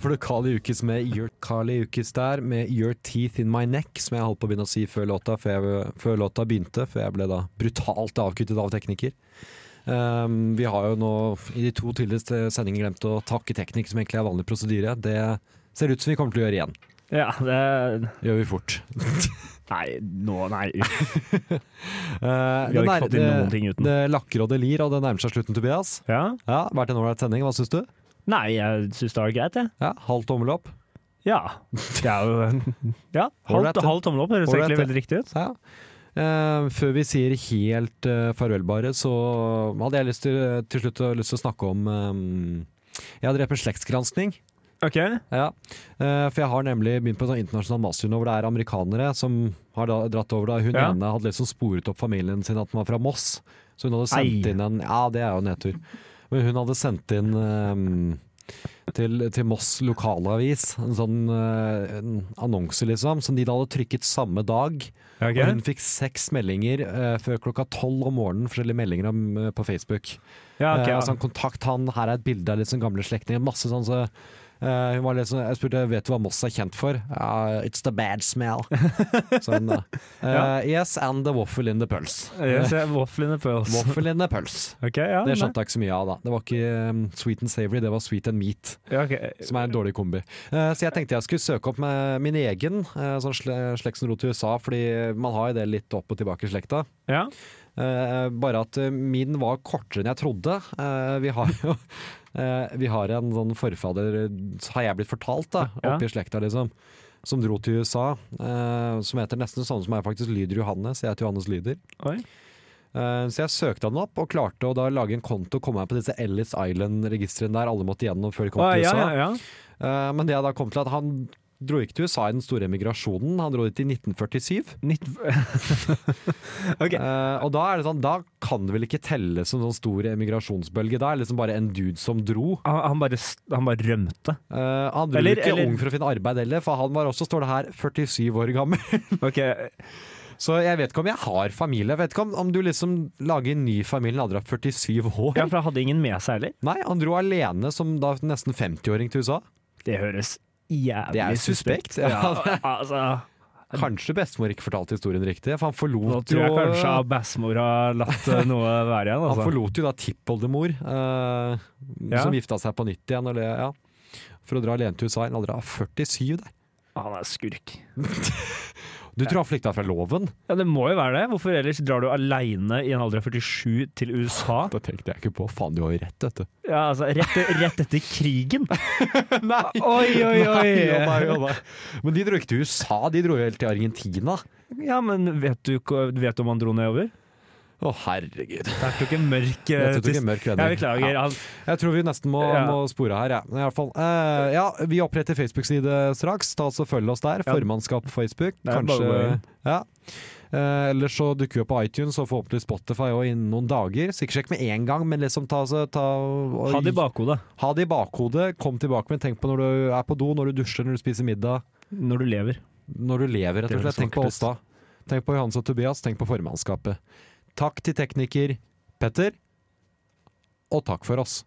[SPEAKER 4] For du Kali Ukis med Your Kali Ukis der, med Your Teeth In My Neck, som jeg holdt på å begynne å si før låta, før, jeg, før låta begynte, før jeg ble da brutalt avkuttet av tekniker. Um, vi har jo nå i de to tidligere sendingene glemt å takke teknikk, som egentlig er vanlig prosedyre. Det ser ut som vi kommer til å gjøre igjen. Eh,
[SPEAKER 5] Ja, det
[SPEAKER 4] Det gjør vi fort.
[SPEAKER 5] Nei, nå, nei.
[SPEAKER 4] Uh,
[SPEAKER 5] Vi har ikke fått inn noen ting uten.
[SPEAKER 4] Det lakker og det lir, og det nærmer seg slutten, Tobias.
[SPEAKER 5] Ja.
[SPEAKER 4] Ja, Vært en ålreit sending, hva syns du?
[SPEAKER 5] Nei, jeg syns det var greit, jeg.
[SPEAKER 4] Ja, Halv tommel opp.
[SPEAKER 5] Ja. Det er jo Ja,
[SPEAKER 4] Ålreit,
[SPEAKER 5] halv,
[SPEAKER 4] det.
[SPEAKER 5] halv tommel opp høres
[SPEAKER 4] Ålreit,
[SPEAKER 5] egentlig
[SPEAKER 4] det.
[SPEAKER 5] veldig riktig ut.
[SPEAKER 4] Ja. Eh, før vi sier helt eh, farvel, bare, så hadde jeg lyst til, eh, til slutt å- lyst til å snakke om eh, Jeg har drevet med slektsgranskning.
[SPEAKER 5] Ok.
[SPEAKER 4] Ja. Eh, for jeg har nemlig begynt på en sånn internasjonal master nå hvor det er amerikanere som har da, dratt over. da Hun
[SPEAKER 5] Ja.
[SPEAKER 4] ene hadde liksom sporet opp familien sin at den var fra Moss. Så hun hadde sendt
[SPEAKER 5] Ei.
[SPEAKER 4] inn en Ja, det er jo nedtur. Men hun hadde sendt inn ehm, til, til Moss lokalavis en sånn eh, en annonse, liksom, som de da hadde trykket samme dag.
[SPEAKER 5] Ok.
[SPEAKER 4] Og hun fikk seks meldinger eh, før klokka tolv om morgenen, forskjellige meldinger om, eh, på Facebook.
[SPEAKER 5] Ja, ok,
[SPEAKER 4] Eh,
[SPEAKER 5] ja.
[SPEAKER 4] altså, kontakt han, her er et bilde av litt sånn gamle slektninger. Masse sånn så Eh, hun var litt sånn, jeg spurte vet du hva Moss er kjent for. «Ah, it's the bad smell. Sånn, da. Eh, yes, and the waffle in the pulse.
[SPEAKER 5] Yes, yeah, waffle in the pearls.
[SPEAKER 4] Waffle in the pulse.
[SPEAKER 5] Ok,
[SPEAKER 4] eh,
[SPEAKER 5] ja.
[SPEAKER 4] Det
[SPEAKER 5] nei.
[SPEAKER 4] skjønte jeg ikke så mye av, da. Det var ikke um, sweet and savory, det var sweet and meat.
[SPEAKER 5] Ja, ok.
[SPEAKER 4] Som er en dårlig kombi. Eh, så jeg tenkte jeg skulle søke opp med min egen, eh, sånn sle slektsnro til USA, fordi man har jo det litt opp og tilbake i slekta.
[SPEAKER 5] ja.
[SPEAKER 4] Eh, bare at eh, min var kortere enn jeg trodde. Eh, vi har jo eh, Vi har en sånn forfader, eh, har jeg blitt fortalt, da,
[SPEAKER 5] Ja.
[SPEAKER 4] oppe i slekta, liksom, som dro til USA. eh, som heter nesten det samme som er faktisk Lyder Johannes. Jeg heter Johannes Lyder.
[SPEAKER 5] Oi.
[SPEAKER 4] Eh, så jeg søkte han opp, og klarte å da lage en konto og komme meg på disse Ellis Island-registrene der alle måtte gjennom før de kom
[SPEAKER 5] Å,
[SPEAKER 4] til
[SPEAKER 5] ja,
[SPEAKER 4] USA.
[SPEAKER 5] ja, ja.
[SPEAKER 4] Eh, men det jeg da kom til, at han dro ikke til USA i den store emigrasjonen, han dro dit i 1947.
[SPEAKER 5] Ok.
[SPEAKER 4] Eh, og da er det sånn, da kan det vel ikke telle som sånn stor emigrasjonsbølge. Da er det liksom bare en dude som dro.
[SPEAKER 5] Han, han, bare, st- han bare rømte.
[SPEAKER 4] Eh, han dro
[SPEAKER 5] Eller-
[SPEAKER 4] ikke
[SPEAKER 5] eller-
[SPEAKER 4] ung for å finne arbeid heller, for han var også, står det her, 47 år gammel.
[SPEAKER 5] Ok,
[SPEAKER 4] Så jeg vet ikke om jeg har familie. Jeg vet ikke om, om du liksom lager en ny familie når du er 47 år.
[SPEAKER 5] ja, for han hadde ingen med seg heller.
[SPEAKER 4] Nei, han dro alene som da nesten 50-åring til USA.
[SPEAKER 5] Det høres
[SPEAKER 4] Det er
[SPEAKER 5] jævlig
[SPEAKER 4] jo suspekt.
[SPEAKER 5] Ja,
[SPEAKER 4] Ja.
[SPEAKER 5] altså,
[SPEAKER 4] Kanskje bestemor ikke fortalte historien riktig, for han
[SPEAKER 5] nå
[SPEAKER 4] forlot
[SPEAKER 5] tror jeg kanskje
[SPEAKER 4] jo
[SPEAKER 5] Bassmor har latt eh, noe være igjen.
[SPEAKER 4] Han
[SPEAKER 5] Altså.
[SPEAKER 4] forlot jo da tippoldemor, eh,
[SPEAKER 5] Ja.
[SPEAKER 4] som gifta seg på nytt igjen, eller, ja. for å dra alene til USA i en alder av 47. Der.
[SPEAKER 5] Han er skurk.
[SPEAKER 4] Du tror han flykta fra loven?
[SPEAKER 5] Ja, Det må jo være det. Hvorfor ellers drar du aleine i en alder av 47 til USA?
[SPEAKER 4] Det tenkte jeg ikke på. Faen, du har jo rett, vet du.
[SPEAKER 5] Ja, altså, Rett, rett etter krigen!
[SPEAKER 4] Nei!
[SPEAKER 5] Oi, oi, oi!
[SPEAKER 4] jo da, jo da. Men de dro ikke til USA, de dro jo helt til Argentina.
[SPEAKER 5] Ja, men vet du, ikke- vet du om han dro nedover?
[SPEAKER 4] Å, herregud.
[SPEAKER 5] Det er jo ikke mørk eh,
[SPEAKER 4] Jeg tror
[SPEAKER 5] tis-
[SPEAKER 4] ikke mørk
[SPEAKER 5] Jeg
[SPEAKER 4] venner.
[SPEAKER 5] beklager.
[SPEAKER 4] Ja.
[SPEAKER 5] Han,
[SPEAKER 4] Jeg tror vi nesten må,
[SPEAKER 5] Ja.
[SPEAKER 4] må spore her, ja. Men i hvert fall. eh, ja, vi oppretter Facebook-side straks. Ta altså Følg oss der.
[SPEAKER 5] Ja.
[SPEAKER 4] Formannskap på Facebook.
[SPEAKER 5] Det er
[SPEAKER 4] Kanskje
[SPEAKER 5] bare å gå inn.
[SPEAKER 4] ja. Eh, Eller så dukker vi opp på iTunes og forhåpentlig Spotify også innen noen dager. Så ikke sjekk med én gang, men liksom ta, så- ta og,
[SPEAKER 5] ha det i bakhodet
[SPEAKER 4] ha det i bakhodet. Kom tilbake med Tenk på når du er på do, når du dusjer, når du spiser middag.
[SPEAKER 5] når du lever.
[SPEAKER 4] Når du lever, rett
[SPEAKER 5] Det
[SPEAKER 4] og
[SPEAKER 5] er
[SPEAKER 4] slett. Tenk på oss da. Tenk på Johans og Tobias. Tenk på formannskapet. Takk til tekniker Petter, og takk for oss.